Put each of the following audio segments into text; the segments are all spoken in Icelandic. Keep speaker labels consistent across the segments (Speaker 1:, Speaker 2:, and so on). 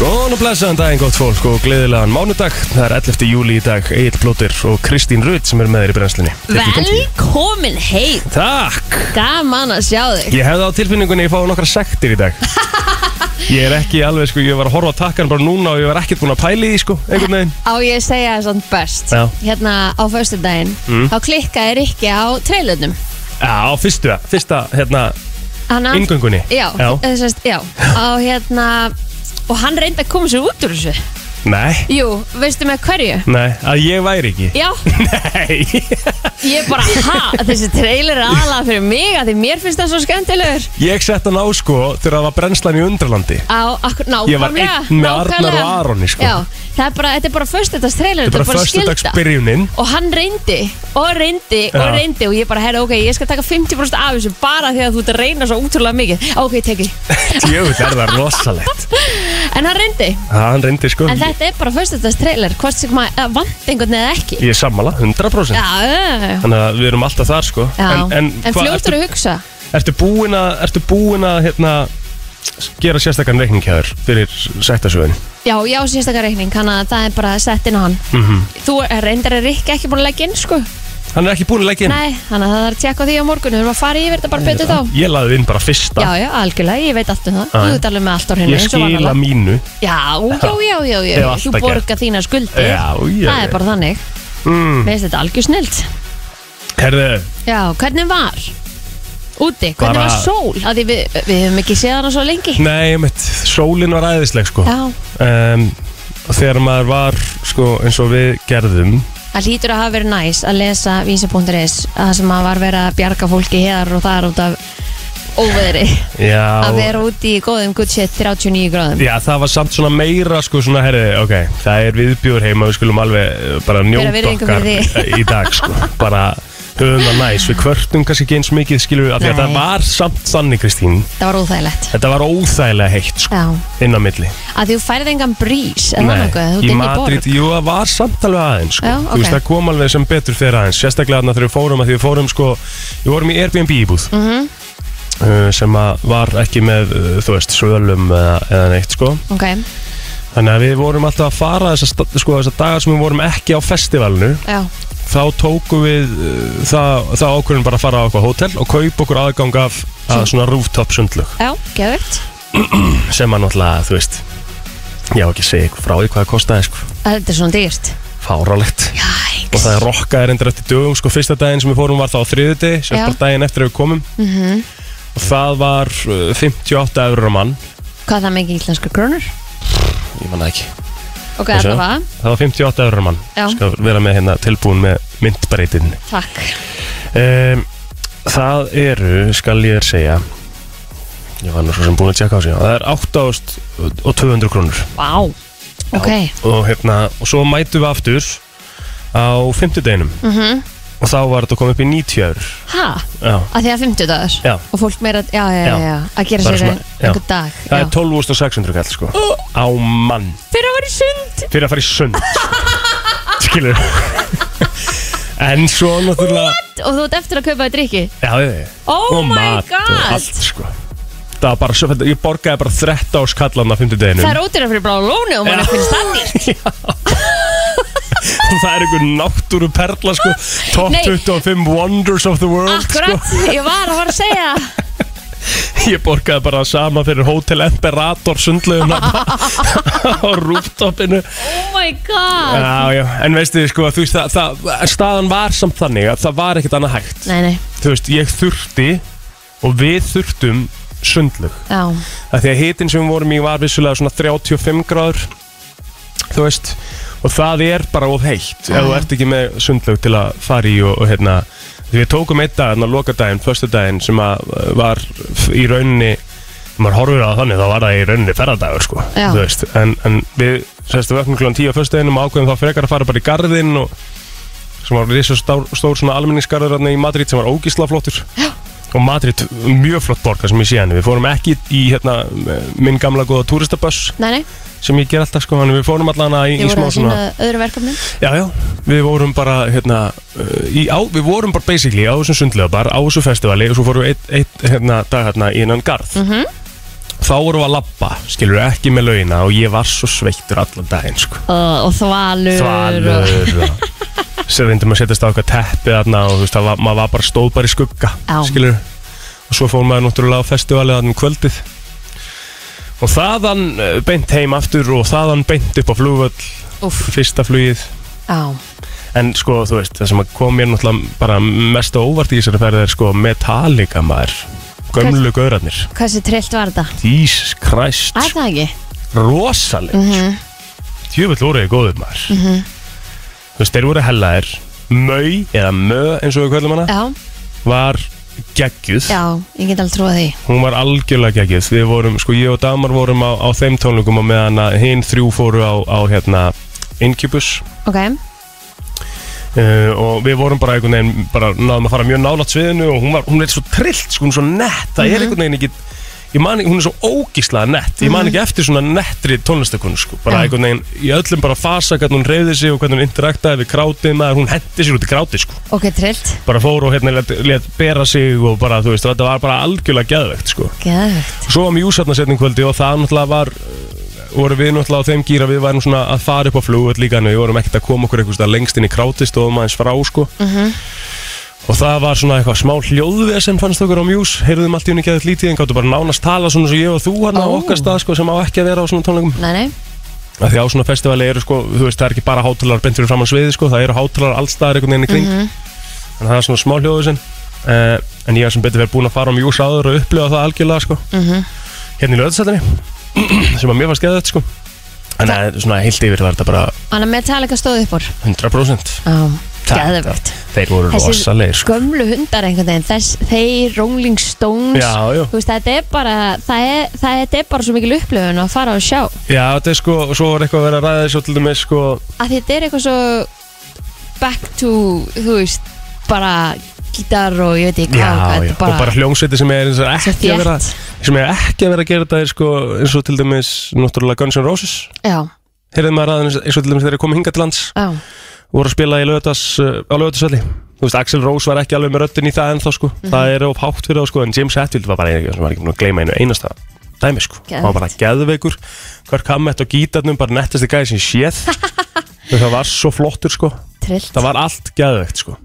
Speaker 1: Góðan og blessaðan daginn gott fólk og gleðilegan mánudag Það er 11. júli í dag, Egil Plóter og Kristín Rutt sem er með þér í brennslunni
Speaker 2: Velkomin heim
Speaker 1: Takk!
Speaker 2: Gaman að sjá þig
Speaker 1: Ég hefði á tilfinningunni að ég fái nokkra sektir í dag Ég er ekki alveg, sko, ég var að horfa á takkan bara núna og ég var ekkert búin að pæli því, sko, einhvern veginn
Speaker 2: Á ég að segja það svona best
Speaker 1: Já.
Speaker 2: Hérna á föstudaginn
Speaker 1: Mm.
Speaker 2: Þá klikkaði Rikki á trailernum
Speaker 1: Já, á fyrstu, fyrsta, hérna,
Speaker 2: Hann að-
Speaker 1: Inngöngunni?
Speaker 2: Já,
Speaker 1: Já.
Speaker 2: eða sem sagt, já. Á hérna Og hann reyndi að koma sér út úr þessu
Speaker 1: nei,
Speaker 2: Jú, veistu með hverju?
Speaker 1: nei, að ég væri ekki
Speaker 2: Já,
Speaker 1: Nei,
Speaker 2: ég bara, ha, þessi trailer er aðalega fyrir mig að því mér finnst það svo skemmtilegur
Speaker 1: ég sett hann á, sko, þegar það var brennslan í undralandi
Speaker 2: á, akkur, nákvæmlega
Speaker 1: Ég var einn með Arnar
Speaker 2: nákvæmlega.
Speaker 1: og Aroni, sko.
Speaker 2: Já, það er bara, þetta er bara föstudags trailer,
Speaker 1: Þetta er bara
Speaker 2: skylda
Speaker 1: föstudagsbyrjunin
Speaker 2: og hann reyndi og reyndi og
Speaker 1: Já.
Speaker 2: reyndi og ég bara, herra, ok, ég skal taka 50% af þessu bara því að þú ert að reyna svo útrúlega mikið ok, teki,
Speaker 1: Djöfull er það rosalegt
Speaker 2: en hann reyndi
Speaker 1: Það hann reyndi, sko
Speaker 2: en þetta er bara föstudast trailer, hvort sem maður eh, vant einhvern eða ekki
Speaker 1: Ég er sammála, 100%
Speaker 2: já, já,
Speaker 1: Þannig að við erum alltaf þar sko
Speaker 2: já. en, en,
Speaker 1: hvað-
Speaker 2: fljótur
Speaker 1: ertu,
Speaker 2: að hugsa
Speaker 1: ertu búin að, ertu búin að hérna, gera sérstakann reikning hjá þér fyrir sættasögun
Speaker 2: já, já, síðstakar reikning, hann að það er bara sett inn á hann
Speaker 1: mm
Speaker 2: þú er reyndar er Rikki ekki búin að leggja inn, sko
Speaker 1: Hann er ekki búin að leggja inn
Speaker 2: nei, þannig að það er að tjekka á því á morgun við erum að fara yfir þetta bara betur þá
Speaker 1: Ég laði inn bara fyrsta
Speaker 2: já, já, algjörlega, ég veit allt um það
Speaker 1: Já, já.
Speaker 2: þú ert alveg með allt á hreinu
Speaker 1: Ég
Speaker 2: eins og
Speaker 1: skila
Speaker 2: vanalega.
Speaker 1: mínu
Speaker 2: Já, já, já, já, já.
Speaker 1: Hef alltaf
Speaker 2: þú
Speaker 1: gert.
Speaker 2: borga þína skuldi
Speaker 1: Já, já,
Speaker 2: Það
Speaker 1: já.
Speaker 2: er bara þannig,
Speaker 1: mm.
Speaker 2: Mér finnst þetta algjör snilt
Speaker 1: Herðu,
Speaker 2: Já, hvernig var? Úti, hvernig
Speaker 1: Bara- Mm.
Speaker 2: var sól? Af Því við, við höfum ekki séð hana svo lengi
Speaker 1: nei, mitt, sólin var æðisleg sko
Speaker 2: Já,
Speaker 1: um, Þegar maður var sko eins og við gerðum
Speaker 2: það hlýtur að hafa verið næs að lesa vísa.is Það sem að var verið að bjarga fólki hér og þar út af óveðri
Speaker 1: Já,
Speaker 2: Að vera úti í góðum good shit 39 gráðum
Speaker 1: Já, það var samt svona meira sko svona, herri, ok, það er viðbjóður heima við skulum alveg eh, bara njóta
Speaker 2: virðingu
Speaker 1: okkar
Speaker 2: fyrir því.
Speaker 1: í dag sko, bara höfum það næs, við kvörtum kannski ekki eins mikið skilur við, af því að
Speaker 2: Nei.
Speaker 1: það var samt þannig Kristín,
Speaker 2: Það var óþægilegt
Speaker 1: þetta var óþægilega heitt sko,
Speaker 2: Já,
Speaker 1: inn á milli
Speaker 2: að þú færði engan brís eða
Speaker 1: Nei,
Speaker 2: nokkuð, þú
Speaker 1: í
Speaker 2: ert inn í borg
Speaker 1: Madrid, jú, það var samt alveg aðeins sko,
Speaker 2: Já,
Speaker 1: þú
Speaker 2: ok.
Speaker 1: veist, það kom alveg sem betur fyrir aðeins, sérstaklega þarna þegar við fórum að því við fórum sko, við vorum í Airbnb íbúð mm
Speaker 2: Mhm.
Speaker 1: sem að var ekki með, uh, þú veist, svölum eða, eða neitt sko
Speaker 2: Ok,
Speaker 1: Þannig að við vorum alltaf að fara þessa, sta- sko, þessa dagar sem við vorum ekki á festivalinu
Speaker 2: já,
Speaker 1: þá tókum við uh, það, það ákvörðum bara að fara á eitthvað hótel og kaupa okkur aðgang af að svona rooftop sundlug
Speaker 2: já, geðvitt
Speaker 1: sem að náttúrulega, þú veist ég á ekki að segja ykkur frá því hvað það kostaði sko,
Speaker 2: Þetta er svona dýrt
Speaker 1: fáralegt
Speaker 2: Jæks
Speaker 1: og það rokkaði reyndar eftir dögum sko, fyrsta daginn sem við fórum var þá á þriðuti sem
Speaker 2: Já. Mhm.
Speaker 1: bara daginn eftir að við komum og það var uh, 58 eurur á mann
Speaker 2: Hvað er það mikið íslenska krónur?
Speaker 1: ég manna ekki
Speaker 2: Ok,
Speaker 1: Þessu?
Speaker 2: þetta var
Speaker 1: það var 58 eurur á mann
Speaker 2: Já.
Speaker 1: skal vera með hérna tilbúin með myndbreytin
Speaker 2: Takk
Speaker 1: Um, það eru, skal ég þér segja Ég var nú svo sem búin að tjekka á sig Það er 8.200 krónur
Speaker 2: Vá Ok
Speaker 1: Og hérna, og svo mætum við aftur Á 50 deginum
Speaker 2: Mhm.
Speaker 1: Og þá var þetta komið upp í 90 eur
Speaker 2: Ha?
Speaker 1: Já,
Speaker 2: Að því að 50 dagur
Speaker 1: Já.
Speaker 2: Og fólk meira Já, já, já,
Speaker 1: Já.
Speaker 2: já Að gera
Speaker 1: Bara
Speaker 2: sér
Speaker 1: svona-
Speaker 2: ein-
Speaker 1: já.
Speaker 2: einhvern dag
Speaker 1: það er 12.600 kall sko Á mann
Speaker 2: Fyrir að vera í sund
Speaker 1: Fyrir að fara í sund Skilur En svo náttúrulega
Speaker 2: Og þú ert eftir að kaupa þér drikki
Speaker 1: Já, já, já
Speaker 2: Oh
Speaker 1: og
Speaker 2: my
Speaker 1: mat og
Speaker 2: god.
Speaker 1: allt sko Það var bara, svo- þetta- ég borgaði bara 13 áskallan á 50 deginum
Speaker 2: Það er ódýra fyrir blá lóni Og mann
Speaker 1: um- Já.
Speaker 2: finnst það nýtt
Speaker 1: það er einhver náttúru perla sko Top
Speaker 2: Nei.
Speaker 1: 25 Wonders of the World
Speaker 2: Akkurat Ég var að fara að segja það.
Speaker 1: sko. Ég borgaði bara sama fyrir Hotel Imperator sundleguna á rooftopinu
Speaker 2: Oh my god
Speaker 1: já, já. En veistu sko, þú veist, það, það, staðan var samt þannig að það var ekkert annað hægt
Speaker 2: Nei, nei
Speaker 1: Þú veist, ég þurfti og við þurftum sundlug
Speaker 2: Já
Speaker 1: að því að hitin sem við vorum í var vissulega svona 35 gráður þú veist og það er bara of heitt ef þú ert ekki með sundlaug til að fara í og, og hérna því við tókum einn dag, þannig að loka daginn, förstu daginn sem að uh, var f- í rauninni ef maður horfir á það þannig þá var það í rauninni ferðardagur sko,
Speaker 2: Já.
Speaker 1: þú veist en, en við, sérstu, vöknum klokkan 10 á förstu daginnum og ákveðum þá frekar að fara bara í garðinn og sem var risa stór, stór svona almenningsgarður þarna í Madrid sem var ógísla flottur og Madrid mjög flott borg þar sem ég sé henni við fórum ekki í hérna minn gamla góða túristabass
Speaker 2: Nei, nei
Speaker 1: sem ég ger alltaf sko en við fórum allan að í, í
Speaker 2: Ég voru
Speaker 1: smá
Speaker 2: að
Speaker 1: svona
Speaker 2: sína öðru verkefni
Speaker 1: já já við vorum bara hérna uh, í, á, við vorum bara basically á þessum sundlega á þessu festivali og svo fórum við eitt, eitt hérna, dag hérna í innan garð
Speaker 2: Mhm.
Speaker 1: þá vorum við að labba, skilur ekki með laugina og ég var svo sveittur allan daginn sko.
Speaker 2: uh, og þvalur, og,
Speaker 1: þvalur og... sér reyndum að setjast á eitthvað teppi þarna og þú veist að maður var bara stóð bara í skugga
Speaker 2: Já.
Speaker 1: skilur og svo fór maður náttúrulega á festivalið þarna um kvöldið og þaðan eh, beint heim aftur og þaðan beint upp á flugvöll
Speaker 2: Úff,
Speaker 1: fyrsta flugið
Speaker 2: á,
Speaker 1: en sko þú veist það sem að kom mér náttúrulega bara mest á óvart í þessari ferð er sko Metallica maður gömlu gaurarnir
Speaker 2: hversu trillt var þetta?
Speaker 1: Jesus Christ
Speaker 2: Er það ekki?
Speaker 1: rosaleg mm -hmm.
Speaker 2: Mhm.
Speaker 1: djöfull voru þið góður maður þú veist, þeir voru hellaðir Mau, eða Mö eins og við kvöldum hana
Speaker 2: Já,
Speaker 1: var geggjuð,
Speaker 2: já, ég get alveg trúið því
Speaker 1: hún var algjörlega geggjuð við vorum, sko ég og Damar vorum á, á þeim tónlingum og meðan að hinn þrjú fóru á, á hérna Incubus
Speaker 2: Ok,
Speaker 1: uh, og við vorum bara einhvern veginn bara náðum að fara mjög nálat sviðinu og hún, var, hún er svo trillt, sko, hún er svo nett það er einhvern veginn ekki ég man, ekki- hún er svo ógíslega nett, ég man ekki eftir svona nettri tónlistakonu sko, bara
Speaker 2: Já.
Speaker 1: einhvern veginn í öllum bara fasa hvernig hún reyði sig og hvernig hún interaktaði við krátið maður, hún hendi sér út í krátið sko
Speaker 2: ok, trillt,
Speaker 1: bara fór og hérna let, let bera sig og bara, þú veist, þetta var bara algjörlega geðvegt sko
Speaker 2: geðvögt
Speaker 1: Svo var mjús hérna setning kvöldi og það náttúrulega var eh, voru við náttúrulega á þeim gýra við værum svona að fara upp á flugvöld líka en við vorum ekkert að koma okkur eitthvað lengst inn í krátist og maður eins frá sko og það var svona eitthvað smá hljóðveð sem fannst okkur á mjús heyrðum allt í henni geðið lítið en gáttu bara nánast tala svona svo ég og þú hann á
Speaker 2: Ó.
Speaker 1: okkar stað sko sem á ekki að vera á svona tónleikum
Speaker 2: Nei, nei,
Speaker 1: að því á svona festivali eru sko, þú veist, það er ekki bara hátalar beint fyrir framann sviði sko, það eru hátalar allstaðar einhvern veginn í kring þannig að það er svona smá hljóðu sinn uh, en ég er sem betur verið búin að fara á mjús áður og upplifa það algjörlega sko hérna í löðsættinni sem að mér fannst geða þetta sko en það er svona heilt yfir var þetta bara
Speaker 2: annað Metallica stóð upp úr
Speaker 1: 100%
Speaker 2: Á,
Speaker 1: Þetta-
Speaker 2: geðvögt
Speaker 1: þeir voru rosalegir sko
Speaker 2: gömlu hundar einhvern veginn þess, þeir Rolling Stones
Speaker 1: Já, já.
Speaker 2: Þú veist, þetta er bara það er, það er, það er bara svo mikil upplöfun að fara og sjá að
Speaker 1: já þetta er sko, og svo var eitthvað að vera að ræða svo til dæmis sko
Speaker 2: þetta er eitthvað svo back to, þú veist bara gítar og ég veit ekki hvað
Speaker 1: Já,
Speaker 2: hvað,
Speaker 1: já,
Speaker 2: þetta er bara,
Speaker 1: og bara hljómsveiti sem er eins og
Speaker 2: Svo
Speaker 1: ekki að
Speaker 2: þétt.
Speaker 1: vera sem er ekki að vera að gera þetta er sko eins og til dæmis náttúrulega Guns N' Roses
Speaker 2: já,
Speaker 1: heyrðum maður aðeins eins og til dæmis þegar þeir komið hingað til lands
Speaker 2: já,
Speaker 1: voru að spila í lögatas, á lögatasölli þú veist, Axel Rose var ekki alveg með röddin í það ennþá sko,
Speaker 2: Mhm.
Speaker 1: það er of hátt fyrir þá sko en James Hetfield var bara einhver sem var ekki búin að gleyma einu einasta dæmi sko,
Speaker 2: Geðveikt.
Speaker 1: hann var bara geðveikur hver kammett og gítarnum, bara nettasti gæði sem ég séð Þú veist, það var svo flottur sko
Speaker 2: trillt
Speaker 1: það var allt geðveikt sko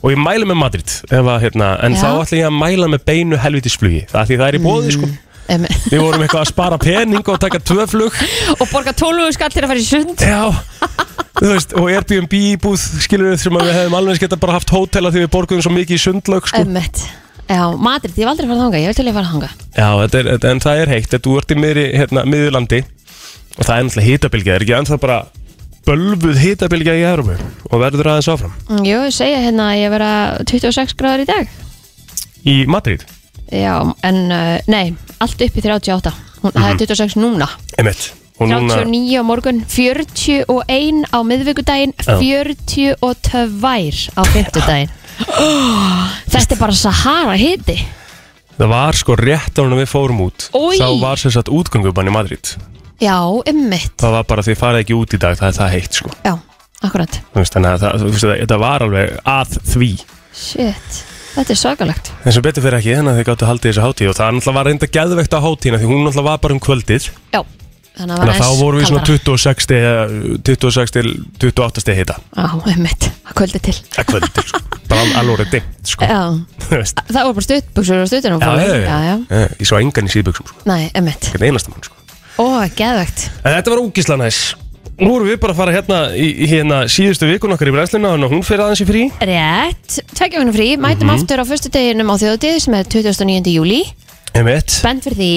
Speaker 1: og ég mæli með Madrid ef að, hérna, en
Speaker 2: Já.
Speaker 1: þá ætla ég að mæla með beinu helvitisflugi það er því það er í bóði sko
Speaker 2: Em,
Speaker 1: við vorum eitthvað að spara pening og taka tvö flug
Speaker 2: og borga 12 skall til að fara í sund
Speaker 1: já þú veist, og Airbnb íbúð skilur við sem að við hefum alveg eins geta bara haft hótela því við borguðum svo mikið í sundlaug sko.
Speaker 2: Ömmett Já, Madrid, ég hef aldrei farið þangað, ég vil til að fara þangað
Speaker 1: já, þetta er, þetta- en það er heitt þetta þú ert í miðri, hérna, miðurlandi og það er náttúrulega hitabilgja, er ekki ennþá bara bölvuð hitabilgja í Európu og verður aðeins áfram
Speaker 2: Mm, Jú, ég segja hérna að ég vera 26 gráður í dag
Speaker 1: í Madrid,
Speaker 2: Já, en uh, nei, allt upp í 38 Hún, Það er
Speaker 1: Mhm.
Speaker 2: 26 núna
Speaker 1: emitt
Speaker 2: 39 á morgun, 41 á miðvikudaginn,
Speaker 1: Já.
Speaker 2: 42 á fymtudaginn Þetta er bara Sahara hiti
Speaker 1: Það var sko rétt á hann að við fórum út
Speaker 2: Oj.
Speaker 1: Þá var sem sagt útgöngubann í Madrid
Speaker 2: Já, ymmit
Speaker 1: Það var bara því farið ekki út í dag Það er það heitt sko
Speaker 2: Já, akkurat
Speaker 1: Þú veist, Þannig að það, þú veist, það, það var alveg að því
Speaker 2: Shit, þetta er svakalegt
Speaker 1: En sem betur fyrir ekki þannig að þið gáttu haldið þessu hátíð Og það náttúrulega var reynda geðvegt á hátíðina Því hún náttúrulega var bara um kvöldið
Speaker 2: Já, þannig að,
Speaker 1: Þannig að þá vorum við svona
Speaker 2: kaldara.
Speaker 1: 26 stig, eh, 26 til 28 steg hita
Speaker 2: Já, ymmit, að kvöldi til
Speaker 1: Að kvöldið sko Bara al- alveg orðið dimmt sko
Speaker 2: Já,
Speaker 1: Þú veist.
Speaker 2: það voru bara stuttbuxur og stuttunum
Speaker 1: Já,
Speaker 2: já, já, já,
Speaker 1: já. Ég svo engan í síðböksum sko
Speaker 2: nei, ymmit
Speaker 1: Ekkert einasta mann sko
Speaker 2: Ó, geðvegt
Speaker 1: En þetta var ógísla næs Nú erum við bara að fara hérna í í hérna síðustu vikun okkar í brennsluna Þannig að hún fer aðeins í frí
Speaker 2: Rétt, tveggja vegna frí, mætum
Speaker 1: Mhm.
Speaker 2: aftur á fyrstu deginum á þjóðutíð sem er 29. júli
Speaker 1: Emmett
Speaker 2: Spennt fyrir því,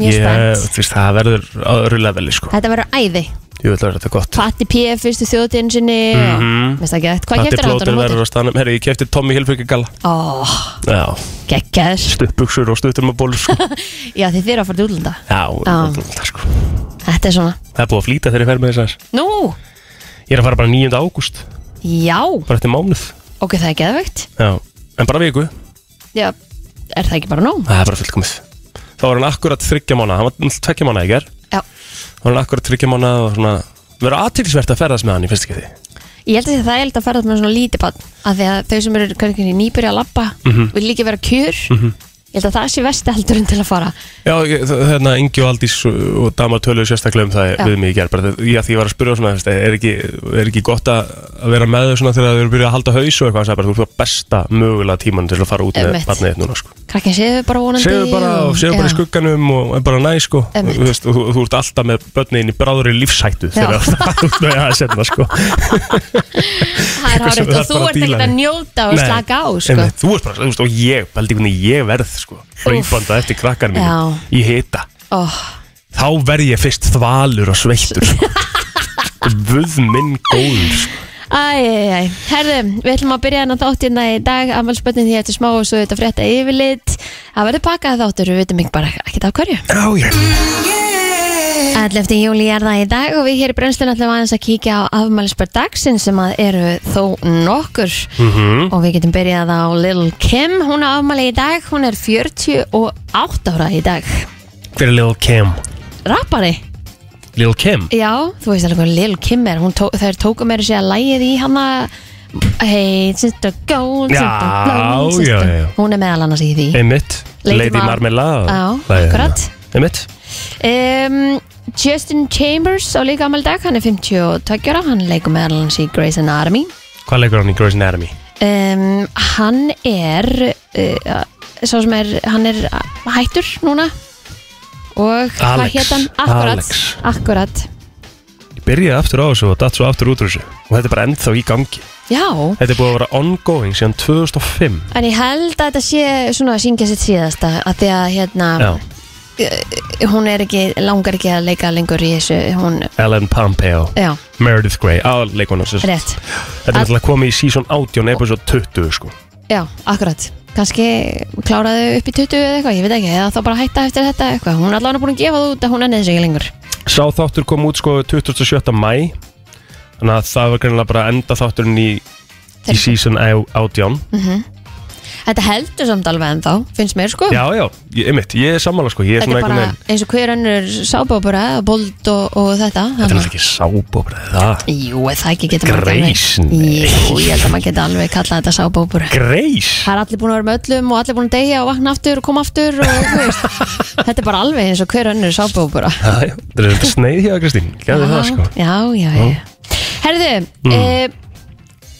Speaker 2: mjög spennt
Speaker 1: Þú veist, það verður á öðru leveli sko
Speaker 2: Þetta verður æði,
Speaker 1: Jú, þetta verður þetta gott
Speaker 2: Patti P. fyrstu þjóðutíðin sinni mm -hmm. Mest ekki þetta, hvað
Speaker 1: Mhm. Patti
Speaker 2: kæftir
Speaker 1: Plóter
Speaker 2: hann á
Speaker 1: verður
Speaker 2: móti?
Speaker 1: á stanum Herri, ég kefti Tommy Hilfrika gala
Speaker 2: Ó,
Speaker 1: Já,
Speaker 2: geggjaður
Speaker 1: stuttbuxur og stuttumabólur sko
Speaker 2: Já, þið þið eru að fara til útlanda
Speaker 1: Já, það sko
Speaker 2: Þetta er svona,
Speaker 1: Það er búið að flýta þegar ég fer með þessar
Speaker 2: nú,
Speaker 1: Ég er að fara bara 9. ágúst,
Speaker 2: já,
Speaker 1: bara eftir mánuð
Speaker 2: ok, það er geðvegt
Speaker 1: Já, en bara viku,
Speaker 2: Já, er það ekki bara nóg?
Speaker 1: það er bara fullkomið Þá var hann akkurat þryggja mánu, hann var náttúrulega tveggja mánu í ger
Speaker 2: Já,
Speaker 1: Þá var hann akkurat þryggja mánu og svona Verður aðtilsvert að ferðast með hann í fyrsta geti
Speaker 2: ég held að því að það er eitthvað
Speaker 1: Mhm.
Speaker 2: að fara með svona lítið bann af því að þau sem eru kannski nýbyrja að labba vil líka vera kjur Ég held að það sé vesti aldurinn til að fara
Speaker 1: Já, ég- þ- þarna Ingi og Aldís og Dama töluðu sérstaklega um það
Speaker 2: Já.
Speaker 1: við mig í gerð bara, já, því ég var að spyrja svona, þú veist, er ekki, er ekki gott að að vera með þau svona þegar þau eru byrjað að halda haus og eitthvað, hann sagði bara, þú ert á besta mögulega tíman til að fara út með
Speaker 2: Einmitt.
Speaker 1: barnið þitt núna, sko.
Speaker 2: Krakkin séu bara vonandi
Speaker 1: Segðu bara og segðu bara í
Speaker 2: Já.
Speaker 1: skugganum og er bara næ, sko.
Speaker 2: Einmitt.
Speaker 1: Þú veist, og þú, þú ert alltaf með börnin í bráðri lífshættu
Speaker 2: Já.
Speaker 1: þegar þú ert að fara út með það setna, sko.
Speaker 2: Það er hárið
Speaker 1: Þú
Speaker 2: og
Speaker 1: þarft
Speaker 2: þú
Speaker 1: bara að
Speaker 2: ert
Speaker 1: díla
Speaker 2: ekkert að
Speaker 1: við.
Speaker 2: njóta og
Speaker 1: Nei.
Speaker 2: slaka á sko.
Speaker 1: Einmitt. Þú ert bara, þú veist, og ég, pældi hvernig ég verð, sko, rýpanda eftir krakkar mínu í hita.
Speaker 2: oh,
Speaker 1: þá verð ég fyrst þvalur og sveittur Vöð minn góður sko.
Speaker 2: Æ, æ, æ, herðu, við ætlum að byrja hennar þáttina í dag, afmælspönnin því eftir smá og svo þetta frétta yfirlit Það verður pakkaði þáttur, við veitum ekki bara ekkert af hverju
Speaker 1: Já, ég
Speaker 2: Allt eftir júli er það í dag og við hér í brennslun ætlum aðeins að kíkja á afmælspönn dagsinn sem að eru þó nokkur
Speaker 1: Mhm.
Speaker 2: og við getum byrjað á Lil Kim, hún á afmæli í dag, hún er 48 ára í dag
Speaker 1: Hver er Lil Kim? Mm.
Speaker 2: Rappari,
Speaker 1: Lil Kim?
Speaker 2: já, þú veist alveg hvað Lil Kim er, Hún tó, þeir tóku meira sér að lægið í hana Hey, sister go, sister
Speaker 1: Já,
Speaker 2: blow,
Speaker 1: já,
Speaker 2: sister
Speaker 1: já.
Speaker 2: Hún er meðal annars í því
Speaker 1: Einmitt
Speaker 2: Lady
Speaker 1: Lady
Speaker 2: Mar-
Speaker 1: Marmelade
Speaker 2: Já,
Speaker 1: lagið
Speaker 2: akkurat.
Speaker 1: hennar. Einmitt
Speaker 2: um, Justin Chambers á líka amal dag, hann er 52 ára, hann leikur meðal annars í Grey's Anatomy
Speaker 1: Hvað leikur hann í Grey's Anatomy?
Speaker 2: um, Hann er, uh, svo sem er, hann er hættur núna Og hvað
Speaker 1: Alex,
Speaker 2: hét hann? Akkurat,
Speaker 1: Alex.
Speaker 2: akkurat
Speaker 1: Ég byrjaði aftur á þessu og datt svo aftur út úr þessu Og þetta er bara ennþá í gangi
Speaker 2: Já,
Speaker 1: Þetta er búið að vera ongoing síðan 2005
Speaker 2: En ég held að þetta sé svona að syngja sitt síðasta að því að hérna
Speaker 1: Já,
Speaker 2: hún er ekki, langar ekki að leika lengur í þessu, hún,
Speaker 1: Ellen Pompeo
Speaker 2: já,
Speaker 1: Meredith Grey, aðleikonu Þetta
Speaker 2: rétt
Speaker 1: er náttúrulega komið í season 18 episode 20 sko
Speaker 2: já, akkurat, kannski kláraðu upp í 20 eða eitthvað, ég veit ekki eða þá bara hætta eftir þetta eitthvað, hún er allavega búin að gefa það út að hún ennið þessu ekki lengur
Speaker 1: Sá þáttur kom út sko 27. mæ Þannig að það var greinilega bara enda þátturinn í, í
Speaker 2: Þeir-
Speaker 1: season á- 18
Speaker 2: Mhm. Þetta heldur samt alveg en þá, finnst mér sko
Speaker 1: Já, já, ég, einmitt, ég er sammála sko Ég er
Speaker 2: Þetta
Speaker 1: svona
Speaker 2: er
Speaker 1: einhvern
Speaker 2: bara
Speaker 1: veginn
Speaker 2: eins og hver önnur sábóbara, bold og, og þetta
Speaker 1: Þetta er
Speaker 2: þannig-
Speaker 1: náttúrulega ekki sábóbra það
Speaker 2: Jú, er það ekki getur maður ekki
Speaker 1: Greys, nei.
Speaker 2: alveg Jú, ég held að maður geta alveg kallað þetta sábóbara
Speaker 1: Greys
Speaker 2: Það er allir búin að vera með öllum og allir búin að deyja og vakna aftur og koma aftur og þú veist Þetta er bara alveg eins og hver önnur sábóbura
Speaker 1: Já, já, Þetta er þetta sneið hjá Kristín Gæði það sko
Speaker 2: Já, já, já Herðu, mm.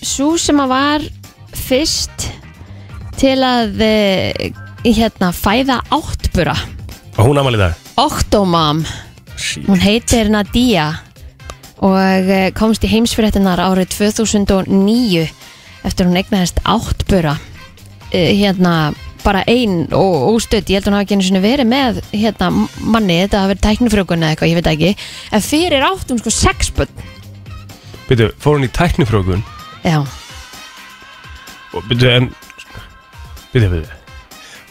Speaker 2: svo sem að var fyrst til að e, hérna fæða áttbura
Speaker 1: Og hún amal í dag
Speaker 2: Octomam,
Speaker 1: Sí.
Speaker 2: hún heitir Nadia og eh, komst í heimsfyrirtinnar árið 2009 eftir hún eignaðist áttbura Eh, hérna bara ein og óstödd, ég held að hún hafi ekki einu sinni verið með hérna manni, þetta hafi verið tæknifrjókun eða eitthvað, ég veit það ekki, en fyrir átt hún sko sex börn,
Speaker 1: Býtu, fór hún í tæknifrókun
Speaker 2: já,
Speaker 1: og Býtu, en Býtu, býtu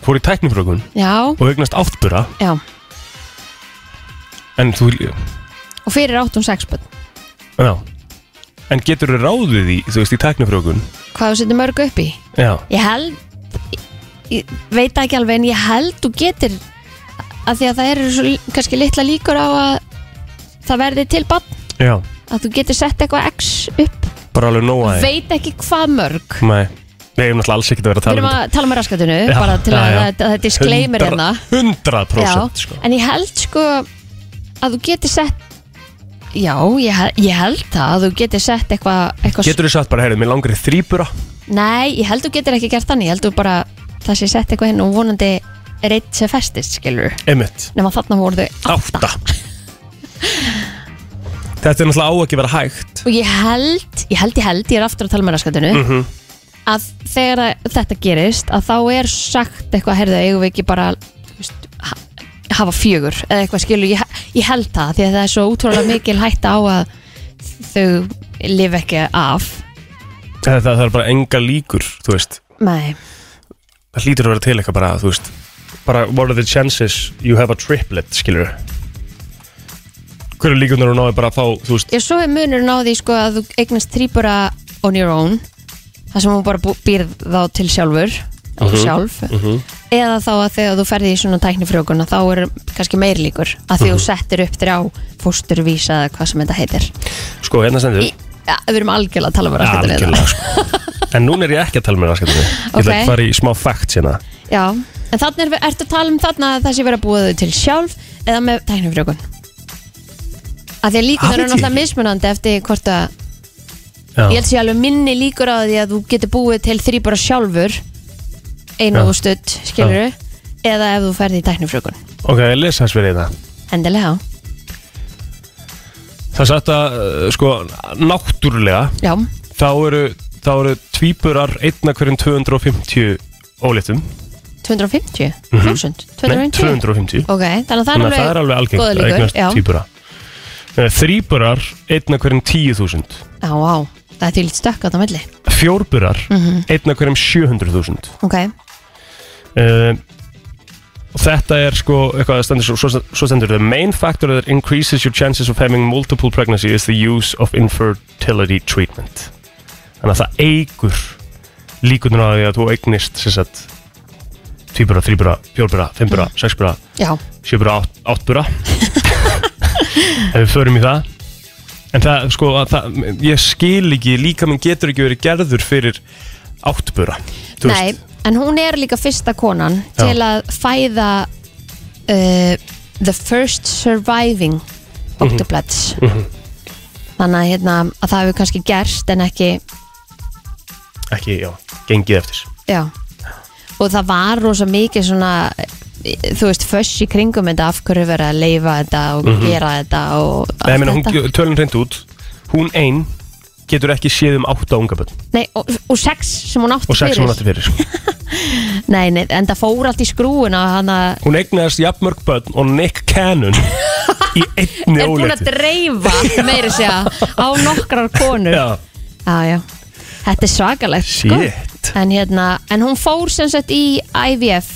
Speaker 1: Fór í tæknifrókun
Speaker 2: já,
Speaker 1: og eignast áttbura
Speaker 2: já
Speaker 1: En þú,
Speaker 2: og fyrir átt hún sex börn,
Speaker 1: já En getur þú ráðið í, þú veist, í tæknifrókun
Speaker 2: hvað þú setur mörg upp í
Speaker 1: Já
Speaker 2: ég held ég, ég veit það ekki alveg en ég held þú getir að því að það eru svo li- kannski litla líkur á að það verði til bann
Speaker 1: Já,
Speaker 2: að þú getur sett eitthvað x upp
Speaker 1: bara alveg nóa þig
Speaker 2: veit ekki hvað mörg
Speaker 1: Nei, við hefum náttúrulega alls ekkert að vera að
Speaker 2: við
Speaker 1: tala um
Speaker 2: erum
Speaker 1: þetta
Speaker 2: að tala með raskatunu
Speaker 1: Já,
Speaker 2: bara til
Speaker 1: já,
Speaker 2: að
Speaker 1: já.
Speaker 2: þetta þetta er disclaimer hérna
Speaker 1: 100%
Speaker 2: Já,
Speaker 1: sko.
Speaker 2: en ég held sko að þú getur sett já, ég, he- ég held það að þú getur sett eitthvað eitthva
Speaker 1: Getur þú sagt bara, heyrðu, mér langar í þrýbura
Speaker 2: nei, ég held þú getur ekki gert þannig ég held þú bara það sé sett eitthvað hinn og vonandi reitt sem festist, skilur
Speaker 1: Einmitt,
Speaker 2: nema þarna voru þau átta.
Speaker 1: átta Þetta er náttúrulega á ekki að vera hægt
Speaker 2: og ég held, ég held, ég held, ég er aftur að tala með raskatinu
Speaker 1: Mhm.
Speaker 2: að þegar að þetta gerist að þá er sagt eitthvað, herðu, eigum við ekki bara þú veist, ha hafa fjögur eða eitthvað skilur, ég, ég held það því að það er svo útrúlega mikil hætta á að þau lifa ekki af
Speaker 1: Það, það, það er bara enga líkur, þú veist
Speaker 2: nei,
Speaker 1: Það hlýtur að vera til eitthvað bara, þú veist Bara, what are the chances you have a triplet, skilur Hverju líkunar hún náði bara að fá, þú veist
Speaker 2: ég svo er munurinn á því sko að þú eignast þrýbura on your own það sem hún bara bú- býr þá til sjálfur og sjálf eða þá að þegar þú ferði í svona tæknifrjókuna þá er kannski meir líkur að því þú settir upp þrjá fósturvísa eða hvað sem þetta heitir
Speaker 1: Sko, hérna stendur
Speaker 2: í, ja, við erum algjörlega að tala um hérna. bara
Speaker 1: Ja,
Speaker 2: allt þetta við
Speaker 1: algjörlega, sko. En núna er ég ekki að tala með raskatunni Ég ætla
Speaker 2: Ok.
Speaker 1: að fara í smá facts hérna
Speaker 2: það já, En þannig er, ertu að tala um þarna að það sé verið að búa þau til sjálf eða með tæknifrjókun Af því að líkur
Speaker 1: Það
Speaker 2: eru
Speaker 1: veit ég
Speaker 2: náttúrulega
Speaker 1: ekki.
Speaker 2: mismunandi eftir hvort að
Speaker 1: Já.
Speaker 2: Ég held sér alveg minni líkur á því að þú getur búið til þrý bara sjálfur
Speaker 1: Já.
Speaker 2: einu og stutt, skilur eða ef þú ferði í tæknifrjókun
Speaker 1: Ok, ég les hérna. hans verið það
Speaker 2: Endilega,
Speaker 1: Það er sagt að, uh, sko, náttúrulega
Speaker 2: já,
Speaker 1: þá eru, þá eru tvíburar einna hverjum 250 óléttum
Speaker 2: 250
Speaker 1: Mhm.
Speaker 2: 1000,
Speaker 1: Nei,
Speaker 2: 250
Speaker 1: 250
Speaker 2: Ok, þannig að það er
Speaker 1: Þannig að það er
Speaker 2: alveg
Speaker 1: alveg algengt
Speaker 2: góðar
Speaker 1: að
Speaker 2: líkur,
Speaker 1: eignast
Speaker 2: já.
Speaker 1: tvíbura Eh, Þríburar einna hverjum 10.000
Speaker 2: Já, á, það er til stökk á það milli
Speaker 1: Fjórburar
Speaker 2: mm
Speaker 1: einna hverjum 700.000
Speaker 2: Ok,
Speaker 1: Eh, og þetta er sko eitthvað að stendur svo, svo- svo stendur the main factor that increases your chances of having multiple pregnancy is the use of infertility treatment þannig að það eigur líkunar að því að þú eignist sem sagt tvíbura, þrýbura, fjórbura, fimmbura, sexbura
Speaker 2: já,
Speaker 1: sjöbura, átt, áttbura ef við förum í það en það sko að það, ég skil ekki líka minn getur ekki verið gerður fyrir áttbura þú
Speaker 2: nei
Speaker 1: veist.
Speaker 2: En hún er líka fyrsta konan
Speaker 1: Já.
Speaker 2: til að fæða uh, The first surviving
Speaker 1: Mhm.
Speaker 2: Octoplats Þannig að, hérna, að það hefur kannski gerst en ekki,
Speaker 1: ekki, já, gengið eftir
Speaker 2: já Og það var rosa mikið svona eh, þú veist, föss í kringum þetta af hverju verið að leifa þetta og gera þetta og
Speaker 1: Mhm. Nei,
Speaker 2: allt
Speaker 1: ég meina,
Speaker 2: þetta.
Speaker 1: hún tölun reynd út Hún ein getur ekki séð um átta unga bönn
Speaker 2: Nei, og, og sex sem hún átti
Speaker 1: Og sex
Speaker 2: fyrir.
Speaker 1: sem hún átti fyrir sko.
Speaker 2: Nei, nei, en það fór allt í skrúuna hann að
Speaker 1: Hún eignaðist jafnmörg bönn og Nick Cannon Í einni
Speaker 2: er búin að
Speaker 1: óleiti
Speaker 2: dreifa meiri segja á nokkrar konur já.
Speaker 1: Já,
Speaker 2: já, þetta er svakalegt sko.
Speaker 1: shit
Speaker 2: en, hérna, en hún fór sem sagt í IVF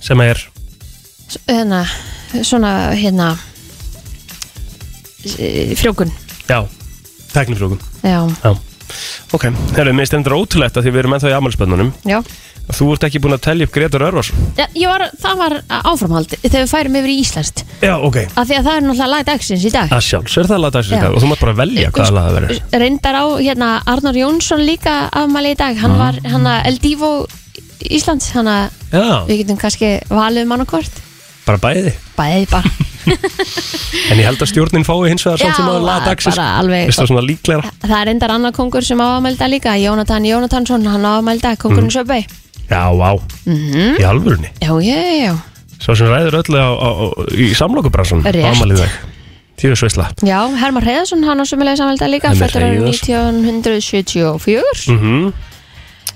Speaker 1: Sem er,
Speaker 2: s- hérna, svona hérna s- frjókun
Speaker 1: já, tæknifrjókum
Speaker 2: já,
Speaker 1: Já Ok, herru, mér stendur ótrúlegt að því við erum ennþá í afmælspönnunum
Speaker 2: já.
Speaker 1: að þú ert ekki búin að telja upp Gretar Örvarsson
Speaker 2: Ja, ég var, það var áframhald þegar við færum yfir í Ísland
Speaker 1: Já, ok
Speaker 2: af því að það er náttúrulega lagdagsins í dag
Speaker 1: Það sjálfs er það lagdagsins í
Speaker 2: Já. Sko,
Speaker 1: dag og þú mátt bara velja hvaða lag það verður
Speaker 2: reyndar á hérna Arnar Jónsson líka afmæli í dag, hann var hann að El Divo Íslands, hann að
Speaker 1: Já,
Speaker 2: við getum kannski valið um hann og hvort
Speaker 1: bara bæði
Speaker 2: bæði bara,
Speaker 1: En ég held að stjórnin fái hins vegar samt sem
Speaker 2: Já,
Speaker 1: að lagdagsins
Speaker 2: bara alveg-
Speaker 1: Vist það svona líklegra
Speaker 2: það er reyndar annar kongur sem á afmæli í dag líka, Jónatan Jónatansson hann á afmæli í dag, kongurinn mm. Söpvei
Speaker 1: Já, vá,
Speaker 2: Mhm.
Speaker 1: í alvörunni
Speaker 2: já, já, já, já,
Speaker 1: Svo sem ræður öllu á, á, á, í samlokubransan
Speaker 2: Rétt.
Speaker 1: Tíu sveisla
Speaker 2: já Hermar Heiðarsson hann á sömulega afmæli í dag líka,
Speaker 1: Hermann Mm.
Speaker 2: fættur árið
Speaker 1: Hreiðarsson.
Speaker 2: 1974 um,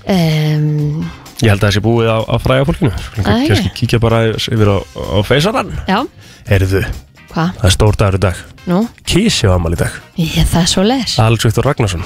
Speaker 1: Mhm. Ég held að það sé búið á, á fræga fólkinu Skulum
Speaker 2: Æ,
Speaker 1: kannski kíkja bara yfir á, á feysarann
Speaker 2: já,
Speaker 1: Heyrðu,
Speaker 2: hvað,
Speaker 1: það er stór dagur í dag
Speaker 2: nú
Speaker 1: Kísi á amal í dag
Speaker 2: ég, það er svo les,
Speaker 1: Alls Viktor Ragnarsson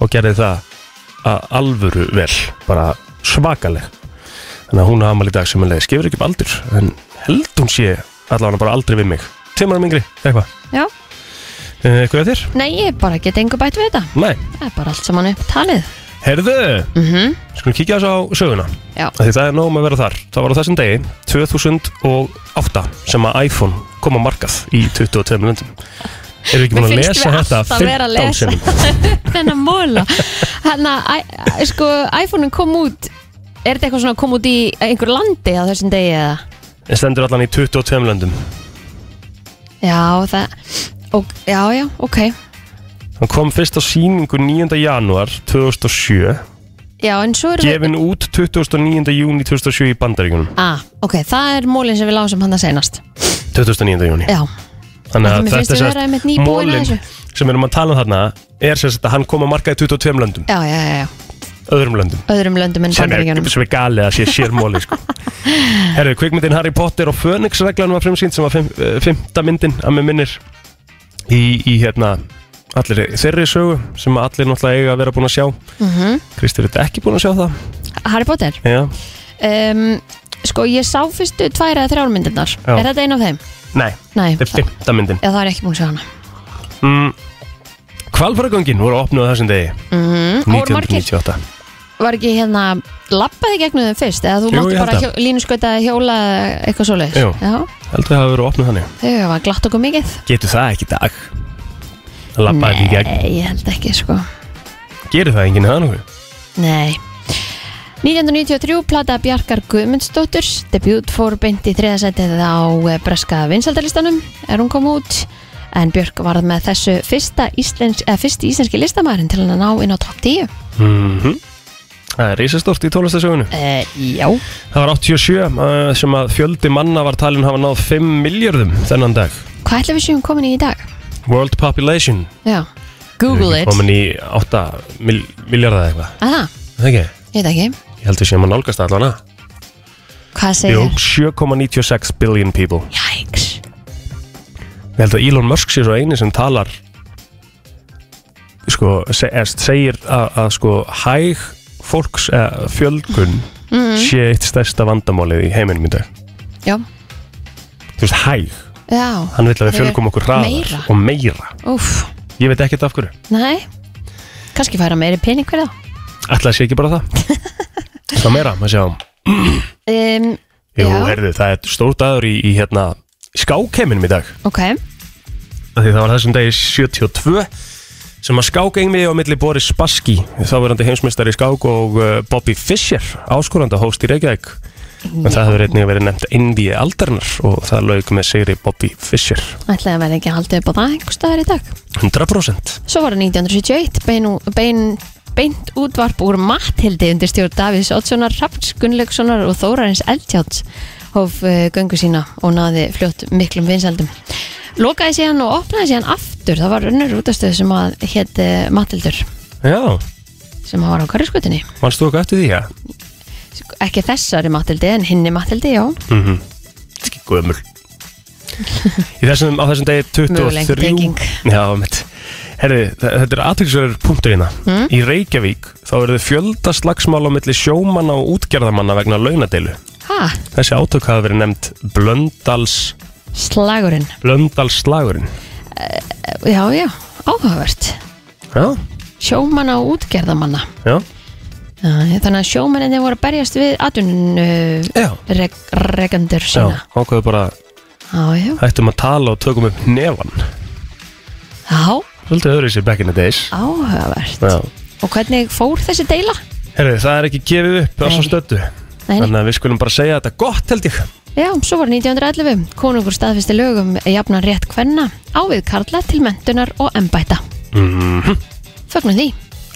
Speaker 1: Og gerði það að alvöru vel Bara svakaleg Þannig að hún á amal í dag sem er leiðis Gefur ekki upp aldur En held hún sé allavega bara aldrei við mig Timmar mingri, eitthvað
Speaker 2: Já.
Speaker 1: Eh, Eitthvað að þér?
Speaker 2: Nei, ég bara get engu bætt við þetta.
Speaker 1: Nei
Speaker 2: Það er bara allt saman upp talið.
Speaker 1: Herðu,
Speaker 2: Mm -hmm.
Speaker 1: skulum kíkja þess á söguna
Speaker 2: Já.
Speaker 1: Af Því það er nógum að vera þar Það var á þessum degi, 2008 sem að iPhone kom á markað í 22 minundum Erum við ekki búin að lesa þetta
Speaker 2: alltaf vera að
Speaker 1: 15
Speaker 2: lesa
Speaker 1: sinnum
Speaker 2: þennan móla. Þannig að æ- sko, iPhone-un kom út, er þetta eitthvað svona kom út í einhver landi á þessum degi eða?
Speaker 1: En stendur allan í 22 löndum
Speaker 2: Já, það, og, já, já, ok.
Speaker 1: Hann kom fyrst á sýningu 9. janúar 2007
Speaker 2: Já, en svo erum við...
Speaker 1: Gefin út 29. júni 2007 í bandaríkunum
Speaker 2: Ah, ok, það er mólinn sem við lásum hann að senast.
Speaker 1: 29. júni
Speaker 2: Já,
Speaker 1: Þannig
Speaker 2: Eh, Mér
Speaker 1: að
Speaker 2: finnst
Speaker 1: þetta
Speaker 2: við
Speaker 1: er
Speaker 2: vera einmitt nýbúin að
Speaker 1: mólin sem við erum að tala um þarna er sem sagt að hann kom að markaði 22 löndum,
Speaker 2: já, já, já, já.
Speaker 1: öðrum löndum
Speaker 2: Öðrum löndum en
Speaker 1: sem er,
Speaker 2: bandaríkjunum.
Speaker 1: sem er galið að sé sér móli sko. Herru, kvikmyndin Harry Potter og Phoenix reglan var frumsýnd sem var fim, eh, fimmta myndin að mér minnir í, í hérna allir þeirri sögu sem allir náttúrulega eiga að vera búin að sjá
Speaker 2: Mhm.
Speaker 1: Kristur er ekki búin að sjá það
Speaker 2: Harry Potter.
Speaker 1: Já,
Speaker 2: Um, sko ég sá fyrstu tvær eða þrjár myndirnar
Speaker 1: Já.
Speaker 2: er þetta ein af þeim?
Speaker 1: Nei,
Speaker 2: Nei,
Speaker 1: þetta er
Speaker 2: það,
Speaker 1: fymta myndin
Speaker 2: eða það er ekki búin að sjá hana
Speaker 1: mm, Hvalfaragöngin voru opnuð á þessum degi Mhm.
Speaker 2: mm, og voru margir,
Speaker 1: 1998
Speaker 2: var ekki hérna labbaði gegnum þeim fyrst eða þú
Speaker 1: Jú,
Speaker 2: máttu
Speaker 1: ég
Speaker 2: bara
Speaker 1: held
Speaker 2: hjó, línuskauta hjóla eða eitthvað svoleiðis
Speaker 1: Jú.
Speaker 2: Já,
Speaker 1: Heldur það hafa verið opnuð þannig
Speaker 2: þau hafa glatt okkur mikið
Speaker 1: Getur það ekki í dag Það lappaði ekki í gegn
Speaker 2: Nei, ég held ekki sko
Speaker 1: Gerir það enginn það nú
Speaker 2: Nei 1993 plata Bjarkar Guðmundsdóttur debut fór beint í þriðasætið á eh, breska vinsaldalistanum er hún kom út en Björk varð með þessu fyrsta íslensk, eða fyrsti íslenski listamærin til hann að ná inn á topp 10
Speaker 1: mm
Speaker 2: Mhm.
Speaker 1: Það er risastórt í tólastasögunu
Speaker 2: uh, Já
Speaker 1: Það var 87 uh, sem að fjöldi manna var talin hafa náð 5 miljörðum þennan dag
Speaker 2: Hvað ætlum við séum komin í í dag?
Speaker 1: World Population
Speaker 2: Já Google
Speaker 1: Við erum ekki
Speaker 2: it
Speaker 1: Komin í 8 mil miljörða eitthvað
Speaker 2: Aha,
Speaker 1: Er Það ekki?
Speaker 2: Ég veit ekki
Speaker 1: Ég held við séum að nálgast það allan að
Speaker 2: Hvað
Speaker 1: Jú,
Speaker 2: segir?
Speaker 1: 7,96 billion people
Speaker 2: Jæks
Speaker 1: Ég held að Elon Musk sé svo eini sem talar sko, se, eða segir að, að sko hæg fólks eða fjölgun
Speaker 2: Mm-hmm.
Speaker 1: sé eitt stærsta vandamálið í heiminum í dag
Speaker 2: Já
Speaker 1: þú veist hæg,
Speaker 2: Já
Speaker 1: hann vil að við
Speaker 2: Þegar
Speaker 1: fjölgum okkur hraðar
Speaker 2: meira.
Speaker 1: og meira,
Speaker 2: Úff
Speaker 1: ég veit ekkert af hverju
Speaker 2: Nei Kanski færa meiri pening fyrir þá
Speaker 1: ætla að sé ekki bara það það meira, maður sjá
Speaker 2: um,
Speaker 1: Jú,
Speaker 2: Já.
Speaker 1: heyrðu, það er stór dagur í, í hérna, skákheiminum í dag
Speaker 2: Ok
Speaker 1: Af því það var þessum degi 72 sem að skákengmi á milli Boris Spassky þáverandi heimsmeistari í skák og uh, Bobby Fischer, áskoranda hóst í Reykjavík en það hefur einnig verið nefnt Indíi aldarinnar og það lauk með sigri Bobby Fischer
Speaker 2: Ætlaði að verða ekki að halda upp á það einhver staðar í dag
Speaker 1: 100%
Speaker 2: Svo var það 1971 bein, ú- bein, beint útvarp úr Matthildi undir stjórn Davís Oddssonar, Rafns Gunnlaugssonar og Þórarins Eldjáts hóf uh, göngu sína og náði fljótt miklum vinsældum Lokaði síðan og opnaði síðan aftur það var önnur útastöð sem að hétt uh, Matthildur
Speaker 1: Já,
Speaker 2: sem var á Karjaskutinni
Speaker 1: mannst þú eitthvað eftir því, já?
Speaker 2: ekki þessari Matthildi en hinni Matthildi, já
Speaker 1: Mm -hmm. Ekki gömul Í þessum, á þessum degi 23
Speaker 2: Möguleg tenging.
Speaker 1: Já, mitt Herri, þa- þetta er aðtöksverður punktur hérna
Speaker 2: Mhm.
Speaker 1: Í Reykjavík þá verður fjölda slagsmál á milli sjómanna og útgerðamanna vegna launadeilu
Speaker 2: ha,
Speaker 1: Þessi átök hafa verið nefnd Blöndals,
Speaker 2: slagurinn
Speaker 1: Blöndals slagurinn
Speaker 2: já, já, áhugavert
Speaker 1: Já,
Speaker 2: sjómanna og útgerðamanna
Speaker 1: já,
Speaker 2: Já, Þannig að sjómenninni voru að berjast við atvinnurekendur
Speaker 1: já,
Speaker 2: rek,
Speaker 1: já
Speaker 2: sína.
Speaker 1: ákveðu bara
Speaker 2: Já, já.
Speaker 1: hættum að tala og tökum upp nefan
Speaker 2: Já,
Speaker 1: Svolítið öðru sér back in the days
Speaker 2: áhugavert.
Speaker 1: Já
Speaker 2: Og hvernig fór þessi deila?
Speaker 1: Herri, það er ekki gefið upp á svo
Speaker 2: Nei.
Speaker 1: stöddu
Speaker 2: Nei, nei.
Speaker 1: Þannig að við skulum bara segja þetta gott held ég
Speaker 2: Já, svo var 1911. Konungur staðfisti lögum jafnan rétt kvenna á við karla til mentunar og embæta.
Speaker 1: Mhm.
Speaker 2: Fögnum því.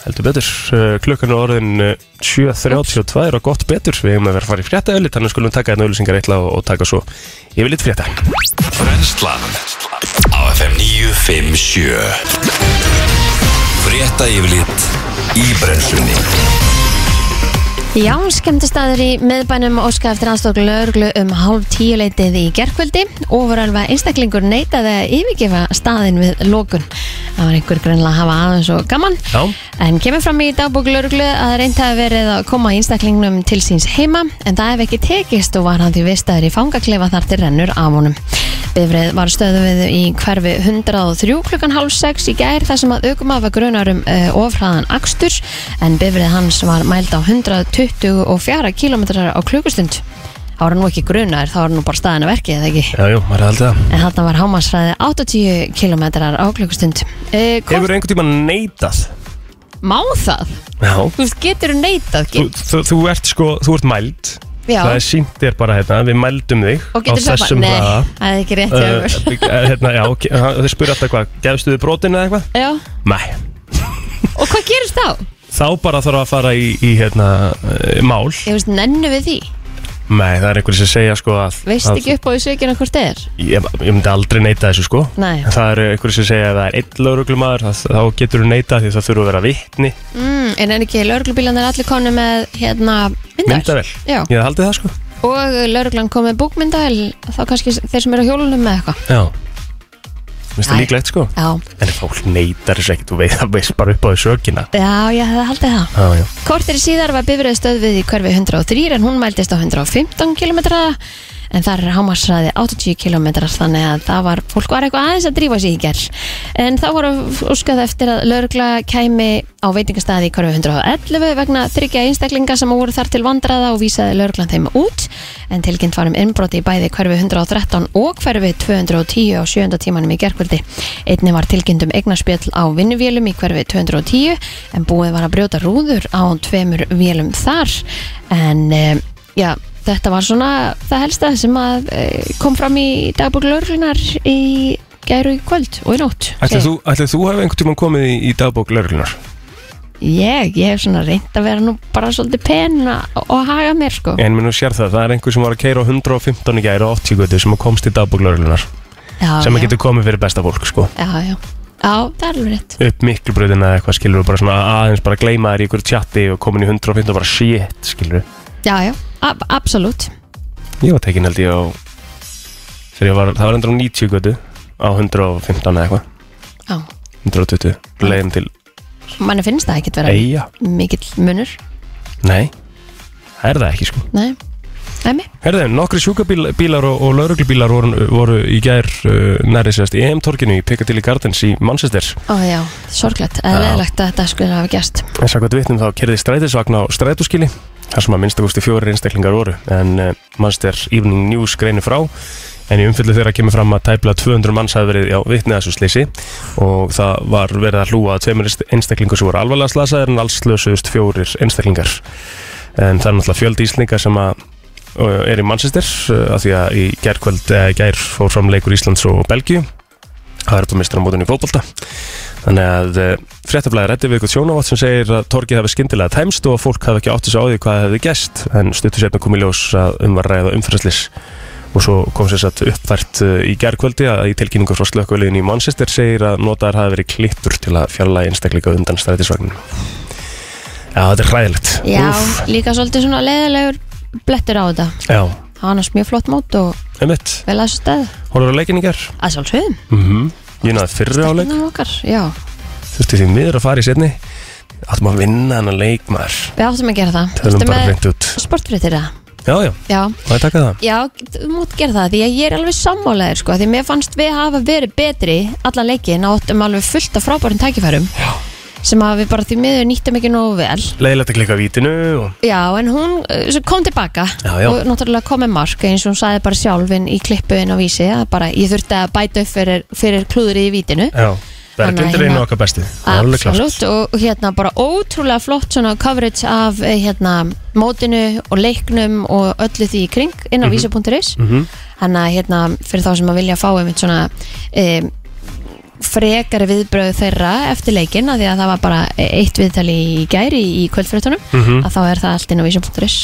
Speaker 1: Heldur betur, uh, klukkan er orðin uh, 7.32 og gott betur Við hefum að vera að fara í frétta öll Þannig skulum taka hérna þetta öllusingar eitthvað og, og taka svo yfir lit frétta
Speaker 3: Brenslan Á FM 957 Frétta yfirlit í brennslunni
Speaker 2: Já, skemmtistæður í miðbænum óska eftir aðstokk löglu um hálf tíu leitið í gerkvöldi. Ofuralva einstaklingur neitaði að yfirgefa staðin við lokun. Það var einhver greinlega að hafa aðeins og gaman.
Speaker 1: Já.
Speaker 2: En kemur fram í dagbók löglu að reynd hafi verið að koma einstaklingnum til síns heima en það hef ekki tekist og var hann því vistaður í fangaklefa þar til rennur af honum. Bifrið var stöðuð í hverfi 103 klukkan halv 6 í gær þar sem að aukumaf var grunar um uh, ofraðan akstur en bifrið hans var mæld á 124 km á klukkustund. Það var nú ekki grunar, þá var nú bara staðin að verki eða ekki.
Speaker 1: Já, jú, maður er haldið það
Speaker 2: En þarna var hámasræði 80 km á klukkustund. Uh, hvort,
Speaker 1: Hefur einhvern tíma neitað?
Speaker 2: má það?
Speaker 1: Já
Speaker 2: Þú veist, getur neitað?
Speaker 1: Þú,
Speaker 2: Get,
Speaker 1: þú, þú ert sko, þú ert mæld
Speaker 2: Já.
Speaker 1: Það er sínt þér bara hérna, við mældum þig
Speaker 2: Og getur
Speaker 1: á
Speaker 2: sagt bara,
Speaker 1: þessum
Speaker 2: nei,
Speaker 1: hraða.
Speaker 2: það er ekki rétt hjá
Speaker 1: Uh,
Speaker 2: ykkur.
Speaker 1: eh, hérna, já, ok, ha- Þeir spyrir alltaf hvað, gefstu þið brotinu eða eitthvað?
Speaker 2: Já,
Speaker 1: Nei,
Speaker 2: og hvað gerist þá?
Speaker 1: þá bara þarf að fara í, í hérna, uh, mál
Speaker 2: Ég veist, nennu við því
Speaker 1: Nei, það er einhverjir sem segja sko að
Speaker 2: Veist
Speaker 1: að-
Speaker 2: ekki upp á því sökjana hvort þið er
Speaker 1: Ég, ég myndi aldrei neita þessu sko
Speaker 2: Nei.
Speaker 1: En Það eru einhverju sem segja að það er einn lauruglumæður Þá getur þú neita því það þurfa að vera vittni
Speaker 2: mm, En en ekki, lauruglubílan er allir konu með hérna myndavel
Speaker 1: Myndavel
Speaker 2: Já.
Speaker 1: Ég haldi það sko
Speaker 2: Og lauruglan kom með bókmyndavel Þá kannski þeir sem eru á hjólunum með eitthvað
Speaker 1: Já finnst það
Speaker 2: Æ.
Speaker 1: líklegt sko
Speaker 2: Já,
Speaker 1: En fólk neytar þess ekkert og veið það veist bara upp á því sökina
Speaker 2: já, ég hefði haldið það
Speaker 1: Já, já
Speaker 2: Kortir síðar var bifröð stöðvið í hverfi 103 en hún mældist á 115 km en þar er hámarsraði 80 km þannig að það var, fólk var eitthvað aðeins að drífa sig í gerð en þá voru óskað eftir að lögregla kæmi á veitingastæði í hverfi 111 vegna þryggja einstaklinga sem voru þar til vandraða og vísaði lögreglan þeim út en tilkynnt var um innbroti í bæði hverfi 113 og hverfi 210 á sjönda tímanum í gerkvöldi. Einni var tilkynnt um eignarspjöll á vinnuvélum í hverfi 210 en búið var að brjóta rúður á tveimur vélum þar en e, já, þetta var svona það helsta sem að e, kom fram í dagbúr lögreglunar í gæru í kvöld og í nótt
Speaker 1: Ætlaði þú, ætlaði þú hefði einhvern tímann komið í, í dagbók lögreglunar?
Speaker 2: Ég, ég hef svona reynd að vera nú bara svolítið pen að- og haga mér sko
Speaker 1: En minn og sér það, það er einhver sem var að keira á 115 í gæri og 80 götu sem komst í dagbók lögreglunar
Speaker 2: já,
Speaker 1: sem
Speaker 2: já.
Speaker 1: getur komið fyrir besta fólk sko
Speaker 2: Já, já, já, það er alveg rétt
Speaker 1: upp miklubröðina eða eitthvað skilur og bara svona aðeins bara gleyma þér í ykkur chatti og komin í 115 og bara shit skilur
Speaker 2: Já, já, ab absolutt
Speaker 1: Ég var tekin held ég á þegar ég var, það var endur á 90 götu á 115 eða eitthvað
Speaker 2: Já,
Speaker 1: 120, leiðin til
Speaker 2: manni finnst það ekkert vera
Speaker 1: Eyja,
Speaker 2: mikill munur
Speaker 1: nei það er það ekki sko
Speaker 2: Nei, næmi
Speaker 1: Herðu, nokkri sjúkabílar og, og lauruglubílar voru, voru í gær uh, næri sérst í EM-torkinu í Piccadilly Gardens í Manchester.
Speaker 2: Ó já, sorglegt, eðlilegt að þetta skulle hafa gerst
Speaker 1: En sá hvað vitnum þá kerði strætisvagn á strætóskili, þar sem að minnstakosti fjóri einstaklingar voru, en uh, Manchester Evening News greinir frá, en í umfyllu þeirra kemur fram að tæpla 200 manns hafi verið á vitni að þessu sleysi og það var verið að hlúa að tveimur einstaklingar sem voru alvarlega slasaðir en alls slösuðust fjórir einstaklingar. En það er náttúrulega fjöldi íslninga sem að uh, er í Manchester uh, af því að í gærkvöld uh, gær fór fram leikur Íslands og Belgíu að erfa mistur á mótunni í fótbolta þannig að uh, fréttablaði rætti við ykkur sjónavátt sem segir að torgið hafi skyndilega tæmst og að fólk hafi ekki átti sig á því hvað hefði gæst en stuttu setna kom í ljós að um var að ræða umferðslis og svo kom sér satt uppfært uh, í gærkvöldi að í tilkynningu frá slökkvöliðin í Manchester segir að notaðar hafi verið klippur til að fjarlægi einstakleika undan strætisvagninu Já, þetta er hræðilegt
Speaker 2: Já,
Speaker 1: Úff,
Speaker 2: líka svolítið svona leðilegur blettur á þetta
Speaker 1: já,
Speaker 2: Það var annars mjög flott mót og
Speaker 1: einmitt
Speaker 2: vel að þessu stað
Speaker 1: Hólar á leikin í gær?
Speaker 2: Að sjálfsögum,
Speaker 1: Mm Ég náði fyrri áleik,
Speaker 2: stefnum okkar Já,
Speaker 1: þurfti því miður að fara í setni Áttum að vinna hann að leik maður
Speaker 2: við áttum að gera það
Speaker 1: Tölum
Speaker 2: Ertu
Speaker 1: bara
Speaker 2: með
Speaker 1: hreint út
Speaker 2: sportfréttir það?
Speaker 1: Já, já,
Speaker 2: Já,
Speaker 1: það er takkað það
Speaker 2: já, þú mútt gera það Því að ég er alveg sammálaðir sko Því mér fannst við hafa verið betri allan leikin og áttum alveg fullt af frábærum tækifærum já. sem að við bara því miður nýttum ekki nógu vel
Speaker 1: Leilegt að klika á vítinu og...
Speaker 2: Já, en hún eh, svo kom tilbaka
Speaker 1: Já, já.
Speaker 2: og náttúrulega kom með mark eins og hún sagði bara sjálfin í klippuðin á vísi að bara ég þurfti að bæta upp fyrir, fyrir klúðrið í vítinu
Speaker 1: Já, það er
Speaker 2: Þannig að
Speaker 1: glindur einu
Speaker 2: hérna-
Speaker 1: okkar besti Það er alveg klart
Speaker 2: Absolutt og hérna bara ótrúlega flott svona coverage af eh, hérna mótinu og leiknum og öllu því í kring inn á
Speaker 1: Mhm.
Speaker 2: mm Þannig að hérna fyrir þá sem að vilja fá einmitt svona um, frekari viðbröð þeirra eftir leikin að því að það var bara eitt viðtali í gæri í, í kvöldfréttunum
Speaker 1: Mhm.
Speaker 2: að þá er það allt inn á vísum.is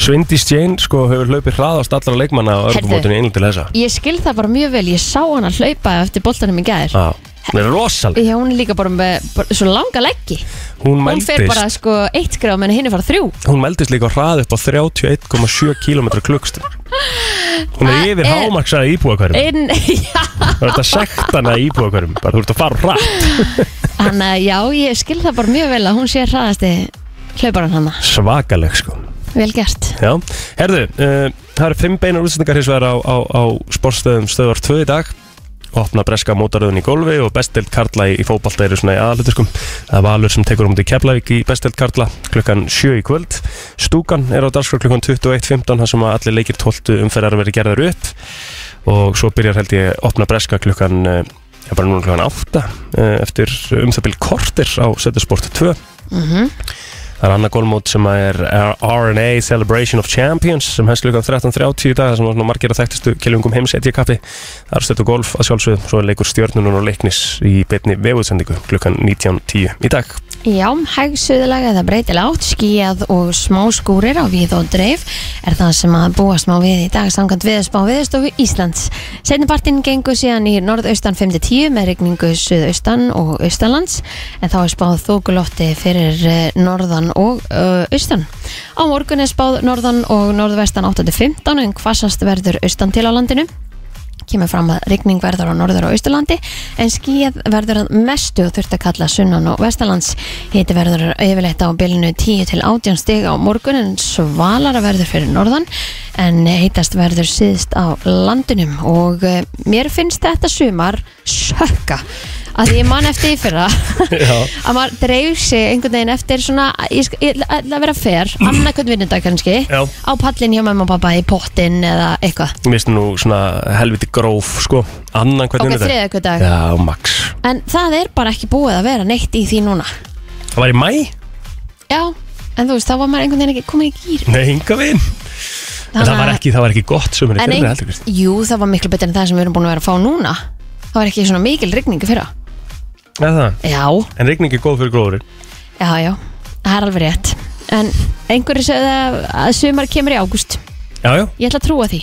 Speaker 1: Svindís Jane sko hefur hlaupið hraðast allra leikmanna á örgumótinu einu til þessa
Speaker 2: Ég skil það bara mjög vel, ég sá hann að hlaupa eftir boltanum í gæðir
Speaker 1: Já, það er rosaleg
Speaker 2: Já, hún er líka bara með bara, svo langa leggi
Speaker 1: Hún
Speaker 2: Hún fer
Speaker 1: meldist,
Speaker 2: bara sko eitt gráð menn hinn er fara þrjú
Speaker 1: hún meldist líka á hraði upp á 31,7 km klukkst Hún er
Speaker 2: Það
Speaker 1: yfir
Speaker 2: er-
Speaker 1: hámaksaði íbúakverjum
Speaker 2: En, já,
Speaker 1: Það er þetta sektana íbúakverjum Bara þú ert að fara hratt
Speaker 2: hann að já, ég skil það bara mjög vel að hún sé hraðasti hlauparan hann
Speaker 1: Svakaleg sko
Speaker 2: Vel gert
Speaker 1: Já, herðu, uh, það eru fimm beinar útsendingar hins vegar á, á, á sportstöðum stöðvar 2 í dag opna breska mótaröðun í golfi og bestdelt karla í, í fótbalta eru svona í aðalutuskum það er valur sem tekur um til Keflavík í bestdelt karla klukkan 7 í kvöld stúkan er á dagskrá klukkan 21.15 þar sem að allir leikir 12 umferðar verið gerðar upp og svo byrjar held ég opna breska klukkan eh, já, bara núna klukkan 8 eh, eftir um það byrjum kortir á Sötusport 2
Speaker 2: mm
Speaker 1: Það er annað gólmót sem að er R&A Celebration of Champions sem hefst lukan 13.30 í dag það sem var svona margir að þekktistu kiljungum heims etjakappi Það er stötu golf að sjálfsögum svo er leikur stjörnunum og leiknis í betni vefuðsendingu klukkan 19.10 í dag
Speaker 2: Já, hægsuðlaga eða breytilega átt, skíjað og smá skúrir á við og dreif er það sem að búast má við í dag samkvæmt viðspá viðstofu Íslands. Setnipartin gengur síðan í norðaustan 5-10 með rigningu suðaustan og austanlands en þá er spáð þókulotti fyrir eh, norðan og ö, austan. Á morgun er spáð norðan og norðvestan 8-15 en hvassast verður austan til á landinu kemur fram að rigning verður á norður og austurlandi en skíð verður að mestu og þurft að kalla sunnan og vestalands hiti verður yfirleitt á bilinu 10 til 18 stig á morgun en svalara verður fyrir norðan en heitast verður síðst á landinum og eh, mér finnst þetta sumar sökka að ég man eftir í fyrra
Speaker 1: Já.
Speaker 2: að maður dreif sig einhvern veginn eftir svona, ég sk- ég ætla að vera fer annarkvæmt vinnudag kannski
Speaker 1: Já.
Speaker 2: á pallin hjá mamma og pappa í pottin eða eitthvað,
Speaker 1: Mér finnst nú svona helviti gróf sko Annan
Speaker 2: ok,
Speaker 1: hvernig
Speaker 2: þriða eitthvað dag
Speaker 1: Já, max
Speaker 2: en það er bara ekki búið að vera neitt í því núna
Speaker 1: Það var í mæ?
Speaker 2: já, en þú veist, þá var maður einhvern veginn ekki komin í gýr
Speaker 1: Nei, hinga við En það var ekki, það var ekki gott sömur
Speaker 2: en
Speaker 1: En
Speaker 2: ein, jú, það var miklu betur en það sem við erum búin að vera að fá núna það var ekki svona mikil rigningu fyrra
Speaker 1: það
Speaker 2: já,
Speaker 1: En rigning er góð fyrir gróðurinn
Speaker 2: já, já, það er alveg rétt en einhverju sögðu að- að sumar kemur í ágúst
Speaker 1: Já, já,
Speaker 2: ég ætla að trúa því,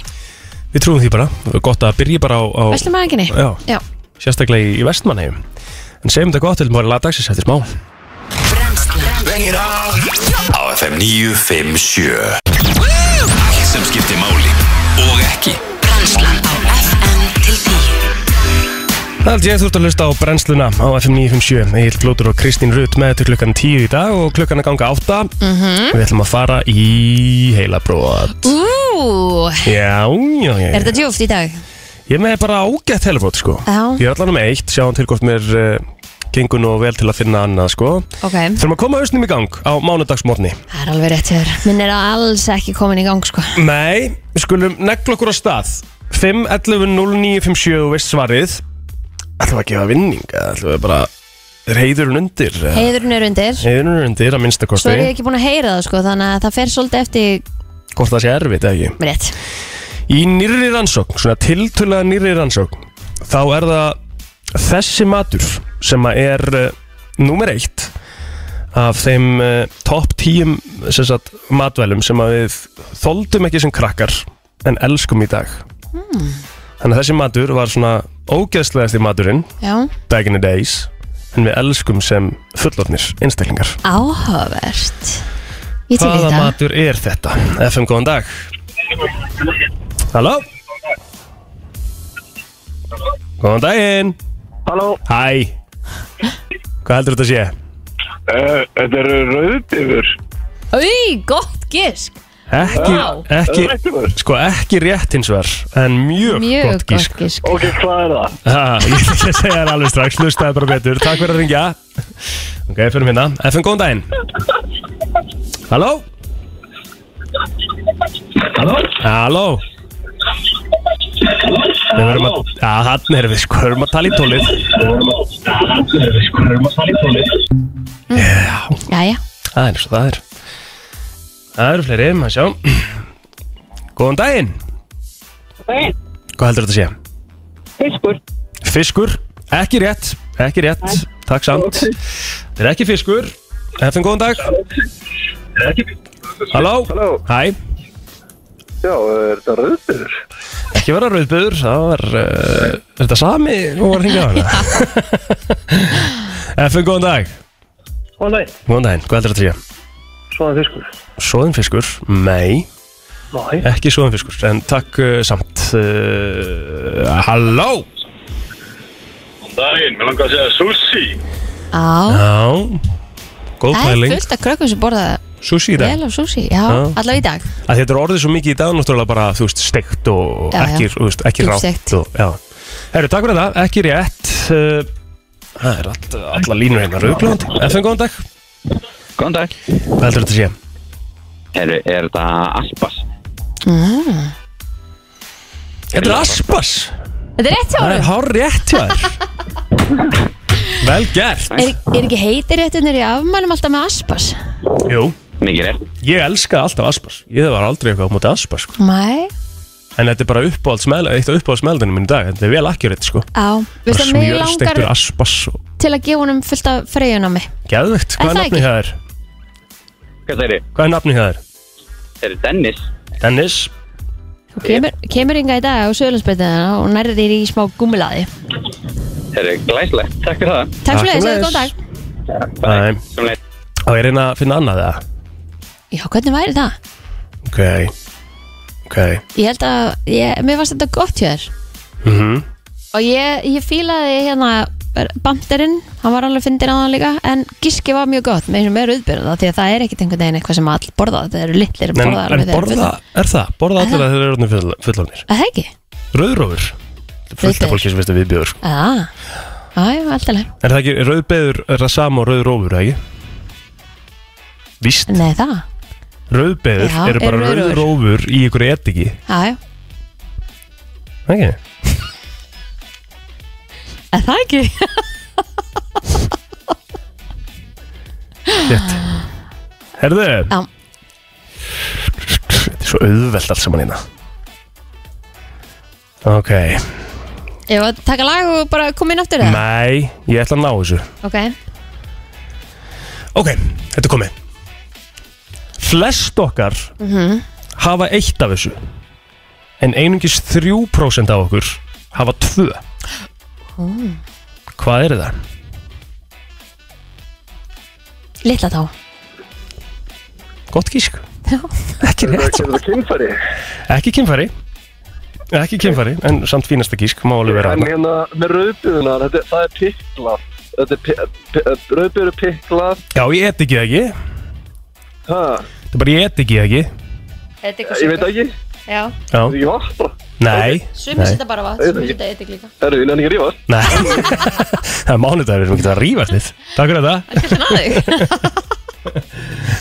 Speaker 1: við trúum því bara Það er Gott að byrja bara á, á
Speaker 2: veslum að enginni
Speaker 1: Já,
Speaker 2: já
Speaker 1: sérstaklega í, í vestmannheim En segjum þetta gott, við viljum bara laga dagsins eftir smá
Speaker 3: Bring it on Á FM 957 Allt sem skiptir máli og ekki
Speaker 4: Brennslan á FM til 10
Speaker 1: Það held ég þú ert að hlusta á brennsluna á FM 957 Egil Blótur og Kristín Rutt með til klukkan 10 í dag og klukkan að ganga 8
Speaker 2: Mhm.
Speaker 1: Við ætlum að fara í heila brot
Speaker 2: Ú,
Speaker 1: Já, já, já,
Speaker 2: er
Speaker 1: já.
Speaker 2: þetta djúft í dag?
Speaker 1: Ég er með bara ágætt heila brot sko
Speaker 2: Já.
Speaker 1: Ég er allan með eitt, sjáum til hvort mér uh, gengur nú vel til að finna annað sko
Speaker 2: Ok,
Speaker 1: Þurfum að koma hausnum í gang á mánudagsmorni
Speaker 2: það er alveg rétt hér Minn er alls ekki komin í gang sko
Speaker 1: Nei, við skulum negla okkur á stað 5 11 0 9 5 7 þú veist svarið Ætlum við að gefa vinning eða ætlum við bara reyðurinn undir eða?
Speaker 2: Heiðurinn er undir
Speaker 1: reyðurinn undir að minnsta
Speaker 2: Svo
Speaker 1: kosti
Speaker 2: er ég ekki búin að heyra það sko Þannig að það fer svolítið eftir
Speaker 1: hvort það sé erfitt eða ekki
Speaker 2: rétt
Speaker 1: Í nýrri rannsókn, svona tiltölulega nýrri rannsókn þá er það þessi matur sem að er uh, númer eitt af þeim uh, topp tíum sem sagt, matvælum sem að við þoldum ekki sem krakkar en elskum í dag þannig að þessi matur var svona ógeðslegasti maturinn
Speaker 2: Já,
Speaker 1: back in the days en við elskum sem fullotnir einstaklingar
Speaker 2: áhugavert Ég til í
Speaker 1: Hvaða
Speaker 2: þetta
Speaker 1: matur er þetta? FM, góðan dag Halló Góðan daginn
Speaker 5: Halló,
Speaker 1: Hæ Hvað heldur þetta að sé?
Speaker 5: uh, þetta eru rauðbifur
Speaker 2: Új, gott gisk
Speaker 1: Ekki,
Speaker 2: Vá.
Speaker 1: ekki Sko ekki rétt hins vegar En mjög,
Speaker 2: Mjög
Speaker 1: gott gísk
Speaker 2: gisk
Speaker 5: Ok, hvað er það?
Speaker 1: ha, Ah, Ég ætla ekki að segja það alveg strax Hlustaði bara betur Takk fyrir að ringja Ok, fyrir minna FM, góðan daginn Halló
Speaker 5: Halló?
Speaker 1: Halló Við verðum að, já, hann erum við sko, við verðum að tala í tólið
Speaker 2: Jæja,
Speaker 1: Það er eins og það er Það eru fleiri, maður sjá Góðan daginn Hvað heldur þetta að sé?
Speaker 6: Fiskur,
Speaker 1: Fiskur, ekki rétt, ekki rétt Takk samt Þetta er ekki fiskur, eftir góðan dag Halló,
Speaker 5: Halló.
Speaker 1: hæ
Speaker 5: Já, er þetta rauðbifur?
Speaker 1: Ekki vera rauðböður, það var uh, Er þetta sami og var hringað hana? Eftir góðan dag
Speaker 5: Ó nei,
Speaker 1: Góðan daginn, hvað heldur þetta að sé?
Speaker 5: svona fiskur
Speaker 1: Svoðin fiskur, nei
Speaker 5: Nei
Speaker 1: Ekki svoðan fiskur, en takk uh, samt uh, Halló
Speaker 5: Daginn, mér langar að segja sushi
Speaker 2: á
Speaker 1: Já, góð
Speaker 2: Það er
Speaker 1: pæling
Speaker 2: fullt af krökkum sem borða
Speaker 1: Sushi í dag
Speaker 2: vel af sushi Já,
Speaker 1: Já.
Speaker 2: allavega í dag
Speaker 1: að Þetta er orðið svo mikið í dag Náttúrulega bara, þú veist, steikt og
Speaker 2: Já, já.
Speaker 1: ekki, þú veist, ekki
Speaker 2: Djúpsteikt.
Speaker 1: rátt og, já. Herru, takk fyrir það, ekki rétt uh, Það er all, alla línur hérna Rauðglóðandi, FN, góðan dag
Speaker 7: Góðan dag
Speaker 1: Hvað heldur þetta að sé?
Speaker 7: Er, er þetta Aspas?
Speaker 1: Þetta er Aspas
Speaker 2: Þetta er rétt hjá
Speaker 1: Það er
Speaker 2: honum
Speaker 1: hár rétt hjá þér Vel gert
Speaker 2: Er, er ekki heitir réttinir í afmælum alltaf með aspas?
Speaker 1: Jú,
Speaker 7: Mikið rétt
Speaker 1: ég elska alltaf Aspas Ég var aldrei eitthvað á móti Aspas sko.
Speaker 2: Nei
Speaker 1: En þetta er bara uppáhaldsmeðl Eitt af uppáhaldsmeðlunum minn í dag Þetta er vel akkjörið sko
Speaker 2: Á, veist
Speaker 1: Bara
Speaker 2: það mig langar
Speaker 1: Smjörsteiktur Aspas og
Speaker 2: til að gefa honum fullt af freyjun á mig
Speaker 1: Geðvegt, hvað er nafnið
Speaker 2: Er það ekki?
Speaker 1: hjá þér?
Speaker 7: Hvað það eru?
Speaker 1: Hvað er nafnið hjá þér?
Speaker 7: Er þetta Dennis?
Speaker 1: Dennis
Speaker 2: Þú kemur, kemur inga í dag á Söðlandsbyrðina og nærðir þér í smá gúmilaði
Speaker 7: Er þetta glæslegt? Takk fyrir það
Speaker 2: Takk fyrir þessu,
Speaker 1: sömuleiðis.
Speaker 2: góðan dag
Speaker 1: Nei,
Speaker 7: Sem leið
Speaker 1: þá er reyna að finna annað það
Speaker 2: Já, hvernig væri það?
Speaker 1: Ok, ok
Speaker 2: Ég held að, ég, mér fannst þetta gott hjá þér
Speaker 1: Mhm.
Speaker 2: og ég, ég fílaði hérna banderinn, hann var alveg fyndin á hann líka en gíski var mjög gott með þessum meður útbyrða því að það er ekkit einhvern veginn eitthvað sem all borða þetta eru litlir
Speaker 1: En,
Speaker 2: að borða
Speaker 1: en borða, er það? Borða allir að þeir eru orðnir full- fullorðnir
Speaker 2: að það ekki,
Speaker 1: Rauðrófur Fullt af
Speaker 2: Rauðbeðir.
Speaker 1: fólki sem veist að viðbjóður sko.
Speaker 2: að það aðjá, alltaf leið,
Speaker 1: Er það ekki, rauðbeður er það sama og rauðrófur, ekki? Víst,
Speaker 2: nei það
Speaker 1: rauðbeður
Speaker 2: Já,
Speaker 1: eru
Speaker 2: eru
Speaker 1: bara
Speaker 2: rauðrófur.
Speaker 1: rauðrófur í ykkur etiki
Speaker 2: aðjá,
Speaker 1: Ekki?
Speaker 2: að það ekki
Speaker 1: Rétt Herðu
Speaker 2: Já.
Speaker 1: Þetta er svo auðvelt allt saman hérna Ok
Speaker 2: ég var að taka lag og bara koma inn aftur það
Speaker 1: Nei, ég ætla að ná þessu
Speaker 2: ok,
Speaker 1: Ok, þetta er komið Flest okkar hafa eitt af þessu En einungis 3% af okkur hafa tvö Hvað er það?
Speaker 2: litla þá
Speaker 1: Gott gísk
Speaker 2: Já.
Speaker 1: Ekki
Speaker 5: Er
Speaker 1: rétt svo
Speaker 5: það Eh, kynfæri?
Speaker 1: Ekki kynfæri Ekki kynfæri, en samt fínasta gísk Má alveg vera
Speaker 5: En
Speaker 1: þarna
Speaker 5: hérna með rauðbjöðunar, þetta, það er piklað. Þetta er pi- eh, pi- rauðbjöður er piklað.
Speaker 1: Já, ég et ekki það ekki
Speaker 5: Ha,
Speaker 1: Þetta er bara ég et ekki það ekki
Speaker 5: ég veit ekki,
Speaker 2: já,
Speaker 1: Já,
Speaker 5: ég var bara.
Speaker 1: nei,
Speaker 2: sumir
Speaker 1: Nei.
Speaker 2: setja bara vatn,
Speaker 5: Ég veit
Speaker 2: sumir
Speaker 5: ekki.
Speaker 2: setja eitthvað líka
Speaker 5: Herru, ég nefnir ekki að rífast.
Speaker 1: nei Það er mánudagur, við erum ekki að rífast þið Takk fyrir þetta
Speaker 2: kannski náðu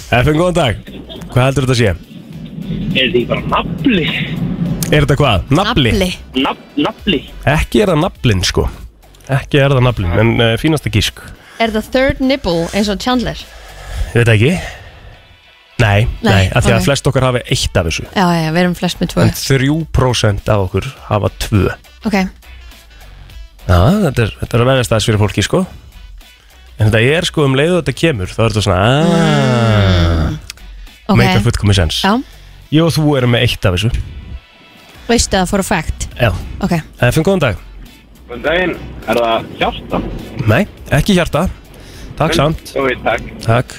Speaker 1: FM, góðan dag Hvað heldur þetta að sé?
Speaker 6: Er því bara nafli?
Speaker 1: Er þetta hvað? Nafli?
Speaker 2: nafli,
Speaker 6: Naf- Nafli?
Speaker 1: Ekki er það naflin, sko Ekki er það naflin, en uh, fínasta gísk
Speaker 2: er það third nibble eins og Chandler
Speaker 1: Ég veit það ekki Nei, nei,
Speaker 2: Nei,
Speaker 1: af því að
Speaker 2: ok.
Speaker 1: flest okkar hafi eitt af þessu
Speaker 2: já, já, við erum flest með tvö
Speaker 1: En 3% af okkur hafa tvö
Speaker 2: ok,
Speaker 1: Já, þetta er, þetta er að verðast aðeins fyrir fólki, sko En þetta er, sko, um leiðu þetta kemur Þá er þetta svona aaaah
Speaker 2: Mm, ok
Speaker 1: Make a fullkomis sens
Speaker 2: Já.
Speaker 1: Ég og þú erum með eitt af þessu
Speaker 2: veistu það for a fact
Speaker 1: Já,
Speaker 2: ok,
Speaker 1: FM, góðan dag
Speaker 7: Góðan daginn, er það hjarta?
Speaker 1: Nei, ekki hjarta Takk samt,
Speaker 7: Jó, takk.
Speaker 1: takk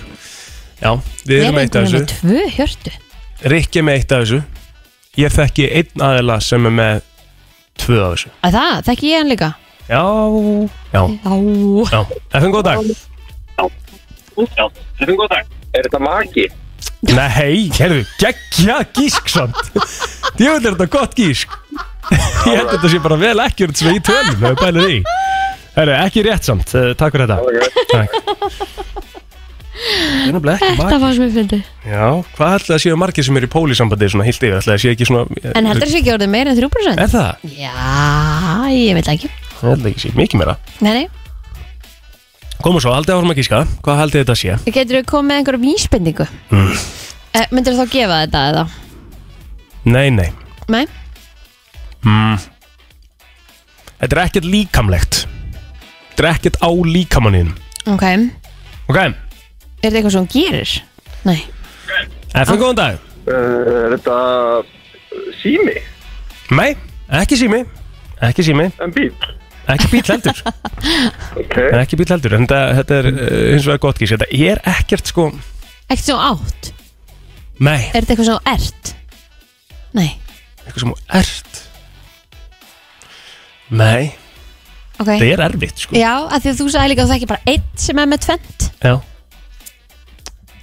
Speaker 1: Já, við erum með eitt af þessu
Speaker 2: Við erum með tvö hjörtu
Speaker 1: Rikki er með eitt af þessu Ég þekki einn aðila sem er með Tvö af þessu
Speaker 2: að Það, þekki ég hann líka
Speaker 1: Já, já,
Speaker 2: Já
Speaker 1: já FM góð dag
Speaker 6: Já, þetta er góð dag.
Speaker 7: Er þetta maki?
Speaker 1: Nei, heyrðu, geggja gísk samt Ég veit er þetta gott gísk Ég held að þetta sé bara vel ekki Þetta sem í tölum, ef við bælið í Heyrðu, ekki rétt samt, eh, takk fyrir þetta Takk Það er nefnilega ekki
Speaker 2: Þetta
Speaker 1: margir
Speaker 2: fannst mér fyndi
Speaker 1: Já, hvað ætlaði að séu margir sem eru í pólisambandi svona heilt yfir, ætlaði að séu ekki svona
Speaker 2: En heldur þessi ekki orðið meira en 3%?
Speaker 1: Er það?
Speaker 2: Já, ég veit það ekki
Speaker 1: Ég held ekki sé mikið meira
Speaker 2: Nei, nei,
Speaker 1: Komum svo, haldið áfram að gíska Hvað haldið þetta sé?
Speaker 2: getur við komið með einhverjum vísbendingu? Mm. Eh, myndir þú þá gefa þetta eða?
Speaker 1: Nei, nei
Speaker 2: Nei,
Speaker 1: Þetta er ekkert líkamlegt Þetta er ekkert á líkamanin
Speaker 2: ok Er
Speaker 1: Ok,
Speaker 2: þetta eitthvað sem hún gerir? Nei Ah.
Speaker 1: FN góðan dag
Speaker 5: Uh, er þetta sími?
Speaker 1: Nei, ekki sími Ekki sími,
Speaker 5: En bíl?
Speaker 1: ekki bíl heldur
Speaker 5: Ok.
Speaker 1: Ekki bíl heldur, en þetta, þetta er uh, hins vegar gott gís Þetta er ekkert sko
Speaker 2: Ekkert sem hún átt?
Speaker 1: Nei,
Speaker 2: Er þetta eitthvað sem hún ert? Nei,
Speaker 1: eitthvað sem þú ert Nei,
Speaker 2: ok
Speaker 1: þetta er erfitt sko
Speaker 2: Já, af því að þú sagði líka að það ekki bara einn sem er með tvent
Speaker 1: Já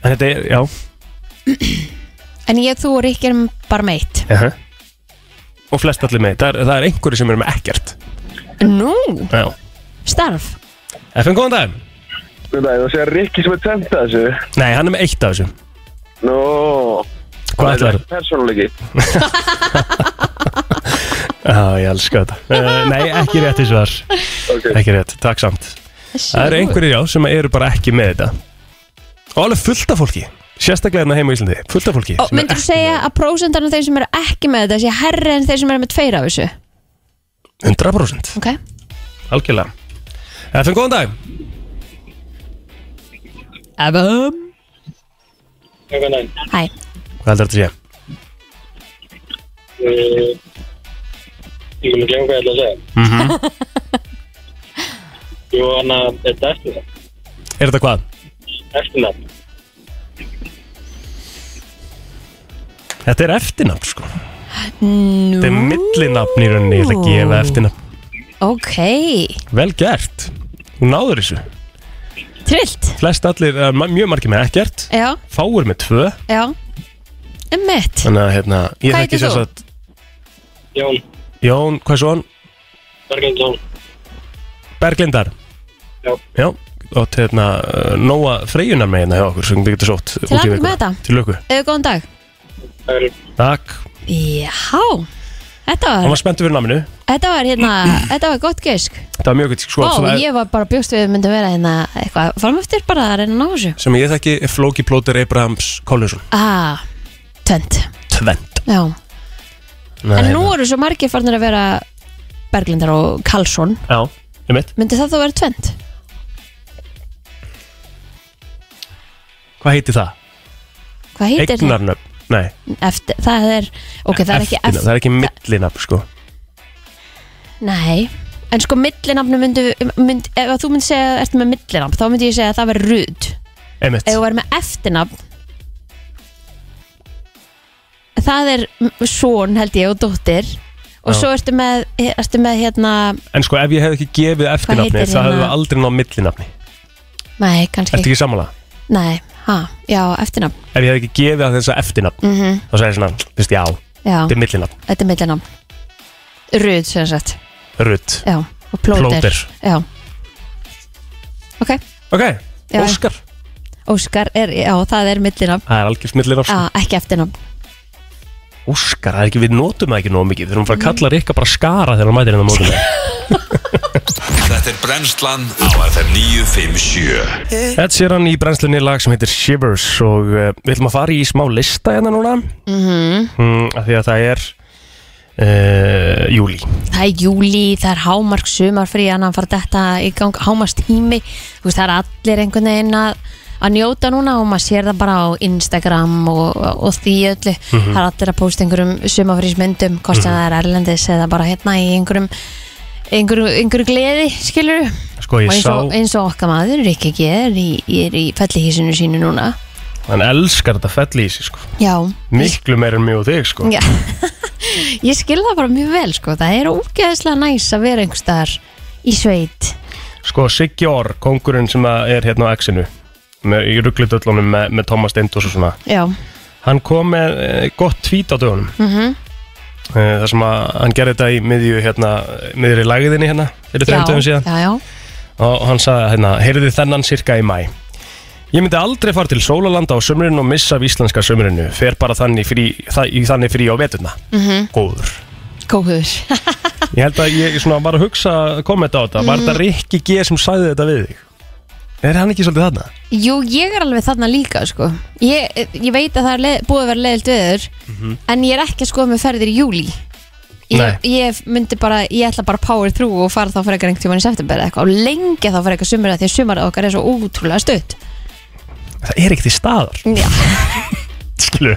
Speaker 1: En þetta er, já
Speaker 2: En ég, þú og Rík erum bara með eitt
Speaker 1: uh Og flest allir með, það er, það er einhverju sem er með ekkert
Speaker 2: Nú,
Speaker 1: Já
Speaker 2: starf
Speaker 1: FN góðan dag
Speaker 5: Nei, það sé að Rikki sem er tæmt að þessu.
Speaker 1: Nei, hann er með eitt af þessu
Speaker 5: Nó.
Speaker 1: Hvað ætlar
Speaker 5: þetta? Persónuleiki.
Speaker 1: Já, ég elska þetta. Uh, nei, ekki rétt í svar.
Speaker 5: Ok.
Speaker 1: Ekki rétt, takk samt. Það eru einhverjir já sem eru bara ekki með þetta. Og alveg fullt af fólki. Sérstaklega hérna heima í Íslandi. Fullt af fólki.
Speaker 2: Og
Speaker 1: sem er
Speaker 2: myndir þú
Speaker 1: ekki-
Speaker 2: segja að prósendan af þeir sem eru ekki með þetta sé herri en þeir sem eru með tveir af þessu?
Speaker 1: 100%.
Speaker 2: Ok.
Speaker 1: Algjörlega. Efum góðan dag.
Speaker 2: Efum.
Speaker 6: Góðan daginn.
Speaker 2: Hæ.
Speaker 1: Hvað heldur þetta að sé?
Speaker 6: Uh, Ég vil glemja hvað ég ætla að segja. Mhm. Jú, hann að þetta er eftir það.
Speaker 1: Er þetta hvað?
Speaker 6: Eftir það.
Speaker 1: Þetta er eftirnafn, sko. Þetta er millinafn í rauninni, ég ætla að gefa eftirnafn.
Speaker 2: Ok,
Speaker 1: Vel gert. Þú náður þessu.
Speaker 2: trillt
Speaker 1: Flest allir, eh, ma- mjög margir með ekkert.
Speaker 2: Já,
Speaker 1: Fáir með tvö.
Speaker 2: já Emmett,
Speaker 1: Þannig að hérna, ég
Speaker 2: Hvað
Speaker 1: þekki
Speaker 2: heitir
Speaker 1: sér
Speaker 2: þú?
Speaker 1: að
Speaker 6: Jón
Speaker 1: Jón, hvað er svo hann?
Speaker 6: Bergendsson
Speaker 1: Berglindar.
Speaker 6: Já.
Speaker 1: Já, og til hérna, eh, Nóa Freyjunar með hérna hjá okkur sem þið getur sótt. út í
Speaker 2: hamingju
Speaker 1: vikuna.
Speaker 2: með þetta.
Speaker 1: Til löku.
Speaker 2: eða góðan dag
Speaker 6: Það er
Speaker 1: Takk.
Speaker 2: Já, þetta
Speaker 1: Hann
Speaker 2: var,
Speaker 1: var spenntur fyrir naminu.
Speaker 2: þetta var hérna Þetta var gott gausk
Speaker 1: Það var mjög gott sko.
Speaker 2: Ó,
Speaker 1: svona-
Speaker 2: ég var bara bjóst við að myndi vera hérna eitthvað framöftir bara að reyna að ná þessu
Speaker 1: sem ég þekki er Flóki Plóter Abrahams Collinsson.
Speaker 2: Ah, tönd
Speaker 1: Tvend.
Speaker 2: Já, en nú eru svo margir farnir að vera Berglindar og Karlsson
Speaker 1: Já, ég mitt.
Speaker 2: Myndi það þá vera tvend?
Speaker 1: Hvað heitir það?
Speaker 2: Hvað heitir það?
Speaker 1: Eignarnöfn. Nei,
Speaker 2: Eftir, það er, ok, það er ekki
Speaker 1: eftirnöfn,
Speaker 2: eftir
Speaker 1: það er ekki millinafn sko.
Speaker 2: Nei, en sko millinafnu myndu, mynd, ef að þú myndi segja að ert með millinafn, þá myndi ég segja að það verður rud.
Speaker 1: Einmitt.
Speaker 2: Ef þú verður með eftirnafn, það er són held ég og dóttir og
Speaker 1: Já.
Speaker 2: svo ertu með, ertu með hérna,
Speaker 1: En sko ef ég hef ekki gefið eftirnafni
Speaker 2: heitir
Speaker 1: það
Speaker 2: hérna?
Speaker 1: hefði aldrei náð millinafni.
Speaker 2: nei, kannski,
Speaker 1: Ertu ekki sammála?
Speaker 2: nei, ha, já, eftirnafn,
Speaker 1: Ef ég hef ekki gefið að þessa eftirnafn
Speaker 2: mm
Speaker 1: þá sagði ég svona, veist já,
Speaker 2: já,
Speaker 1: þetta er millinafn.
Speaker 2: þetta er millinafn, rud sem sagt,
Speaker 1: Rutt.
Speaker 2: já, og plóter,
Speaker 1: Plóter.
Speaker 2: já, ok,
Speaker 1: Ok,
Speaker 2: Já.
Speaker 1: Óskar.
Speaker 2: Óskar er, já, það er millinafn,
Speaker 1: Það er algjörst millinafn.
Speaker 2: já, ekki eftirnafn,
Speaker 1: sko. Óskar, það er ekki, við notum það ekki nóg mikið. Við erum bara
Speaker 2: Mhm.
Speaker 1: að kalla Rikka bara skara þegar hann mætir hérna á mótum.
Speaker 3: Þetta er brennslan á FM 957
Speaker 1: Ed Sheeran í brennslunni lag sem heitir Shivers og uh, við ætlum að fara í smá lista hérna núna mm
Speaker 2: Mhm.
Speaker 1: af því að það er uh, júli
Speaker 2: það er júli, það er hámark sumarfrí, annan fara þetta í gang hámarst tími, þú veist það er allir einhvern veginn að, að njóta núna og maður sér það bara á Instagram og, og því öllu, það er allir að posta einhverjum sumarfrísmyndum, hvort sem það er erlendis eða bara hérna í einhverjum einhverju, einhverju gleði, skilur
Speaker 1: Sko ég
Speaker 2: og eins
Speaker 1: sá,
Speaker 2: og, eins og okkar maður, Rikki G er í, er í fellihísinu sínu núna
Speaker 1: hann elskar þetta felli í sig sko
Speaker 2: Já,
Speaker 1: Miklu meira en mjög og þig sko
Speaker 2: Já. ég skil það bara mjög vel sko. það er ógeðslega næs að vera einhvers staðar í sveit
Speaker 1: Sko Siggi Orr, kongurinn sem að er hérna á X-inu með, í rugglutöllunum með, með Thomas Steindos og svona
Speaker 2: já,
Speaker 1: Hann kom með uh, gott tvít á dögunum mm
Speaker 2: Mhm.
Speaker 1: þar sem að hann gerði þetta í miðju hérna, miðri lagðinni hérna fyrir
Speaker 2: já,
Speaker 1: þreim dögum síðan
Speaker 2: já, já.
Speaker 1: og hann sagði hérna, heyrði þennan cirka í mæ Ég myndi aldrei fara til Sólalanda á sömurinn og missa af íslenska sömurinu fer bara þannig frí, það, í þannig frí á veturna
Speaker 2: Mhm.
Speaker 1: -hmm. Góður
Speaker 2: kókuður
Speaker 1: Ég held að ég svona var að hugsa kommenta á þetta Var
Speaker 2: Mhm.
Speaker 1: þetta Rikki G sem sagði þetta við þig? Er hann ekki svolítið þarna?
Speaker 2: jú, ég er alveg þarna líka sko. ég, ég veit að það er leið, búið að vera leiðilt viður en ég er ekki að skoða með ferðir í júli
Speaker 1: Mhm. Nei.
Speaker 2: ég, ég myndi bara, ég ætla bara power through og fara þá fyrir eitthvað tíma í september eða eitthvað og lengi þá fyrir eitthvað sumur því að sumarið okkar er svo ótrúlega stutt
Speaker 1: Það er ekkert í staðar
Speaker 2: já
Speaker 1: Skilu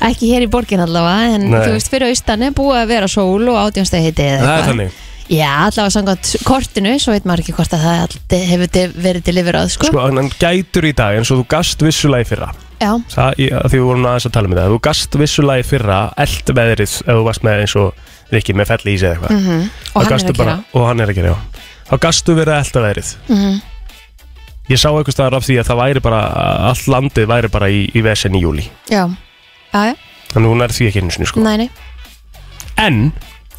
Speaker 2: ekki hér í borgin allavega en
Speaker 1: Nei.
Speaker 2: þú veist fyrir austan er búið að vera sól og átjónstegi heiti
Speaker 1: Það
Speaker 2: eða
Speaker 1: er
Speaker 2: eitthvað.
Speaker 1: þannig.
Speaker 2: já allavega samkvæmt kortinu svo veit maður ekki hvort að það allt hefur til- verið til yfir sko.
Speaker 1: Sko, en hann gætur í dag eins og þú gast vissulega í fyrra
Speaker 2: já,
Speaker 1: Það, ég, að því við vorum aðeins að tala um þetta Þú gast vissulega í fyrra eld veðrið ef þú varst með eins og Rikki með felli í sig eða eitthvað
Speaker 2: Mhm. og
Speaker 1: Þá
Speaker 2: hann er
Speaker 1: gastu
Speaker 2: að gera Mhm.
Speaker 1: bara- og hann er að gera, já þá gastu verið að elda veðrið ég sá einhvers staðar af því að það væri bara allt landið væri bara í, í vesen í júli
Speaker 2: já, já, já,
Speaker 1: þannig hún er því ekki einu sinni sko
Speaker 2: næ, næ
Speaker 1: en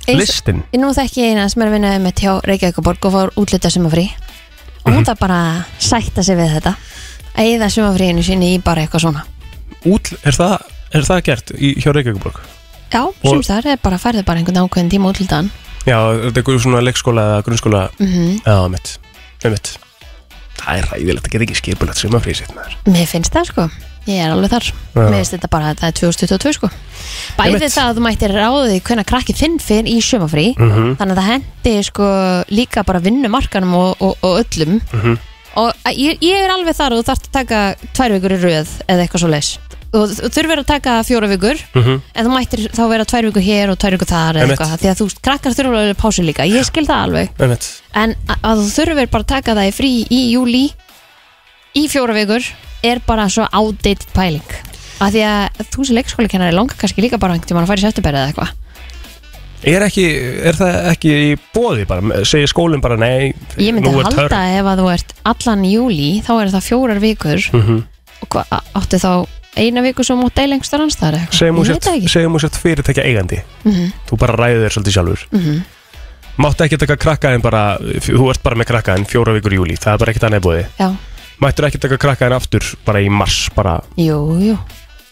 Speaker 2: Eins-
Speaker 1: listin
Speaker 2: ég nú þekki eina sem er að vinna með tjá Reykjavíkaborg og fór útluta sumafrí og
Speaker 1: Mhm.
Speaker 2: hún þarf bara að sætta sig við þetta að eða sumafríinu sinni í bara eitthvað svona
Speaker 1: út, er, það, er það gert í, hjá Reykjavíkuborg?
Speaker 2: já, sumst þar er bara færðu bara einhvern ákveðin tíma útlutaðan
Speaker 1: já, þetta er einhverjum svona leikskóla eða grunnskóla
Speaker 2: mm -hmm.
Speaker 1: já, mitt, með mitt það er ræðilegt, það getur ekki skipulegt sem að frísitt með þér
Speaker 2: Mér finnst það sko, ég er alveg þar
Speaker 1: Já.
Speaker 2: Mér finnst þetta bara að það er 2022 sko Bæði
Speaker 1: Einmitt.
Speaker 2: það að þú mættir ráðið hvernig krakki þinn finn í sjömafrí
Speaker 1: Mhm.
Speaker 2: Þannig að það hendi sko líka bara vinnumarkanum og, og, og öllum
Speaker 1: Mhm.
Speaker 2: Og að ég, ég er alveg þar og þú þarft að taka tvær vikur í röð eða eitthvað svo leis og þú þurfir að taka fjóra vikur
Speaker 1: Mhm.
Speaker 2: en þú mættir þá vera tvær vikur hér og tvær vikur þar eða
Speaker 1: Einmitt.
Speaker 2: eitthvað, því að þú krakkar þurfa að pásu líka, ég skil það alveg
Speaker 1: með mitt
Speaker 2: en að- að þú þurfir bara að taka það í frí í júli í fjóra vikur er bara svo outdated pæling Af því að þú sem leikskólikennari langar kannski líka bara einhvern tímann að fara í september eða eitthvað
Speaker 1: Er, ekki, er það ekki í bóði bara, segir skólinn bara nei
Speaker 2: Ég myndi
Speaker 1: nú er
Speaker 2: halda
Speaker 1: törn.
Speaker 2: ef að þú ert allan júli þá eru það fjórar vikur
Speaker 1: Mhm.
Speaker 2: og hva, áttu þá eina viku sem mútt deil einhverstaðar annars staðar eða eitthvað
Speaker 1: segjum hún
Speaker 2: Ég veit það
Speaker 1: sért-
Speaker 2: ekki.
Speaker 1: segjum hún sért fyrirtækja eigandi þú bara ræður þér svolítið sjálfur
Speaker 2: Mhm.
Speaker 1: máttu ekki taka krakkaðin bara þú ert bara með krakkaðin fjóra vikur í júli það er bara ekkert annað í bóði
Speaker 2: Já,
Speaker 1: mættur ekki taka krakkaðin aftur bara í mars bara
Speaker 2: jú, jú,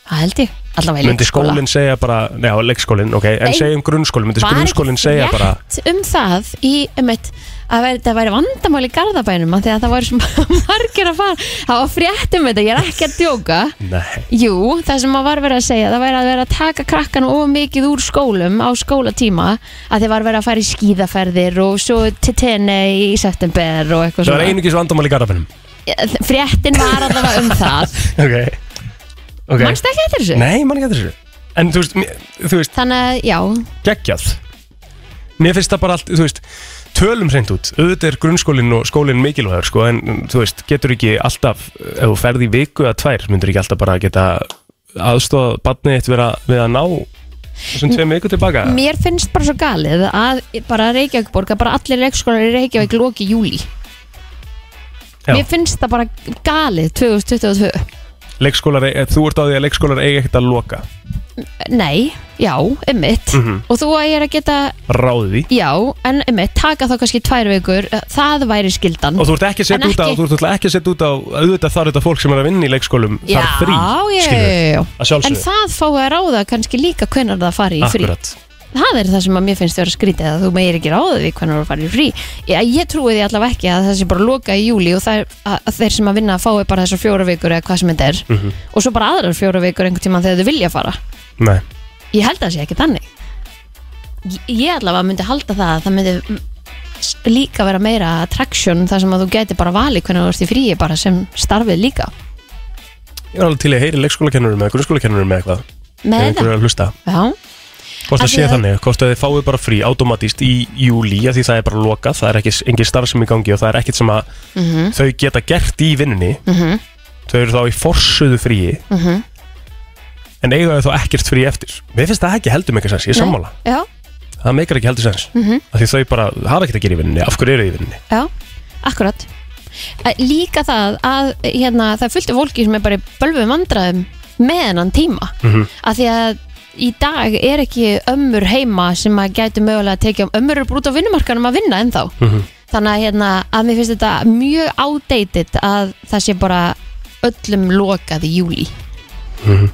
Speaker 2: það held ég allavega í
Speaker 1: myndi
Speaker 2: leikskóla.
Speaker 1: skólinn segja bara nei á leikskólinn ok en
Speaker 2: Nei.
Speaker 1: segjum grunnskólinn myndi
Speaker 2: Var ekki
Speaker 1: grunnskólinn segja bara
Speaker 2: frétt um það í um eitt að veri, það væri vandamál í Garðabænum af því að það voru svo margir að fara það var frétt um þetta, ég er ekki að djóka
Speaker 1: nei
Speaker 2: Jú, það sem maður var verið að segja það væri að vera að taka krakkan of mikið úr skólum á skólatíma að þið var verið að fara í skíðaferðir og svo til tenni í september og eitthvað
Speaker 1: það var einungis vandamál í garðafinnum
Speaker 2: svona Fréttin var allavega um það
Speaker 1: ok ok
Speaker 2: Manstu ekki eftir þessu?
Speaker 1: nei mann ekki að þessu en þú veist mér- þú veist
Speaker 2: Þannig að, já,
Speaker 1: geggjað Mér finnst það bara allt, þú veist Tölum reynd út, auðvitað er grunnskólinn og skólinn mikilvægur sko, en mm, þú veist, getur ekki alltaf, ef þú ferð í viku eða tvær, myndur ekki alltaf bara geta aðstóð barnið eitt vera, við að ná þessum tveim viku tilbaka
Speaker 2: Mér finnst bara svo galið að bara Reykjavíkborg að bara allir leikskólar í Reykjavík loki í júli
Speaker 1: Já.
Speaker 2: Mér finnst það bara galið 2022
Speaker 1: Leikskólar, eh, þú ert á því að leikskólar eiga ekkert að loka,
Speaker 2: Nei, já, ummitt
Speaker 1: Mhm.
Speaker 2: Og þú að ég er að geta,
Speaker 1: ráði því
Speaker 2: já, en ummitt taka þá kannski tvær vikur, Eh, það væri skildan
Speaker 1: og þú ert ekki að setja
Speaker 2: En
Speaker 1: út á,
Speaker 2: ekki-
Speaker 1: þú ert náttúrulega ekki að setja út á auðvitað þar þetta fólk sem er að vinna í leikskólum
Speaker 2: Já,
Speaker 1: þar frí,
Speaker 2: já,
Speaker 1: skilurðu,
Speaker 2: já, já.
Speaker 1: að
Speaker 2: En
Speaker 1: sjálfsögðu
Speaker 2: það fái að ráða kannski líka hvenær það fari í frí
Speaker 1: Akkurat,
Speaker 2: Það er það sem að mér finnst vera skrítið að þú meir ekki ráða því hvernig þú farir í frí ég, ég trúi því allavega ekki að það sé bara loka í júli og það er, að, að þeir sem að vinna fái bara þessar fjóra vikur eða hvað sem þetta er
Speaker 1: Mhm.
Speaker 2: og svo bara aðrar fjóra vikur einhvern tímann þegar þau vilja fara
Speaker 1: nei
Speaker 2: ég held að það sé ekki þannig ég, ég allavega myndi halda það að það myndi mm, s- líka vera meira attraction þar sem að þú geti bara valið hvernig þú ert í fríi bara sem starfið líka
Speaker 1: Ég er alveg til í að heyri leikskólakennurum eða grunnskólakennurum eða eitthvað
Speaker 2: með
Speaker 1: Ef einhver er að hlusta
Speaker 2: það,
Speaker 1: Hvort það
Speaker 2: Af því
Speaker 1: sé
Speaker 2: að-
Speaker 1: þannig, hvort að þið fáið bara frí automatíst í júli af því það er bara lokað, það er ekki engin starf sem í gangi og það er ekkert sem að
Speaker 2: Mhm,
Speaker 1: þau geta gert í vinnunni þau eru þá í forsuðu fríi
Speaker 2: Mhm.
Speaker 1: en eiga þau þá ekkert frí eftir Mér finnst það ekki heldur meikar sens, ég er
Speaker 2: Nei. Mhm.
Speaker 1: sammála
Speaker 2: já,
Speaker 1: það meikar ekki heldur sens af því þau bara hafa ekkert að gera í vinnunni af hverju eru þau í vinnunni
Speaker 2: Já, akkurat Eh, Líka það að hérna, það er fullt af fólki sem er bara í bölvum andraðum með hennan tíma mm að því að í dag er ekki ömmur heima sem að gætu mögulega að tekja ömmur eru bara út á vinnumarkanum að vinna ennþá þannig að, hérna, að mér finnst þetta mjög outdated að það sé bara öllum lokað í júli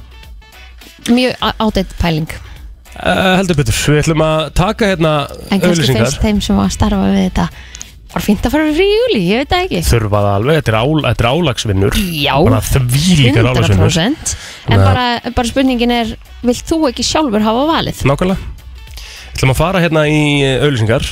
Speaker 2: mjög á- outdated pæling
Speaker 1: uh, Heldur betur, við ætlum að taka hérna
Speaker 2: en kannski
Speaker 1: auðlýsingar
Speaker 2: finnst þeim sem var að starfa við þetta bara fínt að fara við frí í júli, ég veit það ekki
Speaker 1: þurfa það alveg, þetta er, ál, þetta er álagsvinnur
Speaker 2: Já,
Speaker 1: bara þvílíkar álagsvinnur
Speaker 2: 100% En
Speaker 1: Nei.
Speaker 2: bara, bara spurningin er Vilt þú ekki sjálfur hafa valið?
Speaker 1: Nákvæmlega Við ætlum að fara hérna í auðlýsingar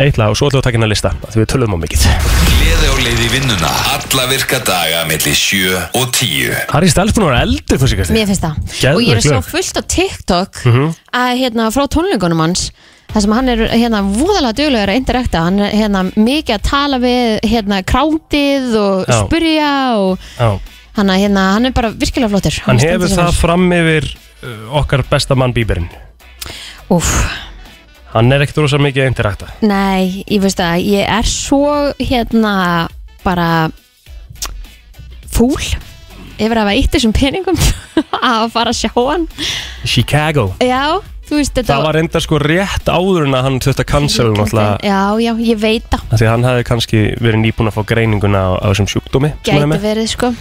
Speaker 1: Eitla og svo ætlum við að taka hérna lista af Því við tölum á mikið
Speaker 3: Gleði á leið í vinnuna Alla virka daga melli 7 og 10
Speaker 1: Harry Styles búin að vera eldur fyrir sig kannski
Speaker 2: Mér finnst það
Speaker 1: Geðveik
Speaker 2: Og ég er að
Speaker 1: lög.
Speaker 2: sjá fullt á TikTok
Speaker 1: Mhm.
Speaker 2: að, hérna, Frá tónleikunum hans Það sem hann er hérna voðalega duglegur að interakta Hann er hérna mikið að tala við hérna krándið og
Speaker 1: Já.
Speaker 2: spyrja og
Speaker 1: Já,
Speaker 2: hann, að, hérna, hann er bara virkilega flottur
Speaker 1: Hann
Speaker 2: stendur
Speaker 1: hefur
Speaker 2: sig
Speaker 1: það
Speaker 2: vel.
Speaker 1: fram yfir uh, okkar besta mann Bíberinn
Speaker 2: Úff,
Speaker 1: Hann er ekkert rosa mikið að interakta
Speaker 2: Nei, ég veist að ég er svo hérna bara fúl yfir að hafa eitt þessum peningum að fara að sjá hann
Speaker 1: Chicago
Speaker 2: Já, þú veist þetta
Speaker 1: Það var enda sko rétt áður en að hann þurfti að cancela náttúrulega
Speaker 2: Já, já, ég veit það
Speaker 1: af Því að hann hefði kannski verið nýbúin að fá greininguna á, á þessum sjúkdómi sem hann er
Speaker 2: Gæti
Speaker 1: með.
Speaker 2: verið sko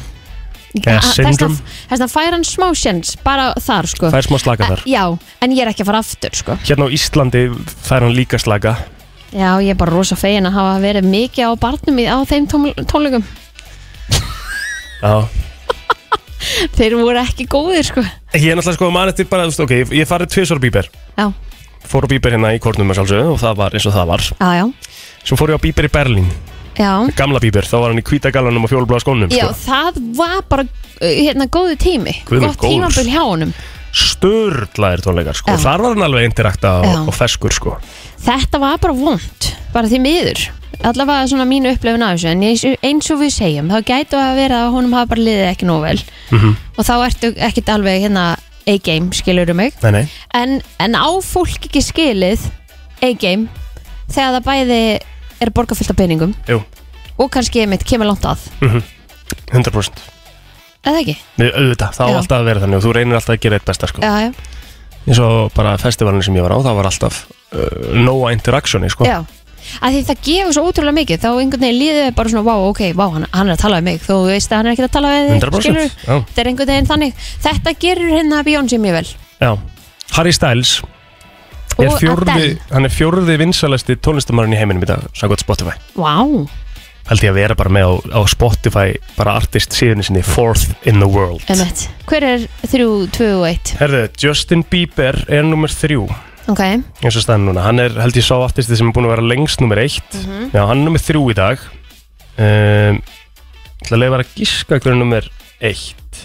Speaker 1: Eða syndrom.
Speaker 2: Þess að fær hann smá sjens bara þar sko
Speaker 1: Fær smá slaka þar
Speaker 2: Já, en ég er ekki að fara aftur sko
Speaker 1: Hérna á Íslandi fær hann líka slaka
Speaker 2: Já, ég er bara rosa fegin að hafa verið mikið á barnum í, á þeim tónl- tónleikum
Speaker 1: Já
Speaker 2: Þeir voru ekki góðir sko
Speaker 1: Ég er náttúrulega sko mann eftir bara, þú veist, ok, ég- ég farið tvisvar á Bíber
Speaker 2: Já,
Speaker 1: fór á Bíber hérna í Kornum að sjálfsögðu og það var eins og það var
Speaker 2: já, já,
Speaker 1: svo fór ég á Bíber í Berlín,
Speaker 2: já.
Speaker 1: gamla Bíber þá var hann í kvítagallanum og fjólblá skónum
Speaker 2: Já,
Speaker 1: sko.
Speaker 2: það var bara uh, hérna góðu tími,
Speaker 1: Guð minn
Speaker 2: gott
Speaker 1: góður.
Speaker 2: tímabil hjá honum
Speaker 1: störlaðir tónleikar sko.
Speaker 2: Já.
Speaker 1: þar var hann alveg indirekta
Speaker 2: Já.
Speaker 1: og, og feskur sko.
Speaker 2: Þetta var bara vond, bara því miður allavega svona mín upplöfun af þessu en eins, eins og við segjum, þá gætu að vera að honum hafa bara liðið ekki nóg vel
Speaker 1: Mhm.
Speaker 2: og þá ertu ekkit alveg hérna A-game, skilurðu mig
Speaker 1: Nei, nei
Speaker 2: en, en á fólk ekki skilið A-game þegar það bæði er borgarfyllt af peningum
Speaker 1: Jú,
Speaker 2: og kannski einmitt kemur langt að
Speaker 1: 100%
Speaker 2: eða ekki?
Speaker 1: Nei, auðvitað, það á
Speaker 2: Já.
Speaker 1: alltaf að vera þannig og þú reynir alltaf að gera eitt besta sko.
Speaker 2: Já, já,
Speaker 1: eins og bara festivalinu sem ég var á það var alltaf uh, nóa interactioni sko.
Speaker 2: já að því það gefur svo ótrúlega mikið þá einhvern veginn líður þér bara svona wow, ok, wow, hann, hann er að tala við mig þú veist að hann er ekkert að tala við þig
Speaker 1: 100%
Speaker 2: skilurðu?
Speaker 1: já.
Speaker 2: þetta er einhvern veginn þannig þetta gerur hérna Beyoncé mjög vel
Speaker 1: já, Harry Styles er
Speaker 2: Og
Speaker 1: fjórði,
Speaker 2: Adele.
Speaker 1: hann er fjórði vinsalasti tónlistamarinn í heiminum í dag samkvæmt Spotify
Speaker 2: wow,
Speaker 1: held ég að vera bara með á, á Spotify bara artist síðan sinni Fourth in the World
Speaker 2: emmett hver er 3, 2 og 1?
Speaker 1: Herðu, Justin Bieber er nummer þrjú
Speaker 2: ok,
Speaker 1: eins og staðan núna, hann er held ég sá artisti sem er búin að vera lengst nummer eitt já, hann er nummer þrjú í dag um, ætla að leiða að gíska hver er nummer eitt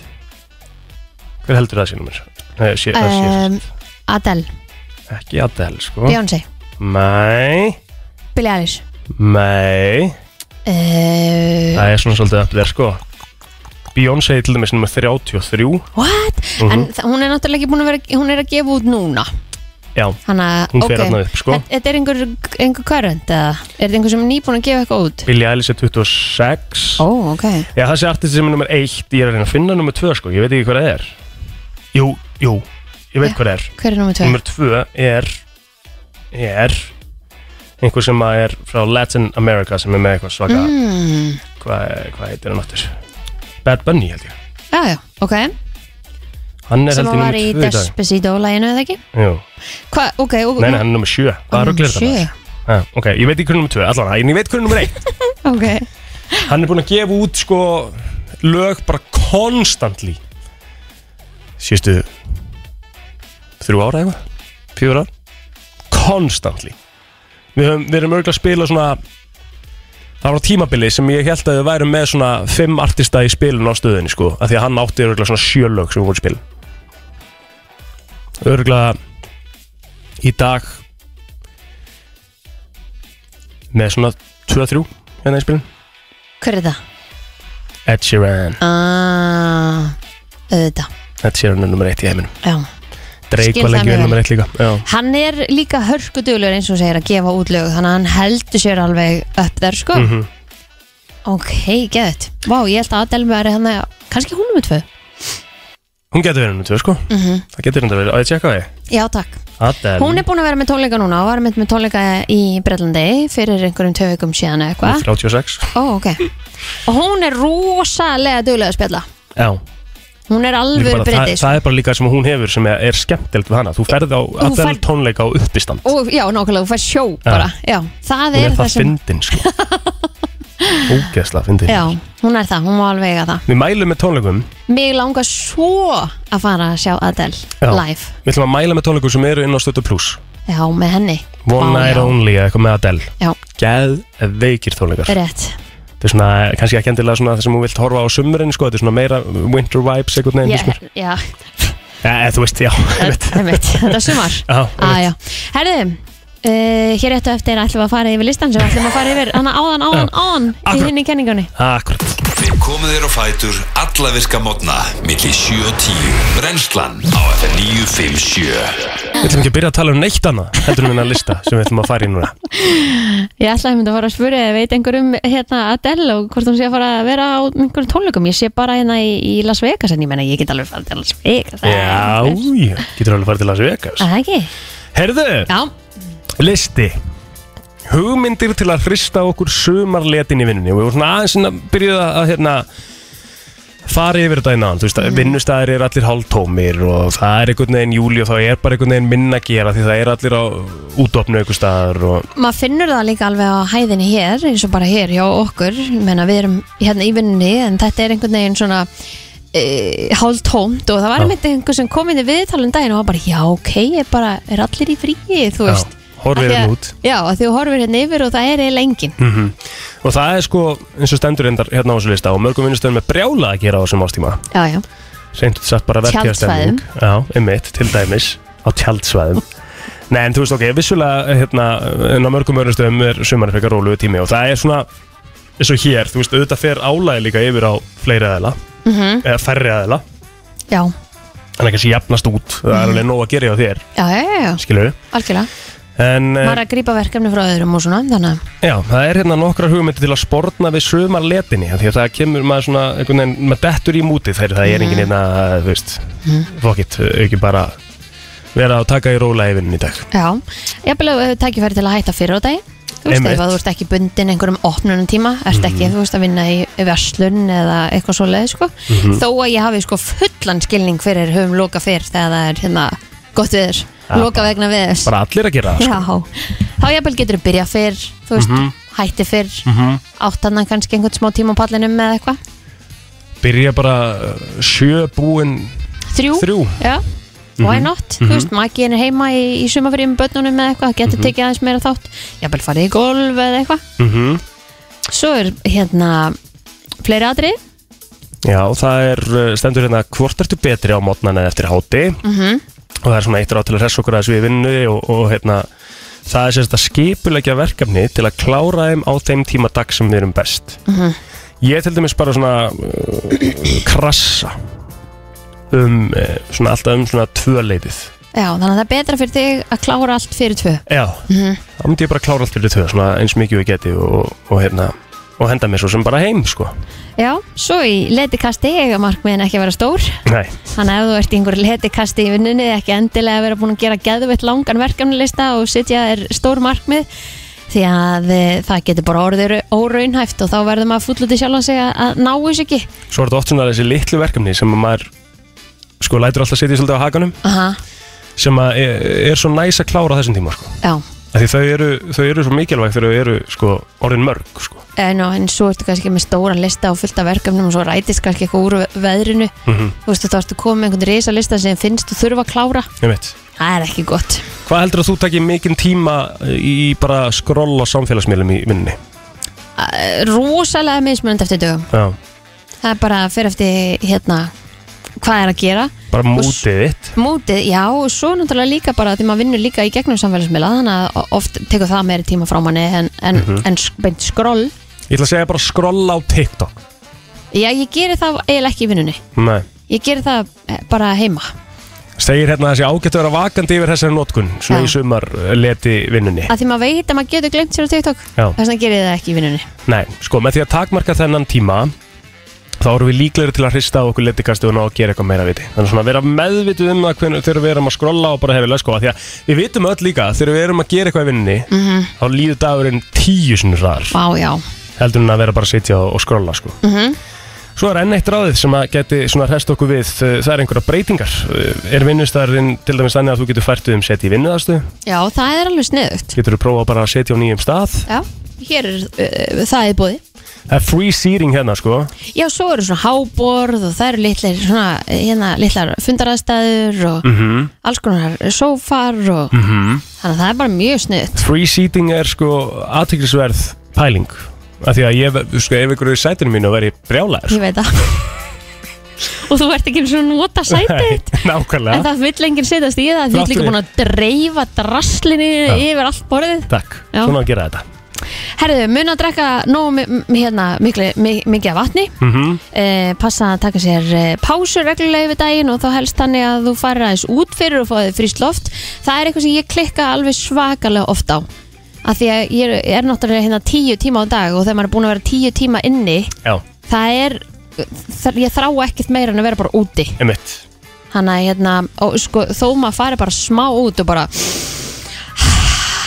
Speaker 1: hver heldur það sé nummer Nei, sé, það
Speaker 2: um,
Speaker 1: sé,
Speaker 2: Adele,
Speaker 1: ekki Adele sko
Speaker 2: Beyoncé
Speaker 1: mæ,
Speaker 2: Billie Eilish
Speaker 1: mæ
Speaker 2: uh,
Speaker 1: það er svona svolítið upp þér sko Beyoncé er til dæmis nummer 33
Speaker 2: what?
Speaker 1: Mhm.
Speaker 2: en þa- hún er náttúrulega ekki búin að vera hún er að gefa út núna
Speaker 1: já,
Speaker 2: Hanna,
Speaker 1: Hún fer þarna upp, sko.
Speaker 2: Þetta er einhver, einhver current eða er þetta einhver sem er nýbúin að gefa eitthvað út?
Speaker 1: Billie Eilish er 26
Speaker 2: Ó, ok
Speaker 1: Já, þessi artisti sem er nummer eitt, ég er að reyna að finna nummer tvö sko, ég veit ekki hvað það er. Jú, jú, ég veit
Speaker 2: Já.
Speaker 1: hvað það er.
Speaker 2: Hver er nummer tvö?
Speaker 1: Nummer tvö er, er einhver sem að er frá Latin America sem er með eitthvað svaka,
Speaker 2: Mm,
Speaker 1: hvað hva heitir hann aftur? Bad Bunny held ég.
Speaker 2: já, já, ok
Speaker 1: Hann er
Speaker 2: Sem
Speaker 1: held
Speaker 2: hún
Speaker 1: ég
Speaker 2: var
Speaker 1: nummer
Speaker 2: í
Speaker 1: tvö í dag.
Speaker 2: Despacito-læginu eða ekki?
Speaker 1: Jú,
Speaker 2: Hva, ok, og,
Speaker 1: nei, nei, hann er nummer sjö. Hvað
Speaker 2: Hann
Speaker 1: er
Speaker 2: er
Speaker 1: að glera
Speaker 2: sjö.
Speaker 1: þetta? Ah, ok, ég veit ekki hvernig nummer tvö, allan, en ég veit hvernig nummer eitt.
Speaker 2: ok
Speaker 1: Hann er búinn að gefa út sko lög bara konstantly Síðustu þrjú ára eitthvað, fjögur ár Konstantly Við, höfum, við erum örgulega að spila svona Það var á tímabili sem ég held að við værum með svona fimm artista í spilun á stöðinni sko af því að hann átti örgulega svona sjö lög sem við vorum spilin Örgulega í dag með svona 2-3 hérna í spilin
Speaker 2: Hver er það?
Speaker 1: Ed Sheeran
Speaker 2: Ah, auðvitað,
Speaker 1: Ed Sheeran er nummer eitt í heiminum
Speaker 2: já
Speaker 1: Drake
Speaker 2: Skil
Speaker 1: var lengi
Speaker 2: það
Speaker 1: vel
Speaker 2: mjög
Speaker 1: nummer eitt líka Já.
Speaker 2: Hann er líka hörkuduglur eins og hún segir að gefa út lög þannig að hann heldur sér alveg upp þar sko
Speaker 1: Mhm.
Speaker 2: Ok, gett Vá, ég held að Adele væri hann að kannski hún nummer tvö
Speaker 1: Hún getur verið nummer 2 sko
Speaker 2: Mhm.
Speaker 1: Það getur verið verið, á ég tjekka það
Speaker 2: Já, takk
Speaker 1: Adele
Speaker 2: Hún er búin að vera með tónleika núna og var með, með tónleika í Brellandi fyrir einhverjum tvö vikum síðan eða eitthvað
Speaker 1: 36
Speaker 2: Ó, ok Og hún er rosalega duglega að spjalla
Speaker 1: Já
Speaker 2: Hún er
Speaker 1: Líka
Speaker 2: alveg
Speaker 1: bara, það,
Speaker 2: breytið
Speaker 1: það er bara líka sem hún hefur sem er, er skemmtilegt við hana Þú ferð á Adele
Speaker 2: færð-
Speaker 1: tónleika á uppistand
Speaker 2: og já, nákvæmlega, þú fær sjó bara já, það
Speaker 1: Hún
Speaker 2: er
Speaker 1: er
Speaker 2: það
Speaker 1: það
Speaker 2: sem
Speaker 1: fyndin sko Ógeðslega fyndin
Speaker 2: já, hún er það, hún má alveg eiga það
Speaker 1: Við mælum með tónleikum
Speaker 2: mig langar svo að fara að sjá Adele
Speaker 1: Já.
Speaker 2: live,
Speaker 1: Við ætlum að mæla með tónleikum sem eru inn á stötu pluss
Speaker 2: já, með henni
Speaker 1: One
Speaker 2: Vá,
Speaker 1: Night
Speaker 2: já.
Speaker 1: Only eða eitthvað með Adele
Speaker 2: já,
Speaker 1: Geð veikir tónleikar
Speaker 2: rétt,
Speaker 1: Þetta er svona, kannski ekki endilega svona það sem hún vilt horfa á sumurinn sko, þetta er svona meira winter vibes einhvern veginn
Speaker 2: ég,
Speaker 1: yeah.
Speaker 2: já
Speaker 1: Já, þú veist, já, einmitt.
Speaker 2: einmitt, þetta er sumar
Speaker 1: Já,
Speaker 2: ah, já, herðu Uh, hér réttu eftir ætlum við að fara yfir listan sem við ætlum að fara yfir hana áðan, áðan, áðan í
Speaker 1: Akkurat.
Speaker 2: henni kenningunni
Speaker 1: Akkurat
Speaker 3: Við komum þér á fætur alla virka mótna milli 7 og 10 Brennslan á FM 957
Speaker 1: Við ætlum ekki að byrja að tala um neitt annað heldur um þennan lista sem við ætlum að fara í núna
Speaker 2: Ég ætlaði að mynda að fara að spyrja eða veit einhver um hérna Adele og hvort hún sé að fara að vera á einhverjum tónleikum ég sé bara hérna í, í Las Vegas en ég menna ég get alveg fara til Las Vegas
Speaker 1: Já, já, getur alveg að fara til Las Vegas
Speaker 2: Er Það ekki?
Speaker 1: Herðu,
Speaker 2: Já,
Speaker 1: listi Hugmyndir til að hrista okkur sumarletin í vinnunni og við vorum svona aðeins að byrja að hérna fara yfir þetta innan, þú veist
Speaker 2: Mm.
Speaker 1: að vinnustæðir er allir hálftómir og það er einhvern veginn júli og þá er bara einhvern veginn minna að gera því það er allir á útofnu einhver staðar og
Speaker 2: maður finnur það líka alveg á hæðinni hér eins og bara hér hjá okkur Ég menna við erum hérna í vinnunni en þetta er einhvern veginn svona e, hálf tómt og það var
Speaker 1: Já.
Speaker 2: einmitt einhver sem kom inn í viðtalum daginn og var bara já ok, er, bara, er allir í fríi þú
Speaker 1: Já,
Speaker 2: veist
Speaker 1: horfir
Speaker 2: Af því að-
Speaker 1: hérna út. Hm.
Speaker 2: Já, af því þú horfir hérna yfir og það er eiginlega engin mm.
Speaker 1: Og það er sko, eins og stendur reyndar hérna á þessu lista og mörgum vinnustöðum er brjála að gera á þessum ástíma.
Speaker 2: Já, já,
Speaker 1: Seint og satt bara verktíðastemning. Já, einmitt, til dæmis, á tjaldsvæðum. Nei, en þú veist, ok, vissulega hérna, en á mörgum öðrum stöðum er sumarið frekar róluðu tími og það er svona eins og hér, þú veist, auðvitað fer álæði líka yfir á fleiri aðeila eða færri aðeila,
Speaker 2: já,
Speaker 1: þannig að kannski jafnast út það er alveg nóg að gera hjá þér,
Speaker 2: já, já, já, já.
Speaker 1: skilur
Speaker 2: algjörlega
Speaker 1: en, eh,
Speaker 2: maður er að grípa verkefni frá öðrum og svona þannig að,
Speaker 1: já, það er hérna nokkra hugmyndi til að sportna við sumarletinni, af því að það kemur maður svona, einhvern veginn, maður dettur í mútið þegar það er enginn hérna, þú veist fokkitt, ekki bara vera að taka í róla yfirinn í dag
Speaker 2: já, jafnvel að við tækifæri til að hætta fyrir á daginn þú veist,
Speaker 1: Einmitt. Mhm.
Speaker 2: ef að þú ert ekki bundin einhverjum opnunum tíma, ert ekki, þú veist, að vinna í verslun eða eitthvað svoleið, sko
Speaker 1: Mhm.
Speaker 2: þó að ég hafi sko fullan skilning fyrir höfum loka fyrr þegar það er hérna gott viður,
Speaker 1: Ja,
Speaker 2: loka vegna viður
Speaker 1: bara allir að gera það, sko. Mhm.
Speaker 2: Já, þá jafnvel getur þú byrja fyrr, þú veist, hætti fyrr, mm -hmm. áttanna kannski einhvern smá tíma á pallinum eða eitthvað.
Speaker 1: byrja bara eh, sjö búin
Speaker 2: Þrjú,
Speaker 1: Þrjú.
Speaker 2: já, why not, þú veist, magiðin er heima í, í sumafyrir með börnunum eða eitthvað, getur tekið aðeins meira þátt, jafnvel farið í golf eða eitthvað.
Speaker 1: mm
Speaker 2: Svo er hérna fleiri atrið,
Speaker 1: Já, það er uh, stendur hérna hvort ertu betri á mótnan en eftir háti
Speaker 2: Mhm.
Speaker 1: og það er svona eitt ráð til að hressa okkur að þessu í vinnu og, og hérna það er sérst að skipulegja verkefni til að klára þeim á þeim tíma dag sem við erum best Ég til dæmis bara svona uh, krassa um uh, svona alltaf um svona tvöleitið
Speaker 2: já, þannig að það er betra fyrir þig að klára allt fyrir tvö.
Speaker 1: Já, þá myndi ég bara klára allt fyrir tvö svona eins mikið og ég geti og, og hérna og henda mér svo sem bara heim sko
Speaker 2: Já, svo í letikasti eiga markmiðin ekki að vera stór,
Speaker 1: Nei,
Speaker 2: þannig að ef þú ert í einhverju letikasti í vinnunni ekki endilega að vera búin að gera geðveitt langan verkefnilista og sitja er stór markmið því að eh, það getur bara orðið óraunhæft og þá verður maður fúll út í sjálf að segja að ná þess ekki.
Speaker 1: svo er þetta oft svona þessi litlu verkefni sem að maður sko lætur alltaf setja svolítið á hakanum
Speaker 2: Aha,
Speaker 1: sem að er, er svo næs að klára á þessum tíma sko.
Speaker 2: já.
Speaker 1: Af því þau eru, þau eru svo mikilvæg þegar þau eru sko orðin mörg sko.
Speaker 2: En, og, en svo ertu kannski með stóran lista og fullt af verkefnum og svo rætist kannski eitthvað úr veðrinu þú veist þá ertu komið með einhvern risalista sem finnst þú þurfa að klára
Speaker 1: Einmitt.
Speaker 2: það er ekki gott
Speaker 1: Hvað heldur að þú takir mikinn tíma í bara skroll á samfélagsmiðlum í minni?
Speaker 2: Eh, rosalega mismunandi eftir dögum
Speaker 1: Já.
Speaker 2: það er bara fyrir eftir hérna hvað er að gera
Speaker 1: Bara
Speaker 2: Og s-
Speaker 1: mútið þitt
Speaker 2: mótið, já, og svo náttúrulega líka bara því maður vinnur líka í gegnum samfélagsmiðla þannig að o- oft tekur það meiri tíma frá manni en, en, en s- beint skroll
Speaker 1: Ég ætla að segja bara skroll á TikTok
Speaker 2: já, ég geri það eiginlega ekki í vinnunni
Speaker 1: Nei
Speaker 2: ég geri það eh, bara heima
Speaker 1: Segir hérna þessi ágætt að vera vakandi yfir þessari notkun Svona
Speaker 2: Já.
Speaker 1: í sumar eh, leti vinnunni
Speaker 2: að því maður veit að maður getur glemt sér á TikTok
Speaker 1: Já.
Speaker 2: þess vegna gerir ég það ekki í vinnunni
Speaker 1: Nei, sko, með því að takmarka þennan tíma þá erum við líklegri til að hrista á okkur letikastu og ná að gera eitthvað meira viti þannig svona að vera meðvituð um það hvernig þegar við erum að skrolla og bara hefilega sko af því að við vitum öll líka að þegar við erum að gera eitthvað í vinninni -hmm. þá líður dagurinn tíu sinni hraðar
Speaker 2: Vá, já,
Speaker 1: heldur en að vera bara að sitja og, og skrolla sko -hmm. Svo er enn eitt ráðið sem að geti svona hrest okkur við eh, það er einhverja breytingar Eh, er vinnustarinn til dæmis þannig að þú getur fært um seti í vinnuðastu
Speaker 2: já, það er alveg sniðugt
Speaker 1: getur þú prófa bara að setja á nýjum stað
Speaker 2: Já, hér er uh, það í bóði
Speaker 1: það er free seating hérna sko
Speaker 2: Já, svo eru svona háborð og það eru litlir svona, eh, hérna, litlar fundaraðstæður og
Speaker 1: Mhm.
Speaker 2: -hmm. alls konar sófar og -hmm. þannig að það er bara mjög sniðugt
Speaker 1: free seating er sko aðtiklisverð pæling af því að ég, sko, ef ykkur er í sætinu mínu og veri brjálæður
Speaker 2: Ég veit það Og þú ert ekki eins og að nota sætið þitt.
Speaker 1: Nei, nákvæmlega,
Speaker 2: En það vill enginn setjast í það Þú
Speaker 1: Þrátt
Speaker 2: ert líka
Speaker 1: fyrir-
Speaker 2: búin að dreifa draslinni yfir allt borðið
Speaker 1: takk,
Speaker 2: Já.
Speaker 1: svona að gera þetta
Speaker 2: Herðu, mun að drekka nóg mi- m- hérna, miklu, mi- mikið af vatni mm -hmm. Passa að taka sér eh, pásur reglulega yfir daginn og þá helst þannig að þú farir aðeins út fyrir og fáið fríst loft Það er eitthvað sem ég klikka alveg svakalega oft á að Því að ég er, er náttúrulega hérna tíu tíma á dag og þegar maður er búin að vera tíu tíma inni
Speaker 1: Já,
Speaker 2: Það er, það, ég þrá ekkert meira en að vera bara úti
Speaker 1: emitt
Speaker 2: Þannig að hérna, og, sko, þó maður fari bara smá út og bara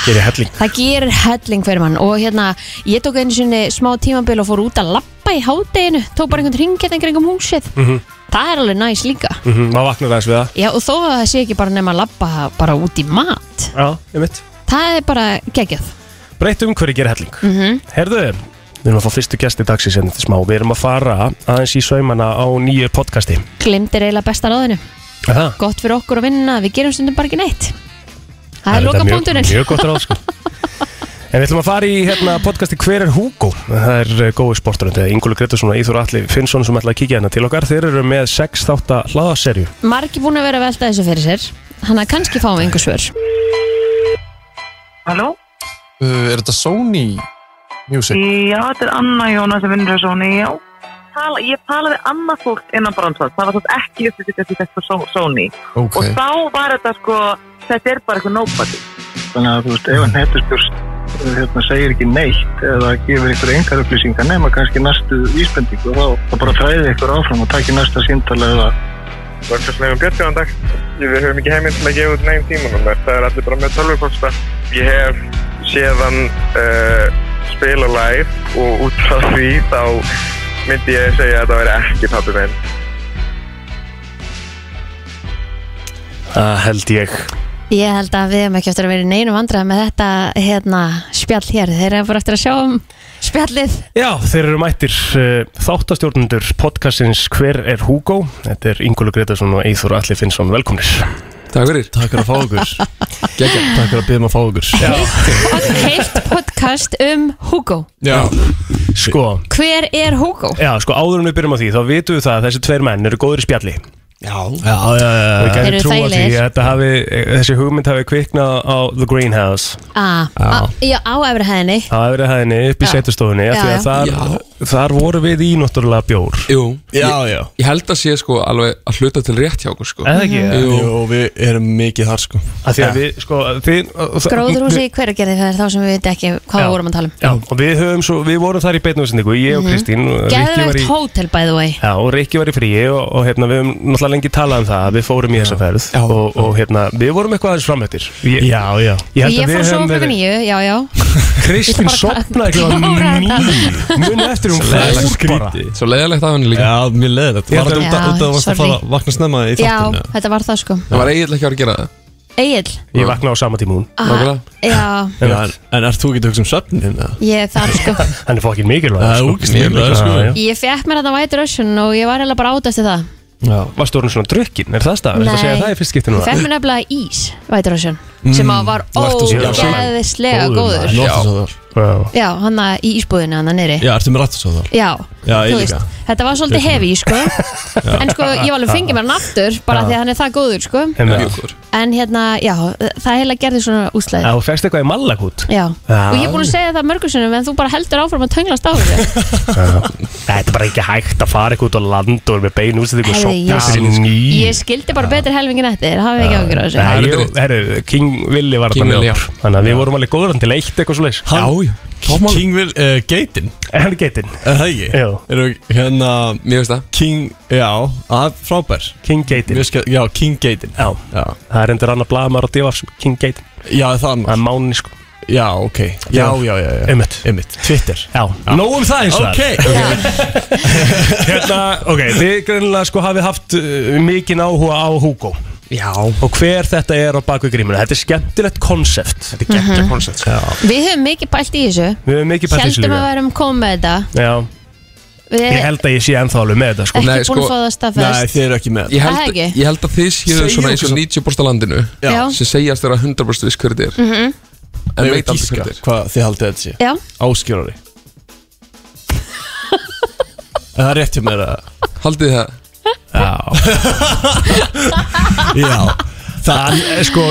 Speaker 1: Gerir helling
Speaker 2: Það gerir helling fyrir mann og hérna, ég tók einu sinni smá tímabil og fór út að lappa í hádeginu, tók bara einhvern ring hérna kringum húsið.
Speaker 1: Mhm.
Speaker 2: Það er alveg næs líka.
Speaker 1: mm -hmm. Maður vaknar aðeins við það
Speaker 2: Já, og þó að það sé ekki bara nema að lappa bara út í mat.
Speaker 1: Já, emitt
Speaker 2: Það er bara geggjað.
Speaker 1: Breytt um hverju gerir helling mm
Speaker 2: Mhm.
Speaker 1: -hmm. Herðu, við erum að fá fyrstu gesti dagsins hérna til smá Við erum að fara aðeins í saumana á nýju podcasti
Speaker 2: Glimtir eiginlega besta ráðinu.
Speaker 1: Er Það
Speaker 2: Gott fyrir okkur að vinna, við gerum stundum bara ekki neitt. Það er
Speaker 1: þetta
Speaker 2: loka
Speaker 1: mjög-
Speaker 2: punkturinn.
Speaker 1: Mjög gott ráð sko En við ætlum að fara í hérna, podcasti Hver er Hugo? Það er uh, gói sporturinn Þetta er Ingúli Gretarsson og Íþór Alli Finnsson sem ætla að kíkja hérna til okkar Þeir eru með 6 þátta hlaðaserju
Speaker 2: Margi búin að vera að velta þessu fyrir sér, hann að kannski fáum við einhver svör.
Speaker 8: Halló?
Speaker 9: Uh, er þetta Sony Music?
Speaker 8: Já, þetta er Anna Jónas sem vinnur á Sony, já. Tala, ég talaði annað fólk innan bransans, það var þess ekki upp til þetta þetta Sony.
Speaker 9: Ok,
Speaker 8: Og þá var þetta sko, þetta er bara eitthvað nobody.
Speaker 6: Þannig að þú veist, ef hann hættispjórst hérna, segir ekki neitt eða gefur ykkur engar upplýsingar nema kannski næstu íspendingu þá, þá bara fræði ykkur áfram og takki næsta síndala eða
Speaker 10: Vörkjarsnefum Björnsjóðan dag. Við höfum ekki heimild til að gefa út neginn tímanumver. Það er allir bara með tölvuposta. Ég hef séðan uh, spila live og út frá því þá myndi ég segja að það væri ekki pappi minn.
Speaker 1: Það held ég
Speaker 2: Ég held að við hefum ekki eftir að vera í neinum vandræð með þetta hérna, spjall hér. Þeir eru bara eftir að sjá um spjallið.
Speaker 1: Já, þeir eru mættir uh, þáttastjórnendur podcastins Hver er Hugo? Þetta er Ingúlu Gretarsson og Eithor Alli Finnsson, velkomnir
Speaker 9: takk fyrir
Speaker 11: Takk fyrir að fá okkur
Speaker 9: Gekja.
Speaker 11: Takk fyrir að byrja maður að fá okkur
Speaker 2: Pod- Heilt podcast um Hugo.
Speaker 9: Já,
Speaker 1: Sko,
Speaker 2: Hver er Hugo?
Speaker 1: já, sko áður en við byrjum á því, þá vitum við það að þessi tveir menn eru góðir í spjalli
Speaker 11: Já,
Speaker 9: já, já,
Speaker 1: og við
Speaker 2: Eru
Speaker 1: gætum trúa því
Speaker 2: þægilegir.
Speaker 1: að þetta hafi, þessi hugmynd hafi kviknað á The Greenhouse
Speaker 2: A, a, já, á efri hæðinni.
Speaker 1: á efri hæðinni upp í
Speaker 2: Já.
Speaker 1: setustofunni af því
Speaker 2: Já,
Speaker 1: að þar, þar voru við í náttúrulega bjór
Speaker 11: Jú,
Speaker 9: já,
Speaker 11: ég,
Speaker 9: já.
Speaker 11: ég held að sé sko alveg að hluta til rétt hjá okkur sko
Speaker 1: eða ekki,
Speaker 11: Jú,
Speaker 9: Jú, við erum mikið þar sko
Speaker 1: af því að við sko, þið,
Speaker 2: Gróðurhúsi í hverjargerði það er þá sem við veitum ekki hvað
Speaker 1: Já.
Speaker 2: við vorum að tala um. Mhm.
Speaker 1: Já, og við höfum svo, við vorum þar í beitnúsendingu, ég og Kristín og Rikki var
Speaker 2: Geðvegt
Speaker 1: í,
Speaker 2: hótel by the way.
Speaker 1: já, og Rikki var í fríi og, og hérna, við höfum náttúrulega lengi talað um það að við fórum í þessa ferð
Speaker 11: Já.
Speaker 1: og, og hérna, við vorum eitthvað aðeins framhættir
Speaker 9: Já, já
Speaker 2: Ég, ég fór svo klukkan nýju, já, já.
Speaker 1: Kristín
Speaker 2: Ég bara-
Speaker 1: sopnaði ekki á
Speaker 2: Klára þetta.
Speaker 1: nýju muni eftir hún fór bara
Speaker 11: svo leiðilegt af henni líka
Speaker 9: Já, mér leðið þetta
Speaker 1: Ég
Speaker 9: Var
Speaker 1: held
Speaker 9: þetta
Speaker 2: að- Já,
Speaker 9: út af- út af að varst að
Speaker 2: sorry.
Speaker 9: fara vakna snemma í
Speaker 2: Já,
Speaker 9: þáttinu?
Speaker 2: þetta var það sko.
Speaker 11: Það var eiginlega ekki að vera að gera það
Speaker 2: Egil,
Speaker 1: Ég vaknaði á sama tíma hún
Speaker 11: Nákvæmlega.
Speaker 2: já,
Speaker 9: Já, en, en ert þú ekki að hugsa um söfnin? eða?
Speaker 2: ég þar sko.
Speaker 1: Hann er fokkin mikilvæg
Speaker 9: Það er
Speaker 1: sko.
Speaker 9: úkist mikilvæg sko
Speaker 1: Já, já.
Speaker 2: Ég fekk mér þetta White Russian og ég var eiginlega bara átast í það.
Speaker 9: Já,
Speaker 1: Varstu orðin svona drukkin, er það stað? Þetta
Speaker 2: Nei.
Speaker 1: segja það í fyrst skipti
Speaker 2: Ég
Speaker 1: núna Mm.
Speaker 2: fekk mér nefnilega ís, White Russian sem að var
Speaker 9: Varstu svo-
Speaker 2: ógeðislega
Speaker 1: Góður
Speaker 2: góður
Speaker 9: nú ertu svo þar
Speaker 1: Já.
Speaker 2: Já, hann að í ísbúðinu hann að niðri
Speaker 9: Já, ertu með rættu svo þar
Speaker 2: Já,
Speaker 9: Já, ég
Speaker 2: þú
Speaker 9: líka.
Speaker 2: þetta var svolítið hefi, sko En sko, ég var alveg fengið mér hann aftur bara því að hann er það góður, sko
Speaker 1: Einmitt.
Speaker 11: Mjög góður.
Speaker 2: En hérna, já, það heila gerði svona úsleði
Speaker 1: Já, þú fegst eitthvað í mallakút
Speaker 2: Já,
Speaker 1: Já.
Speaker 2: og ég er búin að segja það mörgum sinnum en þú bara heldur áfram að tönglast á þessu
Speaker 1: Þetta er bara ekki hægt að fara eitthvað út á land og með bein útsendingu og
Speaker 2: Herri,
Speaker 1: sopna
Speaker 2: ég-
Speaker 1: sér í nýju
Speaker 2: Ég skildi bara betur helmingin eftir, hafa ekki ágjur á þessu
Speaker 1: Nei,
Speaker 11: er
Speaker 1: ég-
Speaker 11: rétt.
Speaker 1: herru, King Willi var
Speaker 11: King
Speaker 1: þarna
Speaker 11: Willi,
Speaker 1: með
Speaker 11: já.
Speaker 1: okkur Þannig að við vorum alveg góður hann til eitt eitthvað svo leis
Speaker 9: Já, já King Will, uh, Gaten
Speaker 1: Hann er getinn
Speaker 9: Er það ekki?
Speaker 1: Jú.
Speaker 9: Eru hérna
Speaker 11: Mér finnst það
Speaker 9: King, já, að frábær
Speaker 1: King Gatin
Speaker 9: Mér skal, já, King Gaten
Speaker 1: Já,
Speaker 9: Já,
Speaker 1: það er endur annar blaðmar og divars King Gatin,
Speaker 9: já það
Speaker 1: það
Speaker 9: annar
Speaker 1: er mánin sko
Speaker 9: Já, ok Já, já, já, já
Speaker 1: Einmitt.
Speaker 9: Einmitt Twitter
Speaker 1: Já, nóg um það eins og
Speaker 9: Ok
Speaker 1: það Hérna, ok, þið greinilega sko hafið haft uh, mikinn áhuga á Hugo
Speaker 11: Já
Speaker 1: Og hver þetta er á bakvið grímuna Þetta er skemmtilegt konsept
Speaker 11: Þetta er geggja koncept sko.
Speaker 2: Við höfum mikið pælt í þessu
Speaker 1: Við höfum mikið pælt í þessu
Speaker 2: Heldum að Eh,
Speaker 1: líka.
Speaker 2: værum komið með þetta
Speaker 1: Já,
Speaker 2: Við
Speaker 1: ég
Speaker 2: erum
Speaker 1: held að ég sé ennþá alveg með þetta sko
Speaker 2: ekki
Speaker 11: Nei,
Speaker 2: búin
Speaker 11: sko,
Speaker 2: að fá það
Speaker 9: Nei,
Speaker 2: staðfest
Speaker 9: þið eru ekki með
Speaker 11: ég,
Speaker 2: Það
Speaker 11: held,
Speaker 2: ekki?
Speaker 11: ég held að þið séu
Speaker 9: Segðu
Speaker 11: svona eins
Speaker 9: okkur
Speaker 11: og
Speaker 9: svo-
Speaker 11: 90% af landinu
Speaker 2: Já.
Speaker 11: sem segjast þeirra 100% viss hverði er -hmm.
Speaker 9: Ég
Speaker 11: En veit
Speaker 9: veit
Speaker 11: aldrei
Speaker 9: gíska
Speaker 11: hverði er
Speaker 9: hvað þið haldið þetta sé
Speaker 2: Já,
Speaker 9: Áskjórari Er það rétt hjá mér að
Speaker 11: Haldið þið það
Speaker 9: Já Það,
Speaker 1: Eh, Sko,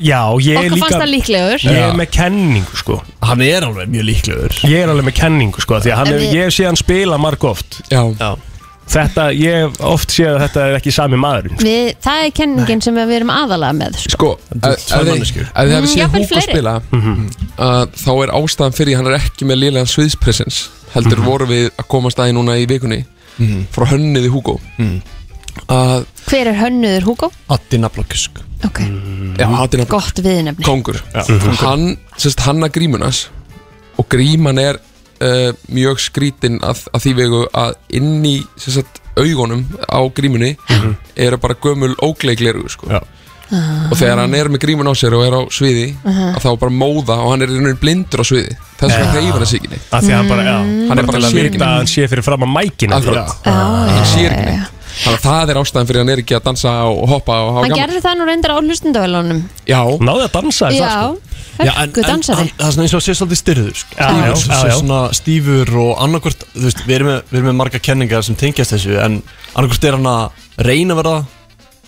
Speaker 1: já, ég er
Speaker 2: okkur fannst
Speaker 1: líka
Speaker 2: það líklegur
Speaker 1: Ég er með kenningu sko
Speaker 9: hann er alveg mjög líklegur
Speaker 1: Ég er alveg með kenningu sko Því að hann
Speaker 2: En
Speaker 1: hef,
Speaker 2: við-
Speaker 1: ég sé hann spila marg oft
Speaker 11: Já,
Speaker 9: Já
Speaker 1: Þetta, ég hef oft séð að þetta er ekki sami maðurinn sko.
Speaker 2: Við, það er kenningin sem við erum aðalega með sko.
Speaker 11: sko,
Speaker 9: eru
Speaker 11: ef
Speaker 9: tvær
Speaker 11: ef þið
Speaker 9: manneskjur.
Speaker 11: ef þið
Speaker 2: Mm,
Speaker 11: hafið séð
Speaker 2: jafnvel
Speaker 11: Hugo
Speaker 2: fleiri.
Speaker 11: spila að þá er ástæðan fyrir hann er ekki með lélegan sviðspresens heldur
Speaker 9: Mhm.
Speaker 11: voru við að komast aðeins núna í vikunni frá hönniði Hugo að,
Speaker 2: Hver er hönnuður Hugo?
Speaker 9: Mhm. Addi Naflokusk
Speaker 2: Ok,
Speaker 11: já, hattin að
Speaker 2: gott viðnefni
Speaker 11: kongur Mhm. hann, sérst, hanna grímunas og gríman er uh, mjög skrítin að, að því vegu að inn í sérst, augunum á grímunni eru bara gömul ógleikleru sko.
Speaker 9: Já.
Speaker 11: og þegar hann er með grímun á sér og er á sviði að þá bara móða og hann er einhvern blindur á sviði þess vegna hreyfir hann sig ekki neitt
Speaker 1: Af Því að hann bara, já
Speaker 2: Mm.
Speaker 11: Hann er bara
Speaker 1: til að
Speaker 11: sérkenni.
Speaker 1: vita að hann sé fyrir fram að mækina sko.
Speaker 11: Akkurat.
Speaker 2: ah,
Speaker 11: hann sér ekki neitt þannig að það er ástæðan fyrir hann er ekki að dansa og hoppa og hafa
Speaker 2: Hann
Speaker 11: gaman
Speaker 2: gerði það nú reyndar á hlustendavælunum
Speaker 11: já,
Speaker 1: Náði að dansa sko. þess
Speaker 2: Já, hörgu dansari
Speaker 9: Það er svona eins og sé svolítið styrður sko.
Speaker 1: Já, já,
Speaker 9: Stífur,
Speaker 1: já,
Speaker 9: svo
Speaker 1: já.
Speaker 9: svona stífur og annarkvort Þú veist, við erum með, við erum með marga kenningar sem tengjast þessu En annarkvort er hann að reyna að verða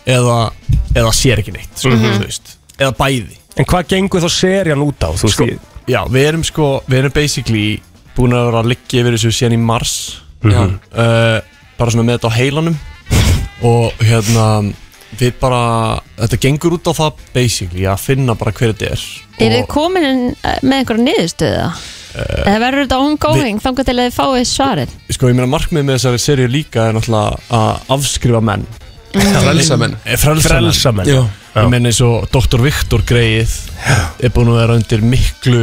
Speaker 9: Eða, eða sér ekki neitt sko, þú veist, Eða bæði
Speaker 1: En hvað gengur þá serían út á? Þú veist,
Speaker 9: sko, Já, við erum sko, við erum basically búin að vera að liggja yfir þessu síðan í mars
Speaker 1: Mhm.
Speaker 9: uh, bara svona með þetta á heilanum og hérna við bara, þetta gengur út á það basically að finna bara hver þetta er
Speaker 2: Er þið komin inn, eh, með einhverja niðurstöðu það? Eða verður þetta ongoing þangar til að þið fáið svarið?
Speaker 9: sko, ég meina markmið með þessari serið líka er náttúrulega að afskrifa menn
Speaker 11: Frelsa menn.
Speaker 9: Eh, Frelsa menn,
Speaker 11: Frelsa menn.
Speaker 9: Já.
Speaker 11: Mm. Já.
Speaker 9: Ég meina eins og Dr. Viktor greið er búin að vera undir miklu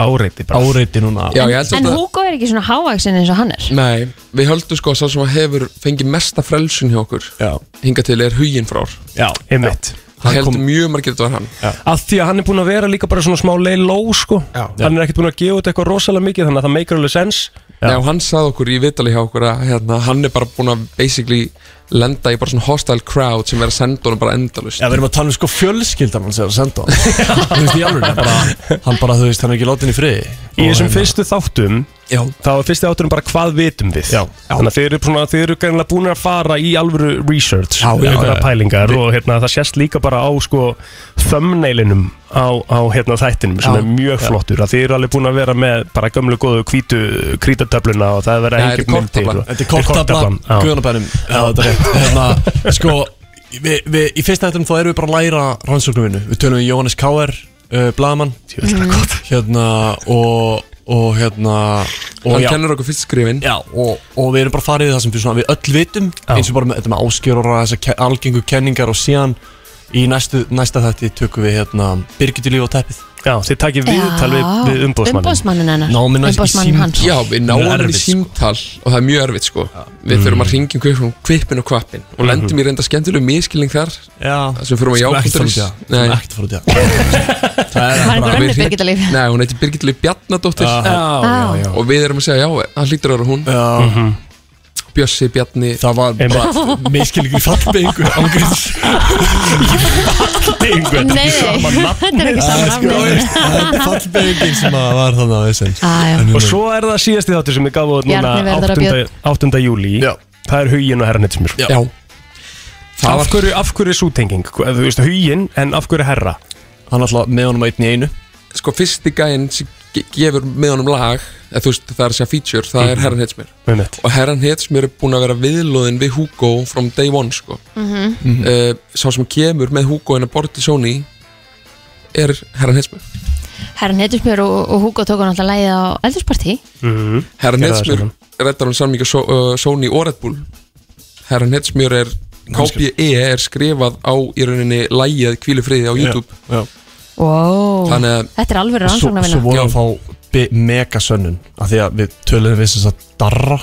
Speaker 1: áreiti,
Speaker 9: áreiti núna
Speaker 11: Já, ég held
Speaker 2: En
Speaker 11: samt að
Speaker 2: Hugo er ekki svona hávaksin eins og hann er
Speaker 11: Nei, við höldum sko að sá sem hefur fengið mesta frelsun hjá okkur
Speaker 9: Já.
Speaker 11: Hinga til er huginn frár
Speaker 9: Já,
Speaker 1: einmitt
Speaker 11: Það heldur mjög margir þetta var hann
Speaker 9: Já.
Speaker 1: Af því að hann er búin að vera líka bara svona smá leið ló sko Já. Hann er ekkert búin að gefa út eitthvað rosalega mikið Þannig að það meikir alveg sens
Speaker 11: Já, hann sagði okkur í vitali hjá okkur að hérna, hann er bara búin að basically lenda í bara svona hostile crowd sem er að senda honum bara endalust
Speaker 9: Já, við erum að tala um sko fjölskyldan hans eða að senda hann Þú veist, í alveg, hann bara, hann bara, þú veist, hann er ekki látin í friði hérna-
Speaker 1: Í þessum fyrstu þáttum
Speaker 11: Já.
Speaker 1: Þá er fyrstu þáttunum bara hvað vitum við Já. Þannig að þeir eru, svona, þeir eru greinilega búin að fara í alvöru research Já,
Speaker 9: já.
Speaker 1: pælingar Og hérna, það sést líka bara á sko Thumbnailinum á, á hérna, þættinum Sem
Speaker 11: Já.
Speaker 1: er mjög
Speaker 11: Já.
Speaker 1: flottur að Þeir eru alveg búin að vera með bara gömlu góðu hvítu krítatöfluna Og það er verið að hengja upp myndir og-
Speaker 9: Þetta er kortablan,
Speaker 1: já.
Speaker 9: guðanabænum Já, þetta er rétt Hérna, sko, við, við, í fyrsta hættum þá erum við bara að læra rannsóknumvinnu Við tölum við Jóhannes K.R. Uh, Blaðamann Hérna, og, og hérna og,
Speaker 11: Hann
Speaker 9: já.
Speaker 11: kennir okkur fyrst skrifin
Speaker 9: Já, og, og við erum bara farið í það sem við, svona, við öll vitum eins og bara með, þetta með áskjörora, þessar ke- algengu kenningar og síðan í næstu, næsta þætti tökum við hérna Birgit í líf og teppið
Speaker 1: Já, þið takið
Speaker 2: viðtal við- Já, við umboðsmanninn. umboðsmanninn hennar.
Speaker 9: Náum við næst í
Speaker 2: Umboðsmanninn hans.
Speaker 9: símtal
Speaker 11: Já, við náum
Speaker 9: Mjög
Speaker 11: hann í
Speaker 9: erfitt, sko. Mm.
Speaker 11: símtal og það er mjög erfitt sko Við þurfum að ringjum kvipin, kvipin og kvappin og lendum í reynda skemmtilegu miskilning þar
Speaker 9: Mhm. Já,
Speaker 11: þar sem fyrir að
Speaker 9: Skulum ekkert fara út í
Speaker 11: jákvæmduris
Speaker 9: það, skulum ekkert fara út í það
Speaker 2: Hvað er það önnur Birgitta Líf?
Speaker 11: Nei, hún heitir Birgit Leif
Speaker 9: Já,
Speaker 11: Bjarnadóttir
Speaker 9: já, já.
Speaker 11: Og við erum að segja, já, hann hlýtur að vera hún
Speaker 9: Já.
Speaker 11: Bjössi, Bjarni
Speaker 9: Það var bara miskilning í fallbeigu ángríns
Speaker 1: Fallbeigu,
Speaker 2: Nei, nei, þetta er ekki saman nafni
Speaker 9: Fallbeigin sem að var þannig að þessin
Speaker 2: Ah, já.
Speaker 1: Og svo er það síðasti þáttur sem við gáðum út núna
Speaker 2: Bjarni verður að
Speaker 1: 8. 8. júli Já. Það er huginn og herranetsmjör
Speaker 11: Já. Já.
Speaker 1: Af hverju, af hverju er sútenging? Þú veist huginn en af hverju herra?
Speaker 9: Hann alltaf með honum einn í einu
Speaker 11: Sko, fyrsti gæinn sem ge- gefur með honum lag eða, Þú veist, það er að segja feature, það er
Speaker 1: Mhm.
Speaker 11: Herran Hetsmér
Speaker 1: Með mitt
Speaker 11: Og Herran Hetsmér er búin að vera viðlóðin við Hugo from day one, sko
Speaker 2: Mhm.
Speaker 11: uh, Sá sem kemur með Hugo en að borti Sony er Herran Hetsmér
Speaker 2: Herran Hedusmjör og, og Hugo tók hann alltaf lægið á eldursparti
Speaker 11: Herran
Speaker 1: Gerðu það
Speaker 11: Hetsmér
Speaker 1: saman.
Speaker 11: reddar hann samlinga so, uh, Sony og Red Bull Herran Hetsmér er KPE er skrifað á í rauninni lægið Kvílu friði á YouTube
Speaker 9: Já, já.
Speaker 2: wow.
Speaker 11: Þannig að-
Speaker 2: Þetta er alveg
Speaker 9: svo, svo
Speaker 2: rannsóknarvinna
Speaker 9: vorum við að fá bi- mega sönnun af því að við tölum við sem sagt Darra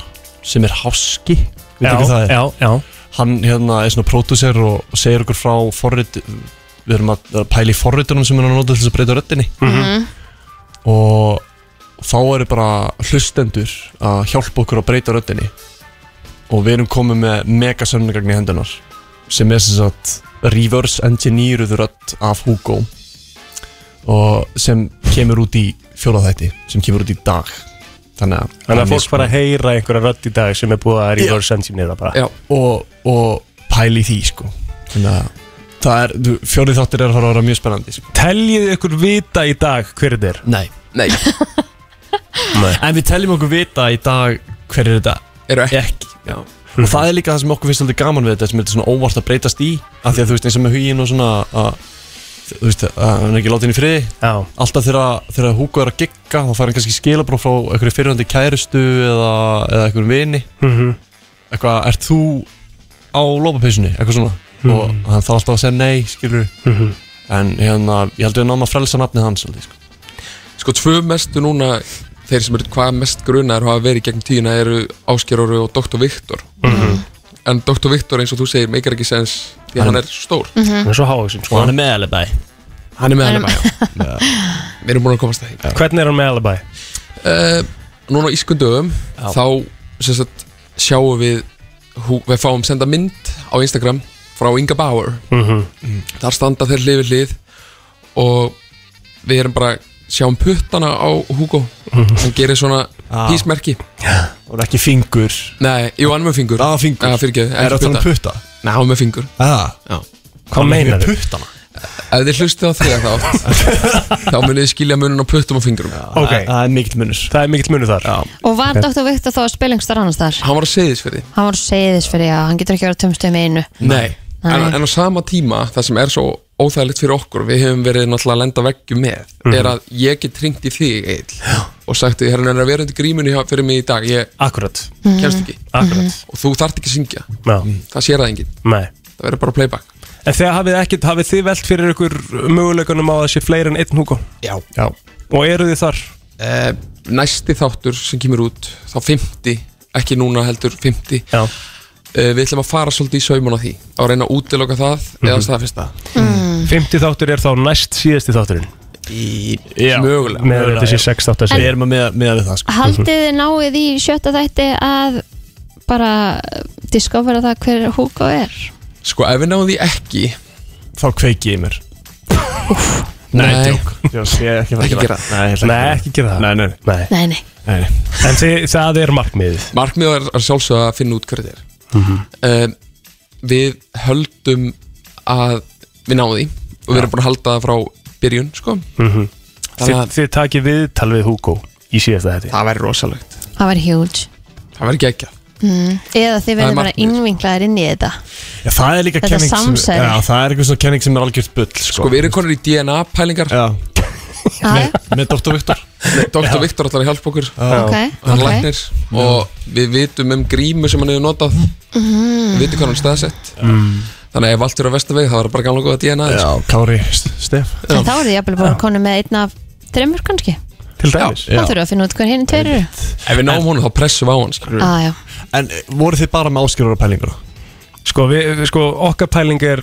Speaker 9: sem er háski við
Speaker 1: Já,
Speaker 9: ekki það er
Speaker 1: já, já.
Speaker 9: hann hérna er svona pródúser og, og segir okkur frá forrit við erum að að pæla í forritunum sem er að nota til þess að breyta röttinni
Speaker 2: Mhm.
Speaker 9: og þá eru bara hlustendur að hjálpa okkur að breyta röttinni og við erum komið með mega sönnungagn í hendunar sem er sem sagt reverse engineeruð rödd af Hugo og sem kemur út í fjólaþætti sem kemur út í dag þannig að,
Speaker 1: Þannig sko. að fólk bara heyra einhverja rödd í dag sem er búið að reverse engineera bara
Speaker 11: Já.
Speaker 9: og, og pæli í því sko þannig að það er, þú- fjórið þáttir er að fara að vera mjög spennandi sko.
Speaker 1: Teljið ykkur vita í dag hver þetta er?
Speaker 9: Nei
Speaker 11: Nei
Speaker 9: En við teljum okkur vita í dag hver er þetta
Speaker 11: Eru ekki, Já.
Speaker 9: Og það er líka það sem okkur finnst aldrei gaman við þetta sem er þetta svona óvart að breytast í af því að þú veist eins og með hugin og svona að, þú veist að hann er ekki látið inn í friði
Speaker 1: Já.
Speaker 9: alltaf þegar, þegar Hugo er að gigga þá fær hann kannski skilabróf frá einhverju fyrirhandi kærustu eða, eða einhverjum vini
Speaker 1: Mhm.
Speaker 9: eitthvað, ert þú á lópapeysunni, eitthvað svona og hann þá alltaf að segja nei, skilur
Speaker 1: Mhm.
Speaker 9: en hérna, ég held við náum að frelsa nafnið hans aldrei, sko.
Speaker 11: Sko tvö mestu núna þeir sem eru hvað mest grunar hafa verið í gegnum tíuna eru Áskeróru og Dr. Viktor en Dr. Viktor eins og þú segir meikar ekki sens því að
Speaker 9: Hann-
Speaker 11: hann er stór
Speaker 2: Mhm. Hann
Speaker 1: er svo sko. hávaxinn
Speaker 9: Og hann er með alibæ
Speaker 11: Hann er með
Speaker 2: Hann er-
Speaker 11: alibæ já. Við erum búin að komast það heim
Speaker 1: Hvernig er hann með alibæ?
Speaker 11: uh, Núna á Ískundöfum
Speaker 1: Já.
Speaker 11: þá sem sagt, sjáum við hú, við fáum senda mynd á Instagram frá Inga Bauer
Speaker 1: Mhm.
Speaker 11: þar standa þeir hlið við hlið og við erum bara sjáum puttana á Hugo
Speaker 9: Mhm.
Speaker 11: hann gerir svona
Speaker 9: Ah.
Speaker 11: písmerki
Speaker 9: og ekki fingur
Speaker 11: Nei, jú, hann er með fingur
Speaker 9: Já, fingur.
Speaker 11: Já, fyrirgeðu,
Speaker 9: Er
Speaker 11: ekki
Speaker 9: þetta hann putta?
Speaker 11: Nei, hann er með fingur
Speaker 9: ah.
Speaker 11: Já
Speaker 9: Hvað meinar þau? puttana?
Speaker 11: Ef þið hlustið á þegar þátt Þá munið þið skilja munun á puttum og fingrum
Speaker 1: Ok.
Speaker 11: Það er mikill munur
Speaker 1: Það er mikill munur þar Já.
Speaker 2: Og var Dr. Victor þá að spila einhver starf annars þar?
Speaker 11: Hann var að segja þess fyrir
Speaker 2: Hann var segðis fyrir að hann getur ekki verið að tömstu með einu
Speaker 11: Nei,
Speaker 2: Nei.
Speaker 11: En, en á sama tíma það sem er svo óþægilegt fyrir okkur við hefum verið náttúrulega að lenda veggjum með
Speaker 1: Mhm.
Speaker 11: er að ég get ringt í þig Egill, og sagt því hérna er að vera undir grímunni hjá- fyrir mig í dag ég
Speaker 1: Akkurat.
Speaker 11: kemst ekki
Speaker 1: Akkurat.
Speaker 11: og þú þart ekki að syngja
Speaker 1: Já.
Speaker 11: það sér það enginn
Speaker 1: Nei.
Speaker 11: það verður bara playback
Speaker 1: En þegar hafið, ekkit, hafið þið velt fyrir ykkur möguleikunum á að sé fleiri en einn húko?
Speaker 11: Já.
Speaker 1: Já. Og eru þið þar?
Speaker 11: Eh, næsti þáttur sem kemur út þá 50, ekki núna heldur 50
Speaker 1: Já.
Speaker 11: við ætlum að fara svolítið í sauman á því að reyna að útiloka það
Speaker 1: Mhm.
Speaker 11: eða staðfist það
Speaker 1: Mm. 50 þáttur er þá næst síðasti þátturinn
Speaker 11: í
Speaker 1: Já.
Speaker 9: mögulega
Speaker 1: Með þetta sé sex þátt að
Speaker 9: Við erum að miða, miða við það sko.
Speaker 2: Haldið þið náið í sjötta þætti að bara discovera það hver Hugo er
Speaker 11: sko ef við náum því ekki
Speaker 9: þá kveiki ég í mér Nei,
Speaker 1: Nei.
Speaker 9: djók Djók, ég er ekki að fara að
Speaker 1: Ekki
Speaker 9: gera
Speaker 1: gera það.
Speaker 9: Nei, ég ætla
Speaker 1: Nei,
Speaker 9: að
Speaker 1: ekki gera það.
Speaker 9: Nei, nei,
Speaker 1: nei.
Speaker 2: Nei, nei
Speaker 9: nei.
Speaker 1: En þið, það er markmiðið
Speaker 11: markmið er að sjálfsögða að finna út hverju þetta er um, við höldum að við náum því og við
Speaker 1: Já.
Speaker 11: erum búin að halda það frá byrjun sko.
Speaker 1: Mhm. Þið,
Speaker 11: Þannig að-
Speaker 1: þið takið viðtal við Hugo í síðasta þetta
Speaker 11: Það væri rosalegt
Speaker 2: Það var huge
Speaker 11: Það væri Sko, geggja
Speaker 2: mm. Eða þið
Speaker 9: Það er
Speaker 2: verður bara
Speaker 9: markmið.
Speaker 2: innvinklaðir inn í þetta
Speaker 9: Já, það er líka
Speaker 2: Þetta
Speaker 9: kenning sem,
Speaker 2: samsæri.
Speaker 9: já, það er eitthvað svona kenning sem er algjört bull sko.
Speaker 11: sko við erum konur í DNA pælingar
Speaker 9: já.
Speaker 2: Já,
Speaker 9: með Dr. Viktor
Speaker 11: Dr. Viktor ætlar að hjálpa okkur
Speaker 2: Ok, ok.
Speaker 11: hann læknir og við vitum um grímu sem hann hefur notað
Speaker 2: Mhm.
Speaker 11: við vitum hvað hann er staðsett
Speaker 9: Mm.
Speaker 11: þannig að ef allt eru á vestavegi það var bara gamla góða DNA
Speaker 9: Já, Kári St- Stef
Speaker 2: En þá eru þið jafnvel bara konu með einn af þreymur kannski
Speaker 1: Til dæmis
Speaker 2: Þá þurfum við að finna út hver hinn tveir eru
Speaker 11: Ef við náum honum þá pressum við á hann sko. skilur.
Speaker 2: ah, já.
Speaker 9: En voru þið bara með áskilur og pælingur?
Speaker 1: Sko, við, við- sko okkar pæling er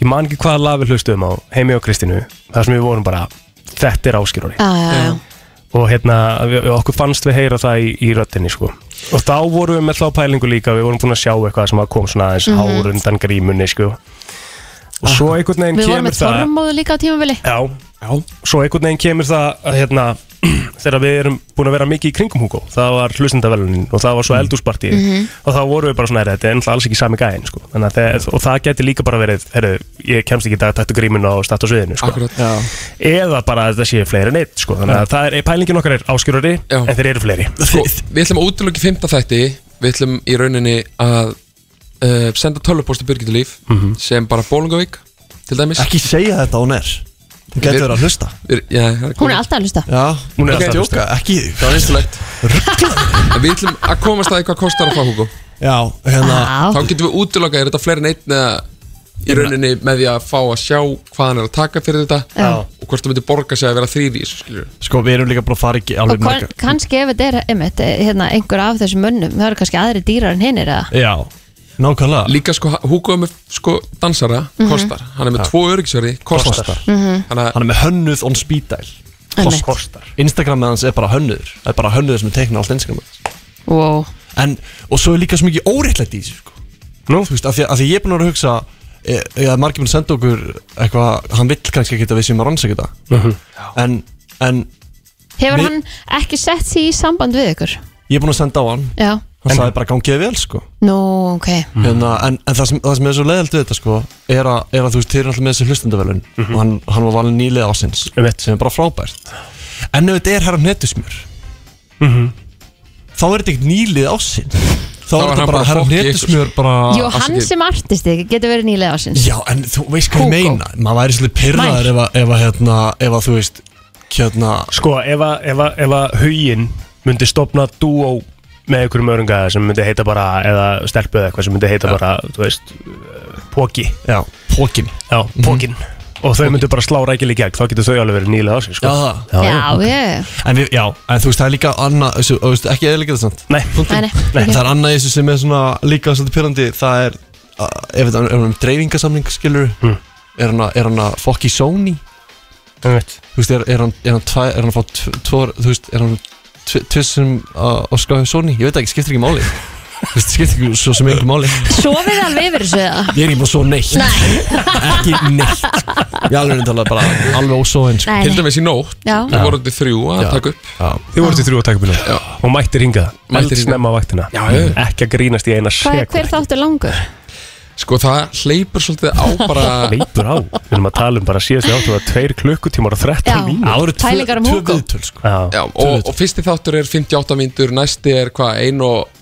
Speaker 1: Ég man ekki hvaða lag við hlustum á Heimi og Kristínu þar sem við vorum bara Þetta er áskýrori
Speaker 2: Já, Ah, já, já.
Speaker 1: Og hérna, við, okkur fannst við heyra það í, í röttinni sko Og þá vorum við með þá pælingu líka Við vorum búin að sjá eitthvað sem að kom svona aðeins
Speaker 2: Mhm.
Speaker 1: mm undan grímunni sko Og svo einhvern veginn
Speaker 2: Við vorum
Speaker 1: kemur
Speaker 2: með
Speaker 1: það
Speaker 2: þormóðu líka á tímabili
Speaker 1: Já, já. Svo einhvern veginn kemur það að hérna þegar við erum búin að vera mikið í kringum Hugo það var hlustendavelunin og það var svo eldúsparti
Speaker 12: Mhm.
Speaker 1: og þá vorum við bara svona "Herra, þetta er ennþá alls ekki sami gæðin sko. Þannig að það, og það geti líka bara verið heru, ég kemst ekki í dag tættu gríminu og stættu á sviðinu sko. eða bara að þetta sé fleiri en eitt sko. þannig að það er, pælingin okkar er áskjörari en þeir eru fleiri
Speaker 11: sko, Við ætlum að útlöki fymta þætti Við ætlum í rauninni að uh, senda tölvuposti Birgitur Líf
Speaker 9: Mhm.
Speaker 11: sem bara Bólungavík til dæmis
Speaker 9: Ekki segja þetta hún er Hún getur verið að hlusta
Speaker 11: við, já, það
Speaker 2: Hún
Speaker 11: komið.
Speaker 2: er alltaf að hlusta
Speaker 9: Já,
Speaker 11: Hún er
Speaker 9: ekki
Speaker 11: alltaf að
Speaker 9: djóka,
Speaker 11: hlusta.
Speaker 9: Ekki
Speaker 11: Það var einstulegt En Við ætlum að komast að eitthvað kostar að fá Hugo
Speaker 9: Já, hérna
Speaker 2: Ah,
Speaker 11: Þá getum við útlöka, er þetta fleiri en einn eða í rauninni með því að fá að sjá hvað hann er að taka fyrir þetta
Speaker 2: Já.
Speaker 11: og hvort það myndi borga sig að vera þrýr í þessu skilur
Speaker 9: Sko við erum líka bara að fara ekki
Speaker 2: Og
Speaker 9: alveg
Speaker 2: kon, kannski ef þetta er einmitt, eh, hérna, einhver af þessum mönnum Það eru kannski aðri dýrar en hinnir eða
Speaker 9: Já, nákvæmlega
Speaker 11: Líka sko, Hugo er með sko dansara,
Speaker 2: Mhm.
Speaker 11: kostar Hann er með
Speaker 9: Já.
Speaker 11: tvo öryggisverði, kostar, kostar.
Speaker 2: Mhm.
Speaker 11: Hann
Speaker 9: er með hönnuð on speeddial
Speaker 2: Einmitt.
Speaker 9: Kostar Instagramið hans er bara hönnuður Það er bara hönnuður sem er teikna allt Instagramið
Speaker 2: wow.
Speaker 9: En, og svo er líka svo mikið óréttlætt í þessu sko.
Speaker 1: Nú?
Speaker 9: Þú veist, af því, að- af því ég er búin að vera að hugsa e- e- að margir búin að senda okkur eitthvað Hann vill kannski ekki að við séum að rannsaka þetta
Speaker 1: Mhm.
Speaker 9: En, en
Speaker 2: Hefur
Speaker 9: Við-
Speaker 2: hann ekki sett sig í samband við ykkur?
Speaker 9: ég er búin að senda á hann
Speaker 2: Já,
Speaker 9: Hann sagði bara gangið vel sko
Speaker 2: nú, ok
Speaker 9: hérna, en, en það, sem, það sem er svo leiðald við þetta sko, er, að, er að þú veist, þeir eru alltaf með þessi hlustendavelun og hann, hann var valin nýlega ásins sem er bara frábært en ef þetta er herra hnetusmjör þá er þetta ekkert nýlið ásins Mhm. þá
Speaker 11: Þá
Speaker 9: er
Speaker 11: er hann
Speaker 9: þetta bara
Speaker 11: bara
Speaker 9: herra
Speaker 11: fokk í
Speaker 9: hnetusmjör bara
Speaker 2: Jú, hann sem artisti getur verið nýlega ásins
Speaker 9: já, en þú veist hvað ég meina maður væri svolítið pyrraður ef að, ef að hérna, ef að þú veist hérna,
Speaker 1: Sko, ef að, ef að, ef að huginn myndi stopna dúó með einhverjum örunga sem myndi heita bara eða stelpu eða eitthvað sem myndi heita bara, þú veist uh, Póki
Speaker 9: Já, Pókin
Speaker 1: Já, Pókin Og þau myndu bara slá rækil í gegn, þá getur þau alveg verið nýlega ásins sko.
Speaker 9: Já,
Speaker 2: Já, ég
Speaker 9: En, við, já, en þú veist, það er líka annað, þessu, þú veist, ekki eðalega þetta samt
Speaker 1: Nei,
Speaker 2: Nei, nei, ok.
Speaker 9: Það er annað í þessu sem er svona líka svolítið pyrrandi Það er, að, ef þetta er um dreifingasamning, skilur
Speaker 11: Hm.
Speaker 9: Er hann að, er hann að fokk í Sony?
Speaker 1: Einmitt.
Speaker 9: Þú veist, er, er, hann, er, hann tvæ, er hann að fá tv- tvo, þú veist, er hann tvissum á skáðu Sony? Ég veit ekki, skiptir ekki máli Þú veist, skiptir ekki svo sem einhver máli
Speaker 2: Sofið þið alveg yfir þessu eða?
Speaker 9: Ég er ekki bara svo neitt Ekki neitt Ég alveg er talað bara alveg ósóðin
Speaker 2: Nei, nei.
Speaker 11: Til dæmis í nótt,
Speaker 2: Já.
Speaker 11: við vorum til þrjú að
Speaker 9: Já.
Speaker 11: taka upp
Speaker 1: Þið voruð í þrjú að taka bílum Og mættir hingað
Speaker 11: Mættir hingað.
Speaker 1: Eldsnemma á vaktina
Speaker 11: Já, já.
Speaker 1: Ekki að grínast í eina
Speaker 2: Hvað er
Speaker 1: sek
Speaker 2: hver þáttu langur?
Speaker 9: Sko það hleypur svolítið á bara
Speaker 1: Leipur á Við erum að tala um bara síðast átt Það var tveir klukkutímar og 13
Speaker 2: Já,
Speaker 1: mínútur
Speaker 2: Það voru tvö- pælingar um tvö Hugo. viðtöl,
Speaker 1: sko Já,
Speaker 9: Já, og, og fyrsti þáttur er 58 mínútur, næsti er hvað, ein og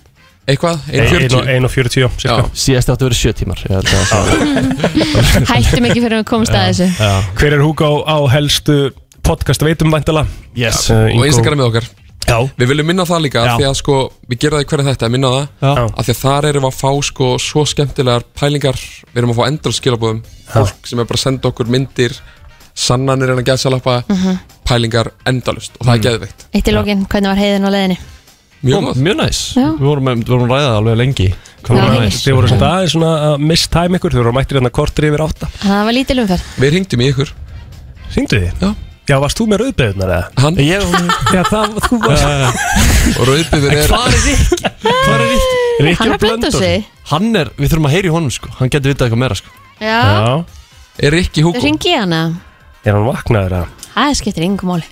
Speaker 9: eitthvað,
Speaker 1: Ein- ein
Speaker 9: 1.40
Speaker 1: og- ein og 40 cirka.
Speaker 11: Síðast áttu að vera sjö tímar Ég held að það sé-
Speaker 2: Hættum ekki fyrir að við komumst að þessu
Speaker 1: Hver er Hugo á helstu podcast veitum Uh, væntala?
Speaker 11: Uh,
Speaker 9: yes. og Instagramið okkar
Speaker 1: Já.
Speaker 9: Við viljum minna það líka,
Speaker 1: Já.
Speaker 9: af því að sko, við gerum það í hverja þetta, minna það
Speaker 1: Já.
Speaker 9: af því að þar erum við að fá sko, svo skemmtilegar pælingar, við erum að fá endal skilabóðum fólk sem er bara að senda okkur myndir sannanir en að geðsalappa
Speaker 2: Mhm.
Speaker 9: pælingar endalust og það er geðveikt
Speaker 2: Eitt í lókin, hvernig var heiðin á leiðinni?
Speaker 9: Mjög
Speaker 11: Mm. Ó,
Speaker 9: gott.
Speaker 11: Mjög næs
Speaker 2: Já.
Speaker 11: Við vorum, við vorum ræðað alveg lengi
Speaker 1: Hvað
Speaker 2: Já,
Speaker 1: voru
Speaker 2: lengi.
Speaker 1: næst? Þið voru svona aðeins svona að mistæmi ykkur Þið voru mættir hérna kortir yfir átta
Speaker 2: Það var lítil umferð
Speaker 9: Við ringdum í ykkur
Speaker 1: Syngdu þið?
Speaker 9: Já
Speaker 1: Já, varst þú með rauðbeðunar eða?
Speaker 9: Hann?
Speaker 1: Ég,
Speaker 2: Mm.
Speaker 1: já, það, þú varst
Speaker 9: Og rauðbyður er
Speaker 11: Hvað er Rikki? Hvað er Rikki?
Speaker 2: Rikki Hann er er að blanda Blönduósi. sig.
Speaker 11: Hann er, við þurfum að heyra í honum sko Hann getur vitað eitthvað meira sko
Speaker 2: Já,
Speaker 9: Er Rikki
Speaker 2: þú ringi hana
Speaker 1: Er hann vaknaður eða?
Speaker 2: Það skiptir yngum máli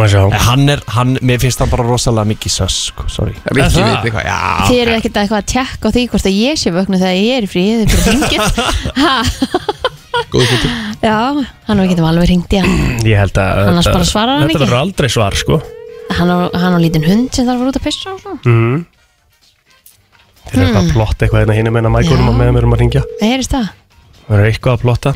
Speaker 1: Má sjá
Speaker 11: Hann er, hann, mér finnst hann bara rosalega mikið sass sko, sorry
Speaker 1: Rikki Er það? veit
Speaker 9: eitthvað,
Speaker 2: Þið eru ekkert eitthvað að tjekka á því hvort að ég sé vögnu þegar ég er í fríi Þið bara ringið Ha,
Speaker 9: Góð punktur
Speaker 2: Já, hann við getum alveg ringt í hann
Speaker 1: Ég held að
Speaker 2: Annars
Speaker 1: þetta-
Speaker 2: bara svarar hann
Speaker 1: Þetta
Speaker 2: ekki.
Speaker 1: verður aldrei svar, sko
Speaker 2: Hann á, hann á lítinn hund sem þarf að vera út að pissa og svona
Speaker 1: mm. Þeir eru
Speaker 2: Hmm.
Speaker 1: eitthvað að plotta eitthvað hérna hinum en að mækunum og meðan við erum að ringja
Speaker 2: Það heyrist það
Speaker 1: Það eru eitthvað að plotta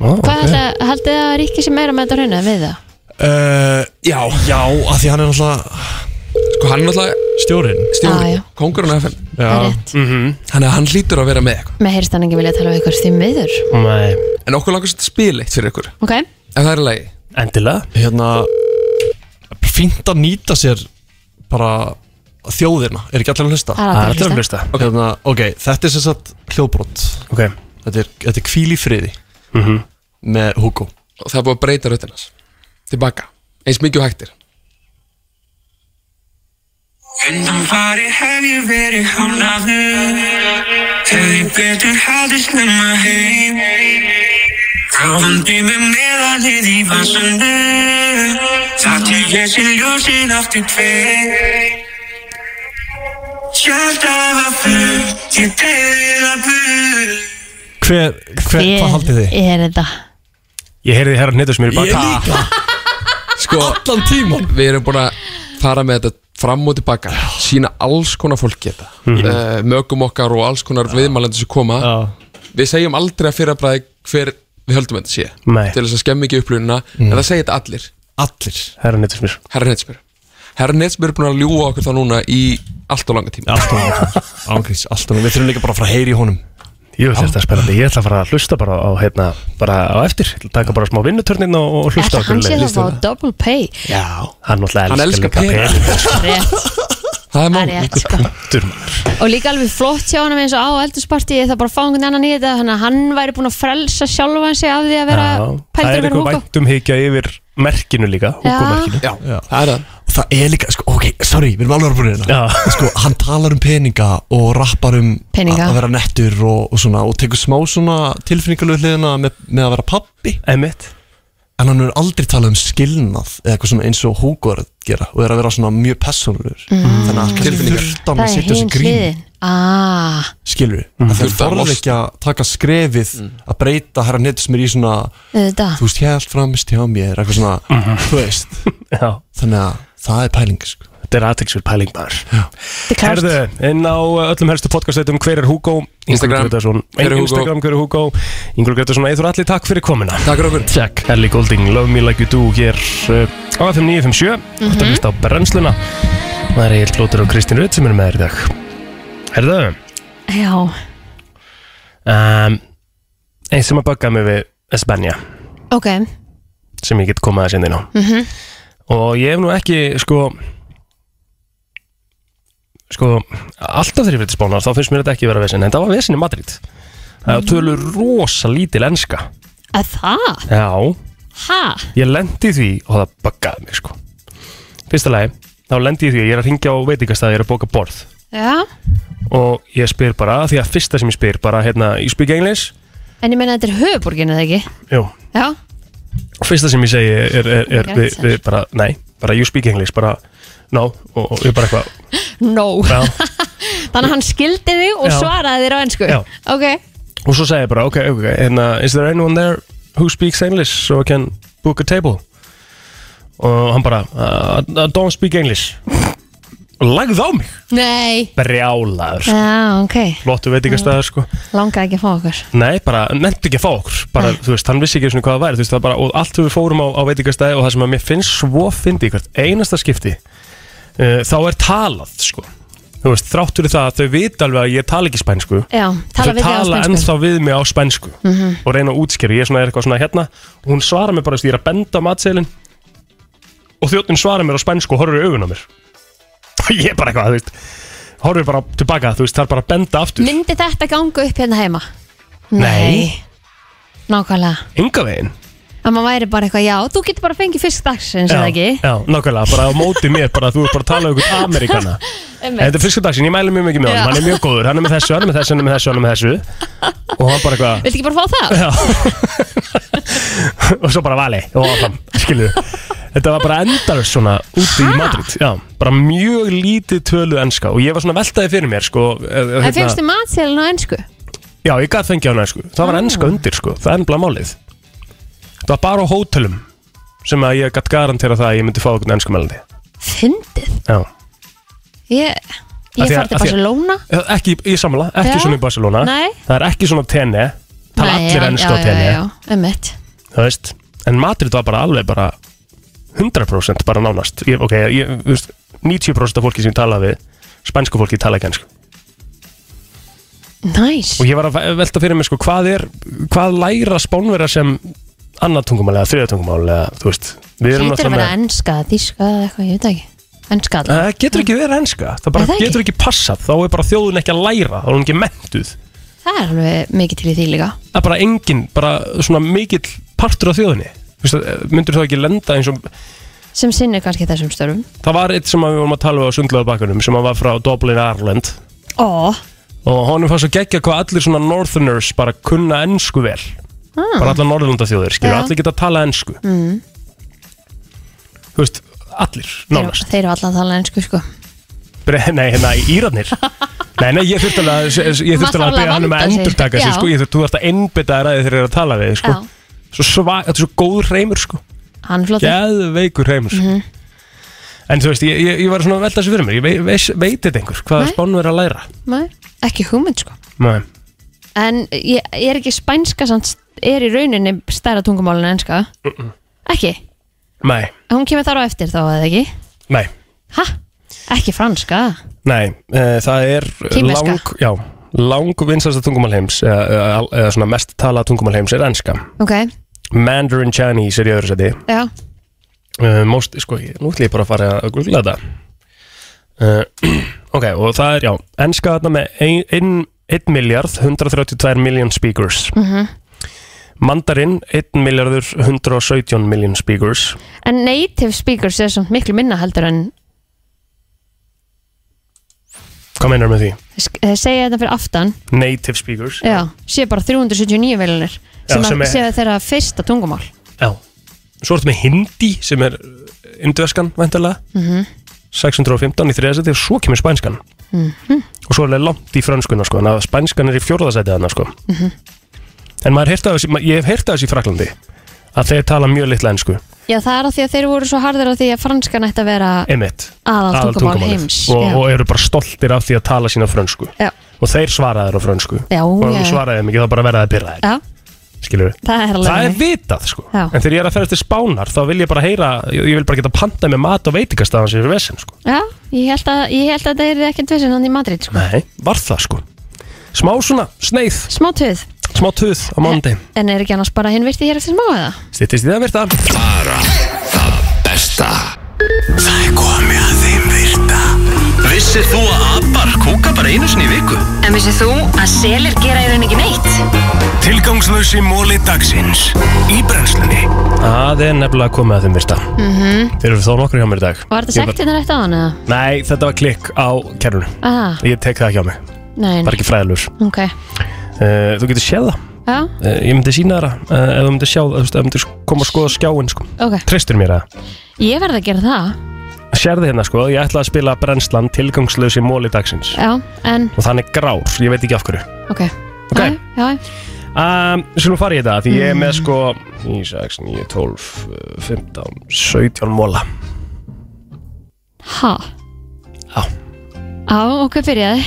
Speaker 1: Ó,
Speaker 2: Hvað
Speaker 1: ok.
Speaker 2: okay. haldið þið að Ríkki sem meira með þetta hrauna við það?
Speaker 11: uh, Já, já, að því hann er náttúrulega
Speaker 9: Sko hann er náttúrulega
Speaker 11: Stjórinn
Speaker 2: Ah, já.
Speaker 9: Stjórinn, kongurinn af FM
Speaker 2: Það er
Speaker 9: Þannig að hann hlýtur að vera með eitthvað
Speaker 2: Með heyrist hann ekki vilja tala við ykkur því miður
Speaker 1: Nei
Speaker 9: En okkur langar svolítið spil eitt fyrir ykkur
Speaker 2: Ok,
Speaker 9: Ef það er í lagi
Speaker 1: Endilega
Speaker 11: Hérna, fínt að nýta sér bara þjóðina Er ekki allir að hlusta?
Speaker 2: Það er allir að Það er allir að
Speaker 1: hlusta
Speaker 11: okay. Hérna, ok, þetta er sem sagt hljóðbrot
Speaker 1: Ok
Speaker 11: Þetta er, þetta er kvíl í friði
Speaker 1: Mhm.
Speaker 11: Með Hugo
Speaker 9: Og það er búið að breyta röttinans Tilbaka Eins mikið og hægtir
Speaker 3: Undanfari hef ég verið hánaður Hefði betur haldið snemma heim Ráðandi með meðalið í vasandu Það til ég sé ljósin aftur tveir Hjartað var fullt, ég tegði það burt
Speaker 11: Hver, hver, hvað haldið þið?
Speaker 2: er þetta?
Speaker 1: Ég heyrði herra hnittur sem er í baka
Speaker 9: Sko Allan tíman Við erum búin að fara með þetta fram og tilbaka Sýna alls konar fólki þetta mm
Speaker 1: Mhm.
Speaker 9: Mögum okkar og alls konar viðmælandi sem koma Við segjum aldrei að fyrirbræði hver við höldum þetta sé
Speaker 1: Nei.
Speaker 9: Til þess að skemmi ekki upplunina En það segja þetta allir
Speaker 11: Allir
Speaker 1: Herra hnittur sem er
Speaker 9: Herra Netsbyr Herra Netsbyr er búin að ljúga okkur þá núna í allt og langa tíma
Speaker 11: Allt og langa tíma Ángriðs, allt og langa Við þurfum líka bara að fara að heyra í honum
Speaker 1: Jú, þetta er spennandi Ég ætla að fara að hlusta bara á, hérna, bara á eftir Ég ætla að Taka bara smá vinnutörnin og, og hlusta
Speaker 2: Ætla
Speaker 1: á
Speaker 2: hann sé
Speaker 1: hverju
Speaker 2: það
Speaker 1: leið.
Speaker 2: að fá double pay
Speaker 1: Já Hann náttúrulega
Speaker 9: Hann elskar
Speaker 1: elskar líka
Speaker 9: pening.
Speaker 1: pening
Speaker 2: Rétt.
Speaker 9: Það er
Speaker 2: Það er rétt sko
Speaker 1: Punktur maður
Speaker 2: Og líka alveg flott hjá hann eins og á eldursparti Það bara að fá einhvern annan í þetta Þannig að hann væri búin að frelsa sjálfan sig af því að vera
Speaker 1: Já, Það
Speaker 2: pældur
Speaker 1: er
Speaker 2: að vera
Speaker 1: eitthvað
Speaker 2: húka
Speaker 1: væntum higgja yfir merkinu líka Húkomerkinu
Speaker 9: Já, það er það
Speaker 11: Og það er líka, sko, ok, sorry, við erum alveg að búin
Speaker 1: hérna
Speaker 11: Sko, hann talar um peninga og rappar um
Speaker 2: Peninga.
Speaker 11: að- Að vera nettur og, og svona Og tekur smá svona tilfinningalöð hliðina með, með að vera pappi
Speaker 1: Emmett
Speaker 11: En hann er aldrei talað um skilnað Eða eitthvað svona eins og Hugo er að gera Og er að vera svona mjög personlur
Speaker 2: Mm.
Speaker 11: Þannig að kannski
Speaker 1: um
Speaker 9: Tilfinningar.
Speaker 11: þurftan
Speaker 2: Það
Speaker 11: að
Speaker 2: er
Speaker 11: setja
Speaker 2: hinn
Speaker 11: sig grín
Speaker 2: hliðin ah,
Speaker 11: Skilur við mm. Það
Speaker 9: Þurfti að Mm.
Speaker 11: þorði
Speaker 9: losna.
Speaker 11: ekki að taka skrefið Að breyta herra netis mér í svona
Speaker 2: Þetta
Speaker 11: þú veist, ég held framist hjá mér eitthvað svona,
Speaker 9: Mm-hmm.
Speaker 11: þú veist
Speaker 1: Já
Speaker 11: þannig að það er pæling sko.
Speaker 1: Þetta er aðtilsverð pæling maður
Speaker 2: er klárt.
Speaker 1: Herðu, inn á uh, öllum helstu podcastveitum Hver er Hugo?
Speaker 9: Instagram, Hver er
Speaker 1: Hver
Speaker 9: Hugo?
Speaker 1: Instagram, hver er Hugo? Ingrid Gretarsson, Eithur Alli, takk fyrir komina
Speaker 9: Takk fyrir okkur
Speaker 1: Takk Ellie Golding, Love Me Like You Do Hér uh, á FM 957 Þetta
Speaker 2: Mhm.
Speaker 1: mm -hmm. líst á brennsluna Það er Egil Blótur og Kristín Rutt sem eru með þér í dag Herðu
Speaker 2: Já,
Speaker 1: um, Einn sem að bugga mig við Espanja
Speaker 2: ok
Speaker 1: sem ég get komað að sinni ná
Speaker 2: mm
Speaker 1: og ég hef nú ekki sko sko alltaf þegar ég fyrir til spánar þá finnst mér þetta ekki vera vesen en það var vesen í Madrid það tölur rosa lítil enska
Speaker 2: Að það?
Speaker 1: já
Speaker 2: Ha?
Speaker 1: ég lendi í því og það buggaði mig sko fyrsta lagi þá lendi ég í því að ég er að ringja á veitingastæði ég er að bóka borð
Speaker 2: Já
Speaker 1: og ég spyr bara því að fyrsta sem ég spyr bara hérna you speak English
Speaker 2: En ég meina þetta er höfuborgin eða ekki?
Speaker 1: Jú.
Speaker 2: Já,
Speaker 1: og fyrsta sem ég segi er, er, er, er við, við bara nei bara you speak English bara no og, og ég bara eitthvað
Speaker 2: no
Speaker 1: Já.
Speaker 2: Þannig að hann skildi þig og
Speaker 1: Já.
Speaker 2: svaraði þér á ennsku
Speaker 1: Já.
Speaker 2: Ok,
Speaker 1: Og svo segja ég bara, ok, ok, hérna, is there anyone there who speaks English so I can book a table? Og hann bara, uh, I don't speak English. Og lagði á mig.
Speaker 2: nei
Speaker 1: Brjálaður. sko.
Speaker 2: Já, ok,
Speaker 1: Flottu veitingastæðar, sko.
Speaker 2: langaði ekki að fá okkur
Speaker 1: Nei, bara, nefndi ekki að fá okkur. Bara, þú veist, hann vissi ekki einu sinni hvað það væri. Þú veist, það bara, og allt þegar við fórum á, á veitingastæði og það sem að mér finnst svo fyndi í hvert einasta skipti, uh, þá er talað, sko. Þú veist, þráttur í það að þau vita alveg að ég tala ekki spænsku.
Speaker 2: Já, tala
Speaker 1: þau
Speaker 2: við þig á
Speaker 1: tala
Speaker 2: spænsku
Speaker 1: ennþá við mig á spænsku
Speaker 2: Mhm.
Speaker 1: og reyna að útskýra, ég er svona er eitthvað svona hérna og hún svarar mér bara, þú veist, ég er að benda á matseilin og þjóttin svarar mér á spænsku og horfir í augun á mér og ég er bara eitthvað, þú veist horfir bara tilbaka, þú veist, það er bara að benda aftur
Speaker 2: Myndi þetta ganga upp hérna heima?
Speaker 1: Nei,
Speaker 2: Nákvæmlega
Speaker 1: enga veginn
Speaker 2: Að maður væri bara eitthvað, já, þú getur bara fengið fyrst dagsins eða ekki
Speaker 1: já, nákvæmlega, bara á móti mér bara, þú er bara að tala um ykkur Amerikana En
Speaker 2: Einmitt.
Speaker 1: Þetta er fiskadagsinn, ég mæli mjög mikið með
Speaker 2: Já.
Speaker 1: honum, hann er mjög góður, hann er með þessu, hann er með þessu, hann er með þessu, hann er með þessu og hann bara eitthvað,
Speaker 2: Viltu ekki bara fá það?
Speaker 1: Já. og svo bara vali og áfram, skilju þetta var bara endalust svona úti í Madrid já, bara mjög lítið töluð enska og ég var svona veltaði fyrir mér sko, eð,
Speaker 2: En fyrstu matselin á ennsku?
Speaker 1: já, ég gaf fengið hana sko.
Speaker 2: Ah.
Speaker 1: það var enska undir, sko, það er ennbla málið það var bara á hótelum sem að ég gætt garantera það að ég myndi fá okkur enska melandi
Speaker 2: Fyndið?
Speaker 1: já
Speaker 2: Ég,
Speaker 1: Af
Speaker 2: ég
Speaker 1: því að-
Speaker 2: fór til
Speaker 1: af því að-
Speaker 2: Barcelona
Speaker 1: Já, Eh, ekki, ég samla, ekki
Speaker 2: Já.
Speaker 1: svona í Barcelona
Speaker 2: Nei.
Speaker 1: það er ekki svona tenni tala
Speaker 2: Nei,
Speaker 1: allir
Speaker 2: já,
Speaker 1: enska á
Speaker 2: já,
Speaker 1: tenni
Speaker 2: Já, já, ummitt
Speaker 1: það veist en Madrid var bara alveg bara 100% bara nánast ég, ok, ég, þú veist, 90% af fólki sem ég talaði við spænsku fólki tala ekki ennsku
Speaker 2: Næs
Speaker 1: og ég var að ve- velta fyrir mig sko hvað er hvað læra spánverja sem annað tungumál eða þriða tungumál eða þú veist við erum
Speaker 2: Lítur að vera
Speaker 1: náttúrulega með
Speaker 2: ennska, þíska eða eitthvað, ég veit það ekki Ennska allavega.
Speaker 1: það getur ekki verið enska það bara getur ekki passað þá er bara þjóðun ekki að læra þá er hún ekki mentuð
Speaker 2: Það er alveg mikið til í því líka
Speaker 1: það er bara engin bara svona mikill partur af þjóðunni Þú veist, myndur þá ekki lenda eins og
Speaker 2: Sem sinnir kannski þessum störfum
Speaker 1: það var eitt sem að við vorum að tala við á sundlega bakkanum sem að var frá Dublin, Ireland
Speaker 2: Ó,
Speaker 1: og honum fannst að gegja hvað allir svona northerners bara kunna ennsku vel
Speaker 2: Ah.
Speaker 1: bara allar norðurlanda þjóðir, skilur,
Speaker 2: Já.
Speaker 1: allir geta að tala ennsku
Speaker 2: mm.
Speaker 1: þú veist, allir,
Speaker 2: þeir,
Speaker 1: nánast
Speaker 2: þeir eru alltaf að tala ennsku sko
Speaker 1: Bre- nei, hérna, írarnir nei, nei, ég þurfti alveg að ég
Speaker 2: Maður
Speaker 1: þurfti alveg
Speaker 2: þarf
Speaker 1: að
Speaker 2: alveg að
Speaker 1: bega hann um að
Speaker 2: vanda sig.
Speaker 1: endurtaka sig,
Speaker 2: Já.
Speaker 1: sko, ég þurfti, þú þarfst að einbytta þér að þeir eru að tala við, sko
Speaker 2: Já.
Speaker 1: svo svag, þetta er svo góður reymur, sko
Speaker 2: Hann flottur
Speaker 1: geðveikur reymur, sko
Speaker 2: Mhm.
Speaker 1: en þú veist, ég, ég, ég var svona að velta þessu fyrir mér ég vei, veis, veit þetta einhver, hvað
Speaker 2: Nei.
Speaker 1: spánu er að læra
Speaker 2: Nei, Ekki hugmynd sko
Speaker 1: nei,
Speaker 2: En ég, ég er ekki spænska samt er í rauninni stærra tungumál en ennska Ekki,
Speaker 1: nei,
Speaker 2: hún kemur þar á eftir þá eða ekki
Speaker 1: nei
Speaker 2: Ha? Ekki franska
Speaker 1: Nei, e, það er
Speaker 2: Kínverska.
Speaker 1: lang, já, lang vinsasta tungumál heims eða, eða, eða svona mest talað tungumál heims er enska
Speaker 2: Ok,
Speaker 1: Mandarin Chinese er í öðru seti
Speaker 2: já
Speaker 1: uh, most, sko, ég- nú ætlum ég bara að fara að googla þetta uh, ok, og það er, já, enska þarna með 1 miljard 132 million speakers
Speaker 2: Mhm.
Speaker 1: Mandarin 1 miljardur 117 million speakers
Speaker 2: En native speakers er samt miklu minna heldur en
Speaker 1: hvað meinar með því?
Speaker 2: sk- eh, segja þetta fyrir aftan
Speaker 1: Native speakers
Speaker 2: Já, sé bara 379 miljonir
Speaker 1: Já,
Speaker 2: sem,
Speaker 1: sem
Speaker 2: sem
Speaker 1: er-
Speaker 2: sé þeirra fyrsta tungumál
Speaker 1: Já. Svo ertu með hindi sem er eh, indveskan væntalega
Speaker 2: Mhm.
Speaker 1: 615 í þriðasæti og svo kemur spænskan
Speaker 2: Mhm.
Speaker 1: og svo er það langt í frönskuna sko, en að spænskan er í fjórðasæti þarna sko.
Speaker 2: Mhm.
Speaker 1: en maður heyrta þessi, ma- ég hef heyrtað þessi í Fraklandi að þeir tala mjög litla ennsku
Speaker 2: Já, það er að því að þeir voru svo harðir á því að franskan ætti að vera
Speaker 1: einmitt,
Speaker 2: aðaltungumál
Speaker 1: aðaltungumálið.
Speaker 2: heims
Speaker 1: og,
Speaker 2: já.
Speaker 1: og eru bara stoltir af því að tala sína frönsku
Speaker 2: Já.
Speaker 1: og þeir svara þeir á frönsku
Speaker 2: Já,
Speaker 1: og ef
Speaker 2: já.
Speaker 1: þú svaraði þeim ekki þá bara verða það að byrra þeir
Speaker 2: Já,
Speaker 1: skilur
Speaker 2: það er alveg
Speaker 1: það er
Speaker 2: þannig.
Speaker 1: vitað sko
Speaker 2: Já.
Speaker 1: en þegar ég er að ferðast til spánar þá vil ég bara heyra ég, ég vil bara geta pantað með mat og veitingastafan sem er vesen sko.
Speaker 2: Já, ég held að, ég held að það er ekkert vissin hann í Madrid sko.
Speaker 1: nei, var það sko smá svona, sneið
Speaker 2: Smá töð
Speaker 1: smá töð á mándi
Speaker 2: En er ekki annars bara hinn virti hér eftir smá eða?
Speaker 1: stýttist í það virta
Speaker 3: Bara það besta Það er komið að þeim virta Vissir þú að abar kúka bara einu sinni í viku?
Speaker 4: En vissið þú að selir gera í raun ekki neitt?
Speaker 3: Tilgangslösi móli dagsins Í brennslunni
Speaker 1: það er nefnilega komið að þeim virta
Speaker 2: Mhm.
Speaker 1: þeir eru þó nokkur hjá mér í dag
Speaker 2: Var þetta
Speaker 1: Ég
Speaker 2: sagt hérna rétt á hann eða?
Speaker 1: nei, þetta var klikk á kerrunu
Speaker 2: Ah,
Speaker 1: ég tek það ekki á mig,
Speaker 2: nei,
Speaker 1: það er
Speaker 2: nei.
Speaker 1: ekki fræðalur
Speaker 2: Ok,
Speaker 1: uh, þú getur séð það
Speaker 2: já,
Speaker 1: uh, ég myndi sína það uh, ef þú myndir sjá það, þú veist, ef þú myndir koma að skoða skjáin sko.
Speaker 2: ok
Speaker 1: treystur mér það
Speaker 2: Ég verð að gera það
Speaker 1: Sérðu hérna sko, ég ætla að spila brennslan tilgangslösi móli dagsins
Speaker 2: Já, en,
Speaker 1: Og þannig grár, ég veit ekki af hverju
Speaker 2: ok
Speaker 1: Ok.
Speaker 2: Æ, Já,
Speaker 1: um, Skulum fara í þetta, því ég er með sko 9, 6, 9, 12, uh, 15, 17 móla
Speaker 2: ha Já, ok, byrjaði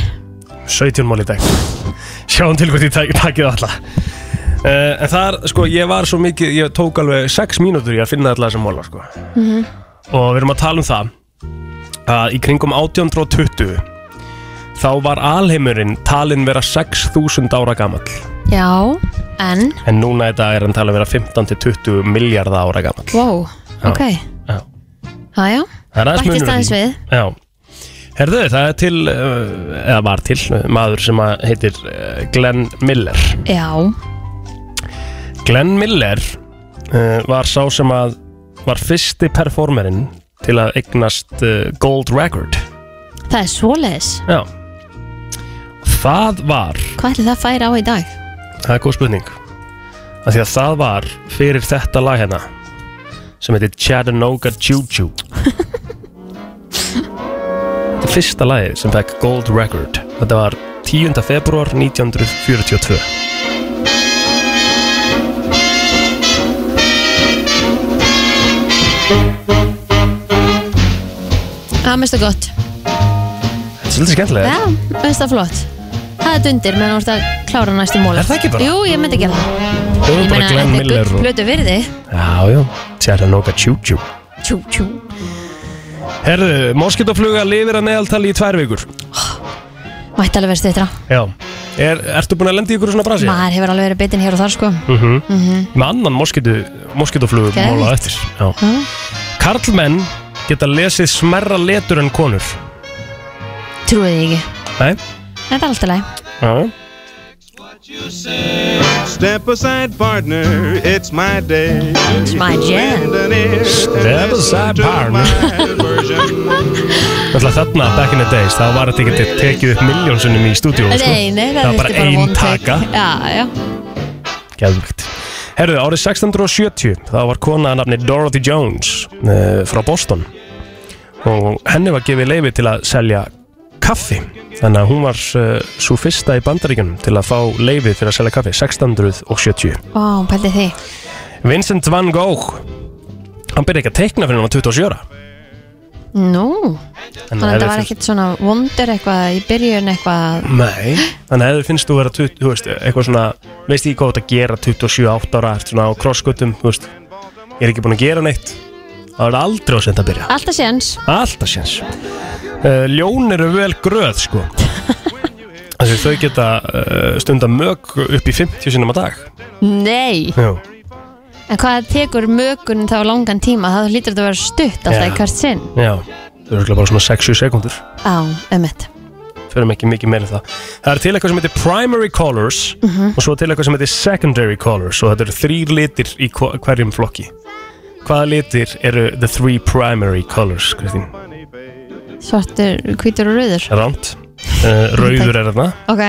Speaker 1: 17 mál í dag Sjáum til hvort ég tak- taki það alla uh, En þar, sko, ég var svo mikið Ég tók alveg 6 mínútur í að finna alla þessa móla, sko
Speaker 12: Mhm.
Speaker 1: Og við erum að tala um það Að í kringum 1820 Þá var alheimurinn talinn vera 6.000 ára gamall
Speaker 2: Já, en,
Speaker 1: En núna í dag er hann talinn vera 15-20 miljardar ára gamall
Speaker 2: wow,
Speaker 1: Já.
Speaker 2: ok
Speaker 1: Já.
Speaker 2: Já, já,
Speaker 1: Það er aðeins
Speaker 2: Bættist
Speaker 1: munur á
Speaker 2: aðeins
Speaker 1: því.
Speaker 2: við.
Speaker 1: Já. Herðu, það er til, uh, eða var til, uh, maður sem að heitir uh, Glenn Miller.
Speaker 2: já,
Speaker 1: Glenn Miller uh, var sá sem að var fyrsti performerinn til að eignast uh, Gold Record.
Speaker 2: það er svoleiðis
Speaker 1: Já. Það var,
Speaker 2: Hvað ætli það færi á í dag?
Speaker 1: það er góð spurning, af því að það var fyrir þetta lag hérna sem heitir Chattanooga Choo-Choo. Þetta er fyrsta lagið sem fekk Gold Record. Þetta var 10. februar 1942.
Speaker 2: Það minnst það gott
Speaker 1: Þetta er svolítið skemmtilega.
Speaker 2: Já, minnst það flott Það er dundir meðan þú ert að klára næstu mól
Speaker 1: Er það ekki bara?
Speaker 2: Jú, ég myndi gera
Speaker 1: Þau
Speaker 2: það
Speaker 1: eru
Speaker 2: Ég
Speaker 1: bara Glenn
Speaker 2: meina, þetta er
Speaker 1: Miller
Speaker 2: gull
Speaker 1: og-
Speaker 2: plötu virði
Speaker 1: Já, já. Chattanooga Choo-Choo.
Speaker 2: Tjú, tjú
Speaker 1: Herðu, moskitofluga lifir að neðaltali í tvær vikur
Speaker 2: Mætti alveg verið stýttra
Speaker 1: Já er, Ertu búin að lenda í ykkur svona brasi?
Speaker 2: Maður hefur alveg verið bitinn hér og þar sko
Speaker 1: mm
Speaker 2: Mhm.
Speaker 1: Með annan moskitu, moskitoflugu
Speaker 2: Geðveikt.
Speaker 1: mála eftir Já.
Speaker 2: Mm.
Speaker 1: Karlmenn geta lesið smerra letur en konur
Speaker 2: Trúið þið ekki
Speaker 1: Nei?
Speaker 2: Þetta er alltaf leið
Speaker 1: Já
Speaker 13: Step aside, partner, it's my day. It's
Speaker 2: my jam.
Speaker 1: Step aside, partner. Þannig þarna, back in the days, þá var þetta ekki tekið upp miljónsunum í stúdíó sko.
Speaker 2: Nei, nei, það,
Speaker 1: Það var
Speaker 2: þurfti
Speaker 1: bara ein
Speaker 2: one take.
Speaker 1: taka
Speaker 2: Já, já
Speaker 1: Geðvögt. Herðu, árið 1670 þá var kona að nafni Dorothy Jones uh, frá Boston og henni var gefið leifi til að selja kaffi þannig að hún var uh, svo fyrsta í bandaríkjunum til að fá leifi fyrir að selja kaffi 1670
Speaker 2: Vá, pældi því
Speaker 1: Vincent van Gogh hann byrja ekki að teikna fyrir hann var 27 ára.
Speaker 2: Nú
Speaker 1: En
Speaker 2: Þannig
Speaker 1: ef
Speaker 2: að þetta
Speaker 1: þér
Speaker 2: var
Speaker 1: finnst-
Speaker 2: ekkert svona vondur eitthvað í byrjun eitthvað
Speaker 1: Nei, þannig að ef þú finnst þú vera 20 þú veist, eitthvað svona, veist ég hvað þú ert að gera 27-8 ára, ert svona á krossgötum þú veist, ég er ekki búin að gera neitt þá er það aldrei á senda að byrja
Speaker 2: Alltaf séns
Speaker 1: Alltaf séns uh, Ljón eru vel gröð sko Þessi þau geta uh, stunda mög upp í 50 sinnum á dag
Speaker 2: Nei
Speaker 1: Já,
Speaker 2: En hvað tekur mögun þá langan tíma? Það lítur þetta að vera stutt alltaf
Speaker 1: Já.
Speaker 2: í hvert sinn
Speaker 1: já þau eru örugglega bara svona 6-7 sekundur
Speaker 2: Á, um emmett
Speaker 1: fyrir ekki mikið meira en það Það er til eitthvað sem heitir primary colors
Speaker 2: Mhm.
Speaker 1: og svo til eitthvað sem heitir secondary colors og þetta eru þrýr litir í hvo- hverjum flokki Hvaða litir eru the three primary colors, Kristín?
Speaker 2: Svartur, hvítur og rauður
Speaker 1: Ránt uh, Rauður er þarna,
Speaker 2: Ok,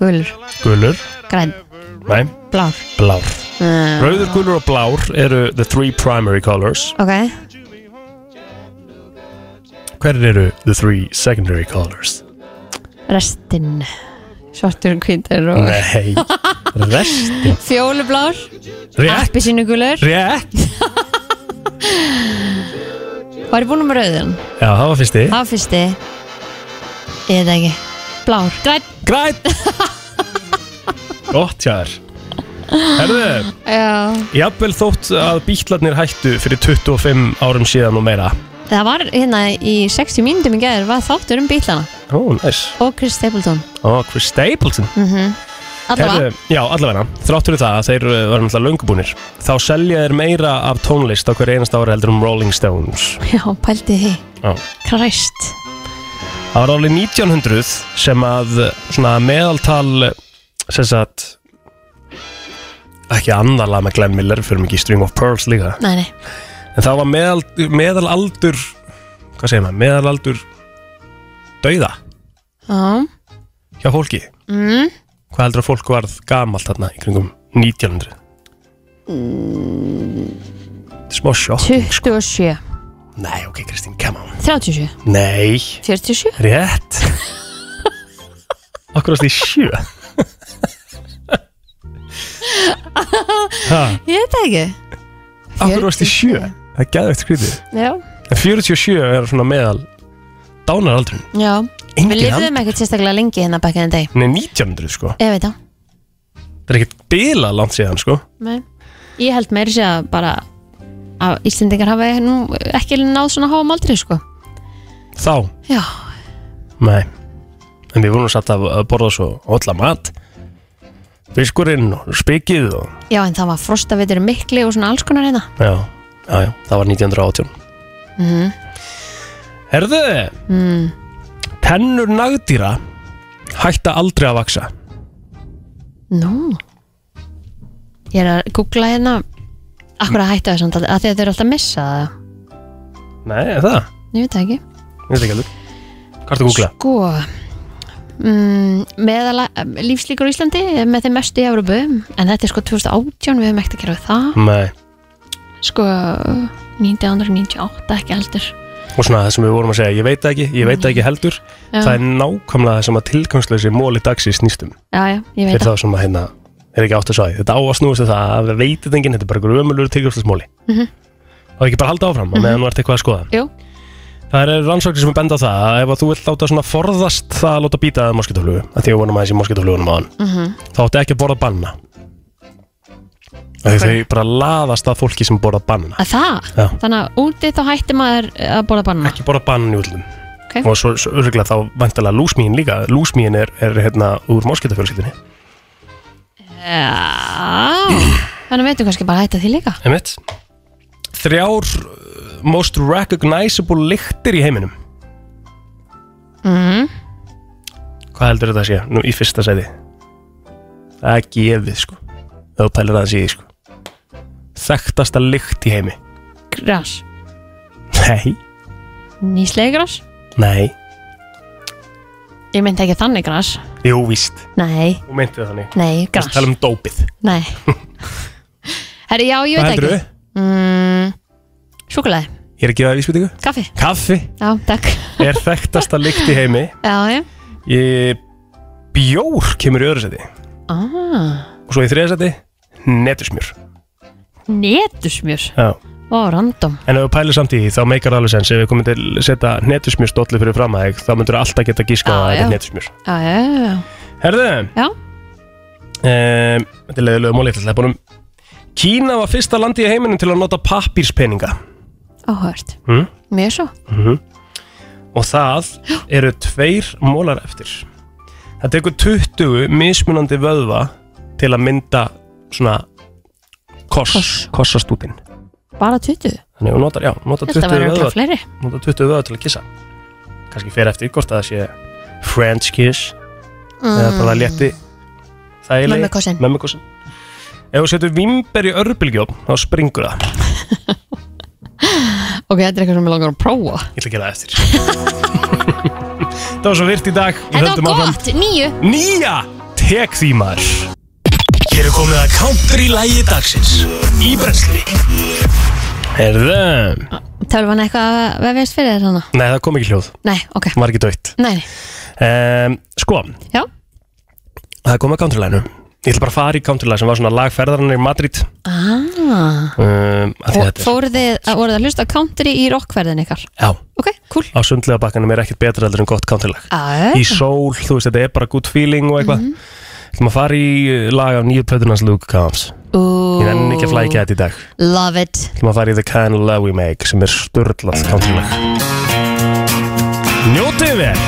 Speaker 2: gulur,
Speaker 1: gulur
Speaker 2: græn,
Speaker 1: Nei,
Speaker 2: blár
Speaker 1: blár
Speaker 2: Mm.
Speaker 1: Rauður, gulur og blár eru the three primary colors
Speaker 2: Ok,
Speaker 1: Hverjir eru the three secondary colors?
Speaker 2: restinn Svartur, hvítur og
Speaker 1: Nei, restin
Speaker 2: Fjólublár
Speaker 1: Rétt.
Speaker 2: Appisínugulur
Speaker 1: Rétt
Speaker 2: Var ég búin með rauðun?
Speaker 1: Já, það var fyrsti
Speaker 2: Það var fyrsti Ég veit það ekki Blár, græn
Speaker 1: Græn Gott hjá þér Herðu
Speaker 2: Já
Speaker 1: Jafnvel þótt að bítlarnir hættu fyrir 25 árum síðan og meira
Speaker 2: Það var hérna í 60 mínútum í gæður var þáttur um bílana
Speaker 1: Ó, næs
Speaker 2: og Chris Stapleton
Speaker 1: Ó, Chris Stapleton
Speaker 2: mm -hmm. Allavega
Speaker 1: Heyrðu, Já, allavega Þrátt fyrir það að þeir uh, var náttúrulega löngubúnir Þá selja þeir meira af tónlist á hver einasta ára heldur um Rolling Stones
Speaker 2: Já, pældi því
Speaker 1: Já
Speaker 2: Christ
Speaker 1: Það var árið 1900 sem að eh, svona meðaltal sem sagt ekki annarlega með Glenn Miller fyrir mikið String of Pearls líka
Speaker 2: Nei, nei
Speaker 1: En það var meðal, meðalaldur Hvað segir maður? Meðalaldur Dauða
Speaker 2: Já
Speaker 1: hjá fólki
Speaker 2: mm.
Speaker 1: Hvað heldur að fólk varð gamalt þarna í kringum
Speaker 2: Mm.
Speaker 1: 1900? Smá sjokk
Speaker 2: 27
Speaker 1: Nei, ok, Kristín, come on
Speaker 2: 37
Speaker 1: Nei
Speaker 2: 47
Speaker 1: Rétt Akkur ást í sjö Ha,
Speaker 2: Ég veit það ekki
Speaker 1: Akkur ást í sjö Það er gæðvegt skrítið
Speaker 2: Já,
Speaker 1: En 47 er svona meðal Dánaraldrin
Speaker 2: já
Speaker 1: Engin
Speaker 2: Við lifðum
Speaker 1: hand-
Speaker 2: ekkert sérstaklega lengi hérna back in the day
Speaker 1: Nei, 1900 sko
Speaker 2: Ég veit það
Speaker 1: Það er ekkert bila langt síðan sko
Speaker 2: Nei. Ég held meiri sé að bara að Íslendingar hafa nú ekki náð svona háum aldrei sko.
Speaker 1: Þá
Speaker 2: Já,
Speaker 1: Nei En við vorum satt að að borða svo Ótla mat Fiskurinn og spikið og
Speaker 2: já en það var frostavitur mikli og svona alls konar hérna.
Speaker 1: Já, já, já, það var 1918
Speaker 2: Mm.
Speaker 1: Herðu
Speaker 2: Mm.
Speaker 1: Tennur nagdýra Hætta aldrei að vaksa
Speaker 2: Nú. Ég er að googla hérna akkur að hætta þessan að því að þau eru alltaf að missa það.
Speaker 1: Nei, er það?
Speaker 2: Ég veit það ekki.
Speaker 1: Ég veit ekki alveg Hvað ertu að googla?
Speaker 2: Sko, mm, meðal lífslíkur á Íslandi er með þeim mestu í Európu en þetta er sko 2018, við hefum ekkert að gera við það.
Speaker 1: Nei
Speaker 2: Sko, 1998 ekki heldur.
Speaker 1: Og svona það sem við vorum að segja Ég veit það ekki, ég veit það ekki heldur
Speaker 2: Já.
Speaker 1: Það er nákvæmlega það sem að tilgangslösi móli dagsins um. snýstum
Speaker 2: Já, já, ég veit
Speaker 1: Fyrir þá sem að hérna Er ekki átt að svæði Þetta á að snúast við það að við veitum enginn Þetta er bara grömmulur tilgangslösmóli
Speaker 2: Mhm.
Speaker 1: Það er ekki bara að halda áfram mm -hmm. meðan þú ert eitthvað að skoða
Speaker 2: Jú.
Speaker 1: Það eru rannsóknir sem er benda á það að ef að þú vilt láta svona forðast það að láta býta að moskitoflugu að því að vonum að þessi moskitoflugunum á hann
Speaker 2: Mhm.
Speaker 1: þá áttu ekki að borða banna okay. þau bara laðast að fólki sem borða banna
Speaker 2: Að það?
Speaker 1: Já.
Speaker 2: Þannig að úti þá hætti maður að borða banna
Speaker 1: ekki borða banna í útlum
Speaker 2: okay.
Speaker 1: og svo, svo örgulega þá vantilega lúsmíin líka lúsmíin er, er hérna úr moskitofjölskyldinni
Speaker 2: Já Þannig að veitum kannski bara að hætta því líka
Speaker 1: einmitt þrjár uh, most recognizable lyktir í heiminum
Speaker 2: mm.
Speaker 1: hvað heldur þetta að sé nú í fyrsta sæti það er gefið sko ef þú pælir aðeins í því sko þekktasta lykt í heimi
Speaker 2: Gras
Speaker 1: Nei,
Speaker 2: Nýslega gras
Speaker 1: nei,
Speaker 2: Ég myndi ekki þannig gras
Speaker 1: jú víst
Speaker 2: Nei,
Speaker 1: Þú meinti það þannig
Speaker 2: nei, gras
Speaker 1: Það er um dópið
Speaker 2: Nei Herri, já, ég
Speaker 1: Hvað
Speaker 2: veit
Speaker 1: heldurðu?
Speaker 2: ekki mm, Súkulæði,
Speaker 1: Ég er að gefa það vísbyttingu
Speaker 2: kaffi
Speaker 1: Kaffi
Speaker 2: Já, takk
Speaker 1: er þekktasta lykt í heimi
Speaker 2: Já, já
Speaker 1: ég, Bjór kemur í öðru seti
Speaker 2: ah,
Speaker 1: Og svo í þriða seti Netusmjör
Speaker 2: Netusmjör
Speaker 1: Já.
Speaker 2: Ó, random
Speaker 1: En ef þú pælir samt í því þá meikar það alveg sens Ef við komum til að setja netusmjör stóllu fyrir fram að þig Þá myndur alltaf geta gískað að
Speaker 2: Já,
Speaker 1: það er
Speaker 2: já.
Speaker 1: netusmjör
Speaker 2: Já, já, já, já
Speaker 1: Herðu
Speaker 2: Já.
Speaker 1: Ehm, Þetta er leiðilegu móli Þetta er búinum Kína var fyrsta landi í heiminum til að nota pappírspeninga
Speaker 2: Áhört,
Speaker 1: hm?
Speaker 2: mjög svo
Speaker 1: -hmm. Og það eru tveir mólar eftir Það tekur 20 mismunandi vöðva til að mynda svona koss, kossastútin
Speaker 2: Bara 20
Speaker 1: Þannig að hún notar, já, hún notar
Speaker 2: Þetta
Speaker 1: 20
Speaker 2: var örugglega
Speaker 1: vöðva
Speaker 2: fleiri.
Speaker 1: Notar 20 vöðva til að kissa Kannski fer eftir hvort að það sé French kiss eða
Speaker 2: Mm.
Speaker 1: bara létti þægilegi-
Speaker 2: Mömmukossinn.
Speaker 1: Mömmukossinn. Ef þú setur vimber í örbylgjóð þá springur það
Speaker 2: Ok, þetta er eitthvað sem ég langar að prófa
Speaker 1: Ég ætla að gera það eftir Það var svo virt í dag Við
Speaker 2: Þetta
Speaker 1: höldum
Speaker 2: var
Speaker 1: áfram.
Speaker 2: gott, nýju
Speaker 1: Nýja Tek því maður Hér er komið að kántur í lægi dagsins Í brensli Herðu
Speaker 2: Tölvan eitthvað að vefjast fyrir þér hana?
Speaker 1: Nei, það kom ekki hljóð
Speaker 2: Nei, ok.
Speaker 1: Það var ekki döitt
Speaker 2: Nei, nei.
Speaker 1: um, Sko
Speaker 2: Já.
Speaker 1: Það er komið að kántur læginu Ég ætla bara að fara í kántur læg sem var svona lagferðarinn í Madrid
Speaker 2: Ah.
Speaker 1: um, af því að
Speaker 2: Og
Speaker 1: þetta er-
Speaker 2: fóruð þið, að- voruð þið að hlusta á country í rockverðin ykkar?
Speaker 1: Já
Speaker 2: Ok, cool
Speaker 1: Á sundlega bakkanum er ekkert betra heldur en gott kánturlag
Speaker 2: Ah.
Speaker 1: Í sól, þú veist, þetta er bara good feeling og
Speaker 2: Mhm.
Speaker 1: eitthvað mm -hmm. að fara í lag af nýju plötunans Luke Combs
Speaker 2: Ooh.
Speaker 1: Ég nenni ekki að flækja þetta í dag
Speaker 2: Love it.
Speaker 1: ætlum að fara í The Kind of Love We Make sem er störlað countrylag Njótið við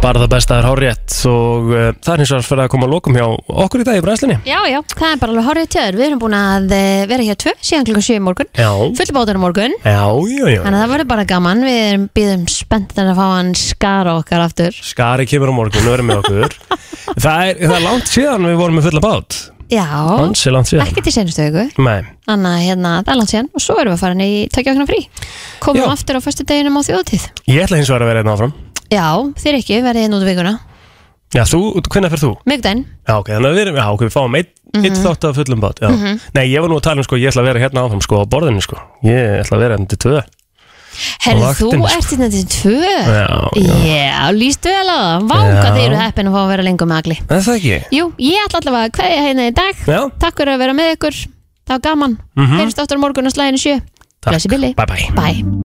Speaker 1: Bara það besta er hárétt og uh, það er hins vegar fyrir að koma að lokum hjá okkur í dag í brænslinni
Speaker 2: Já, já, það er bara alveg horrið tjöður. Við erum búin að eh, vera hér tvö síðan klukkan 7 í morgun.
Speaker 1: Já
Speaker 2: Fullu bátur á morgun.
Speaker 1: Já, já, já
Speaker 2: Þannig að það verður bara gaman. Við erum býðum spenntan að fá hann skara okkar aftur.
Speaker 1: Skari kemur á morgun og verður með okkur það, er, það er langt síðan við vorum með fulla bát
Speaker 2: Já.
Speaker 1: Ansi langt síðan
Speaker 2: Ekki til senustu viku.
Speaker 1: Nei,
Speaker 2: Þannig að hérna, það er langt síðan og svo erum við að fara hann í tökja okkur frí. Komum aftur á föstu deginum á þjóðtíð.
Speaker 1: ég ætla hins vegar að vera einn áfram
Speaker 2: Já, þér ekki, verðið hérna út í vikuna.
Speaker 1: Já, þú, hvernig fyrir þú?
Speaker 2: Migdæn.
Speaker 1: Já, ok, þannig að við, erum- já, ok, við fáum einn mm
Speaker 2: Mhm.
Speaker 1: þátt af fullum bát já.
Speaker 2: Mhm.
Speaker 1: Nei, ég var nú að tala um sko, ég ætla að vera hérna áfram sko á borðinu sko Ég ætla að vera hérna til tvö
Speaker 2: Herðu, þú
Speaker 1: Vaktin, sko.
Speaker 2: ert hérna til tvö
Speaker 1: Já, já.
Speaker 2: Já, líst vel á það Vá, hvað
Speaker 1: Já.
Speaker 2: þið eru heppin að fá að vera lengur með agli
Speaker 1: Er það ekki?
Speaker 2: Jú, ég ætla allavega að kveðja hérna í dag
Speaker 1: Já.
Speaker 2: Takk fyrir að vera með ykkur Það var gaman
Speaker 1: Mhm.
Speaker 2: Heyrjumst áttur á morgun og slæðinu sjö Blessi Billy
Speaker 1: Bye bye
Speaker 2: Bye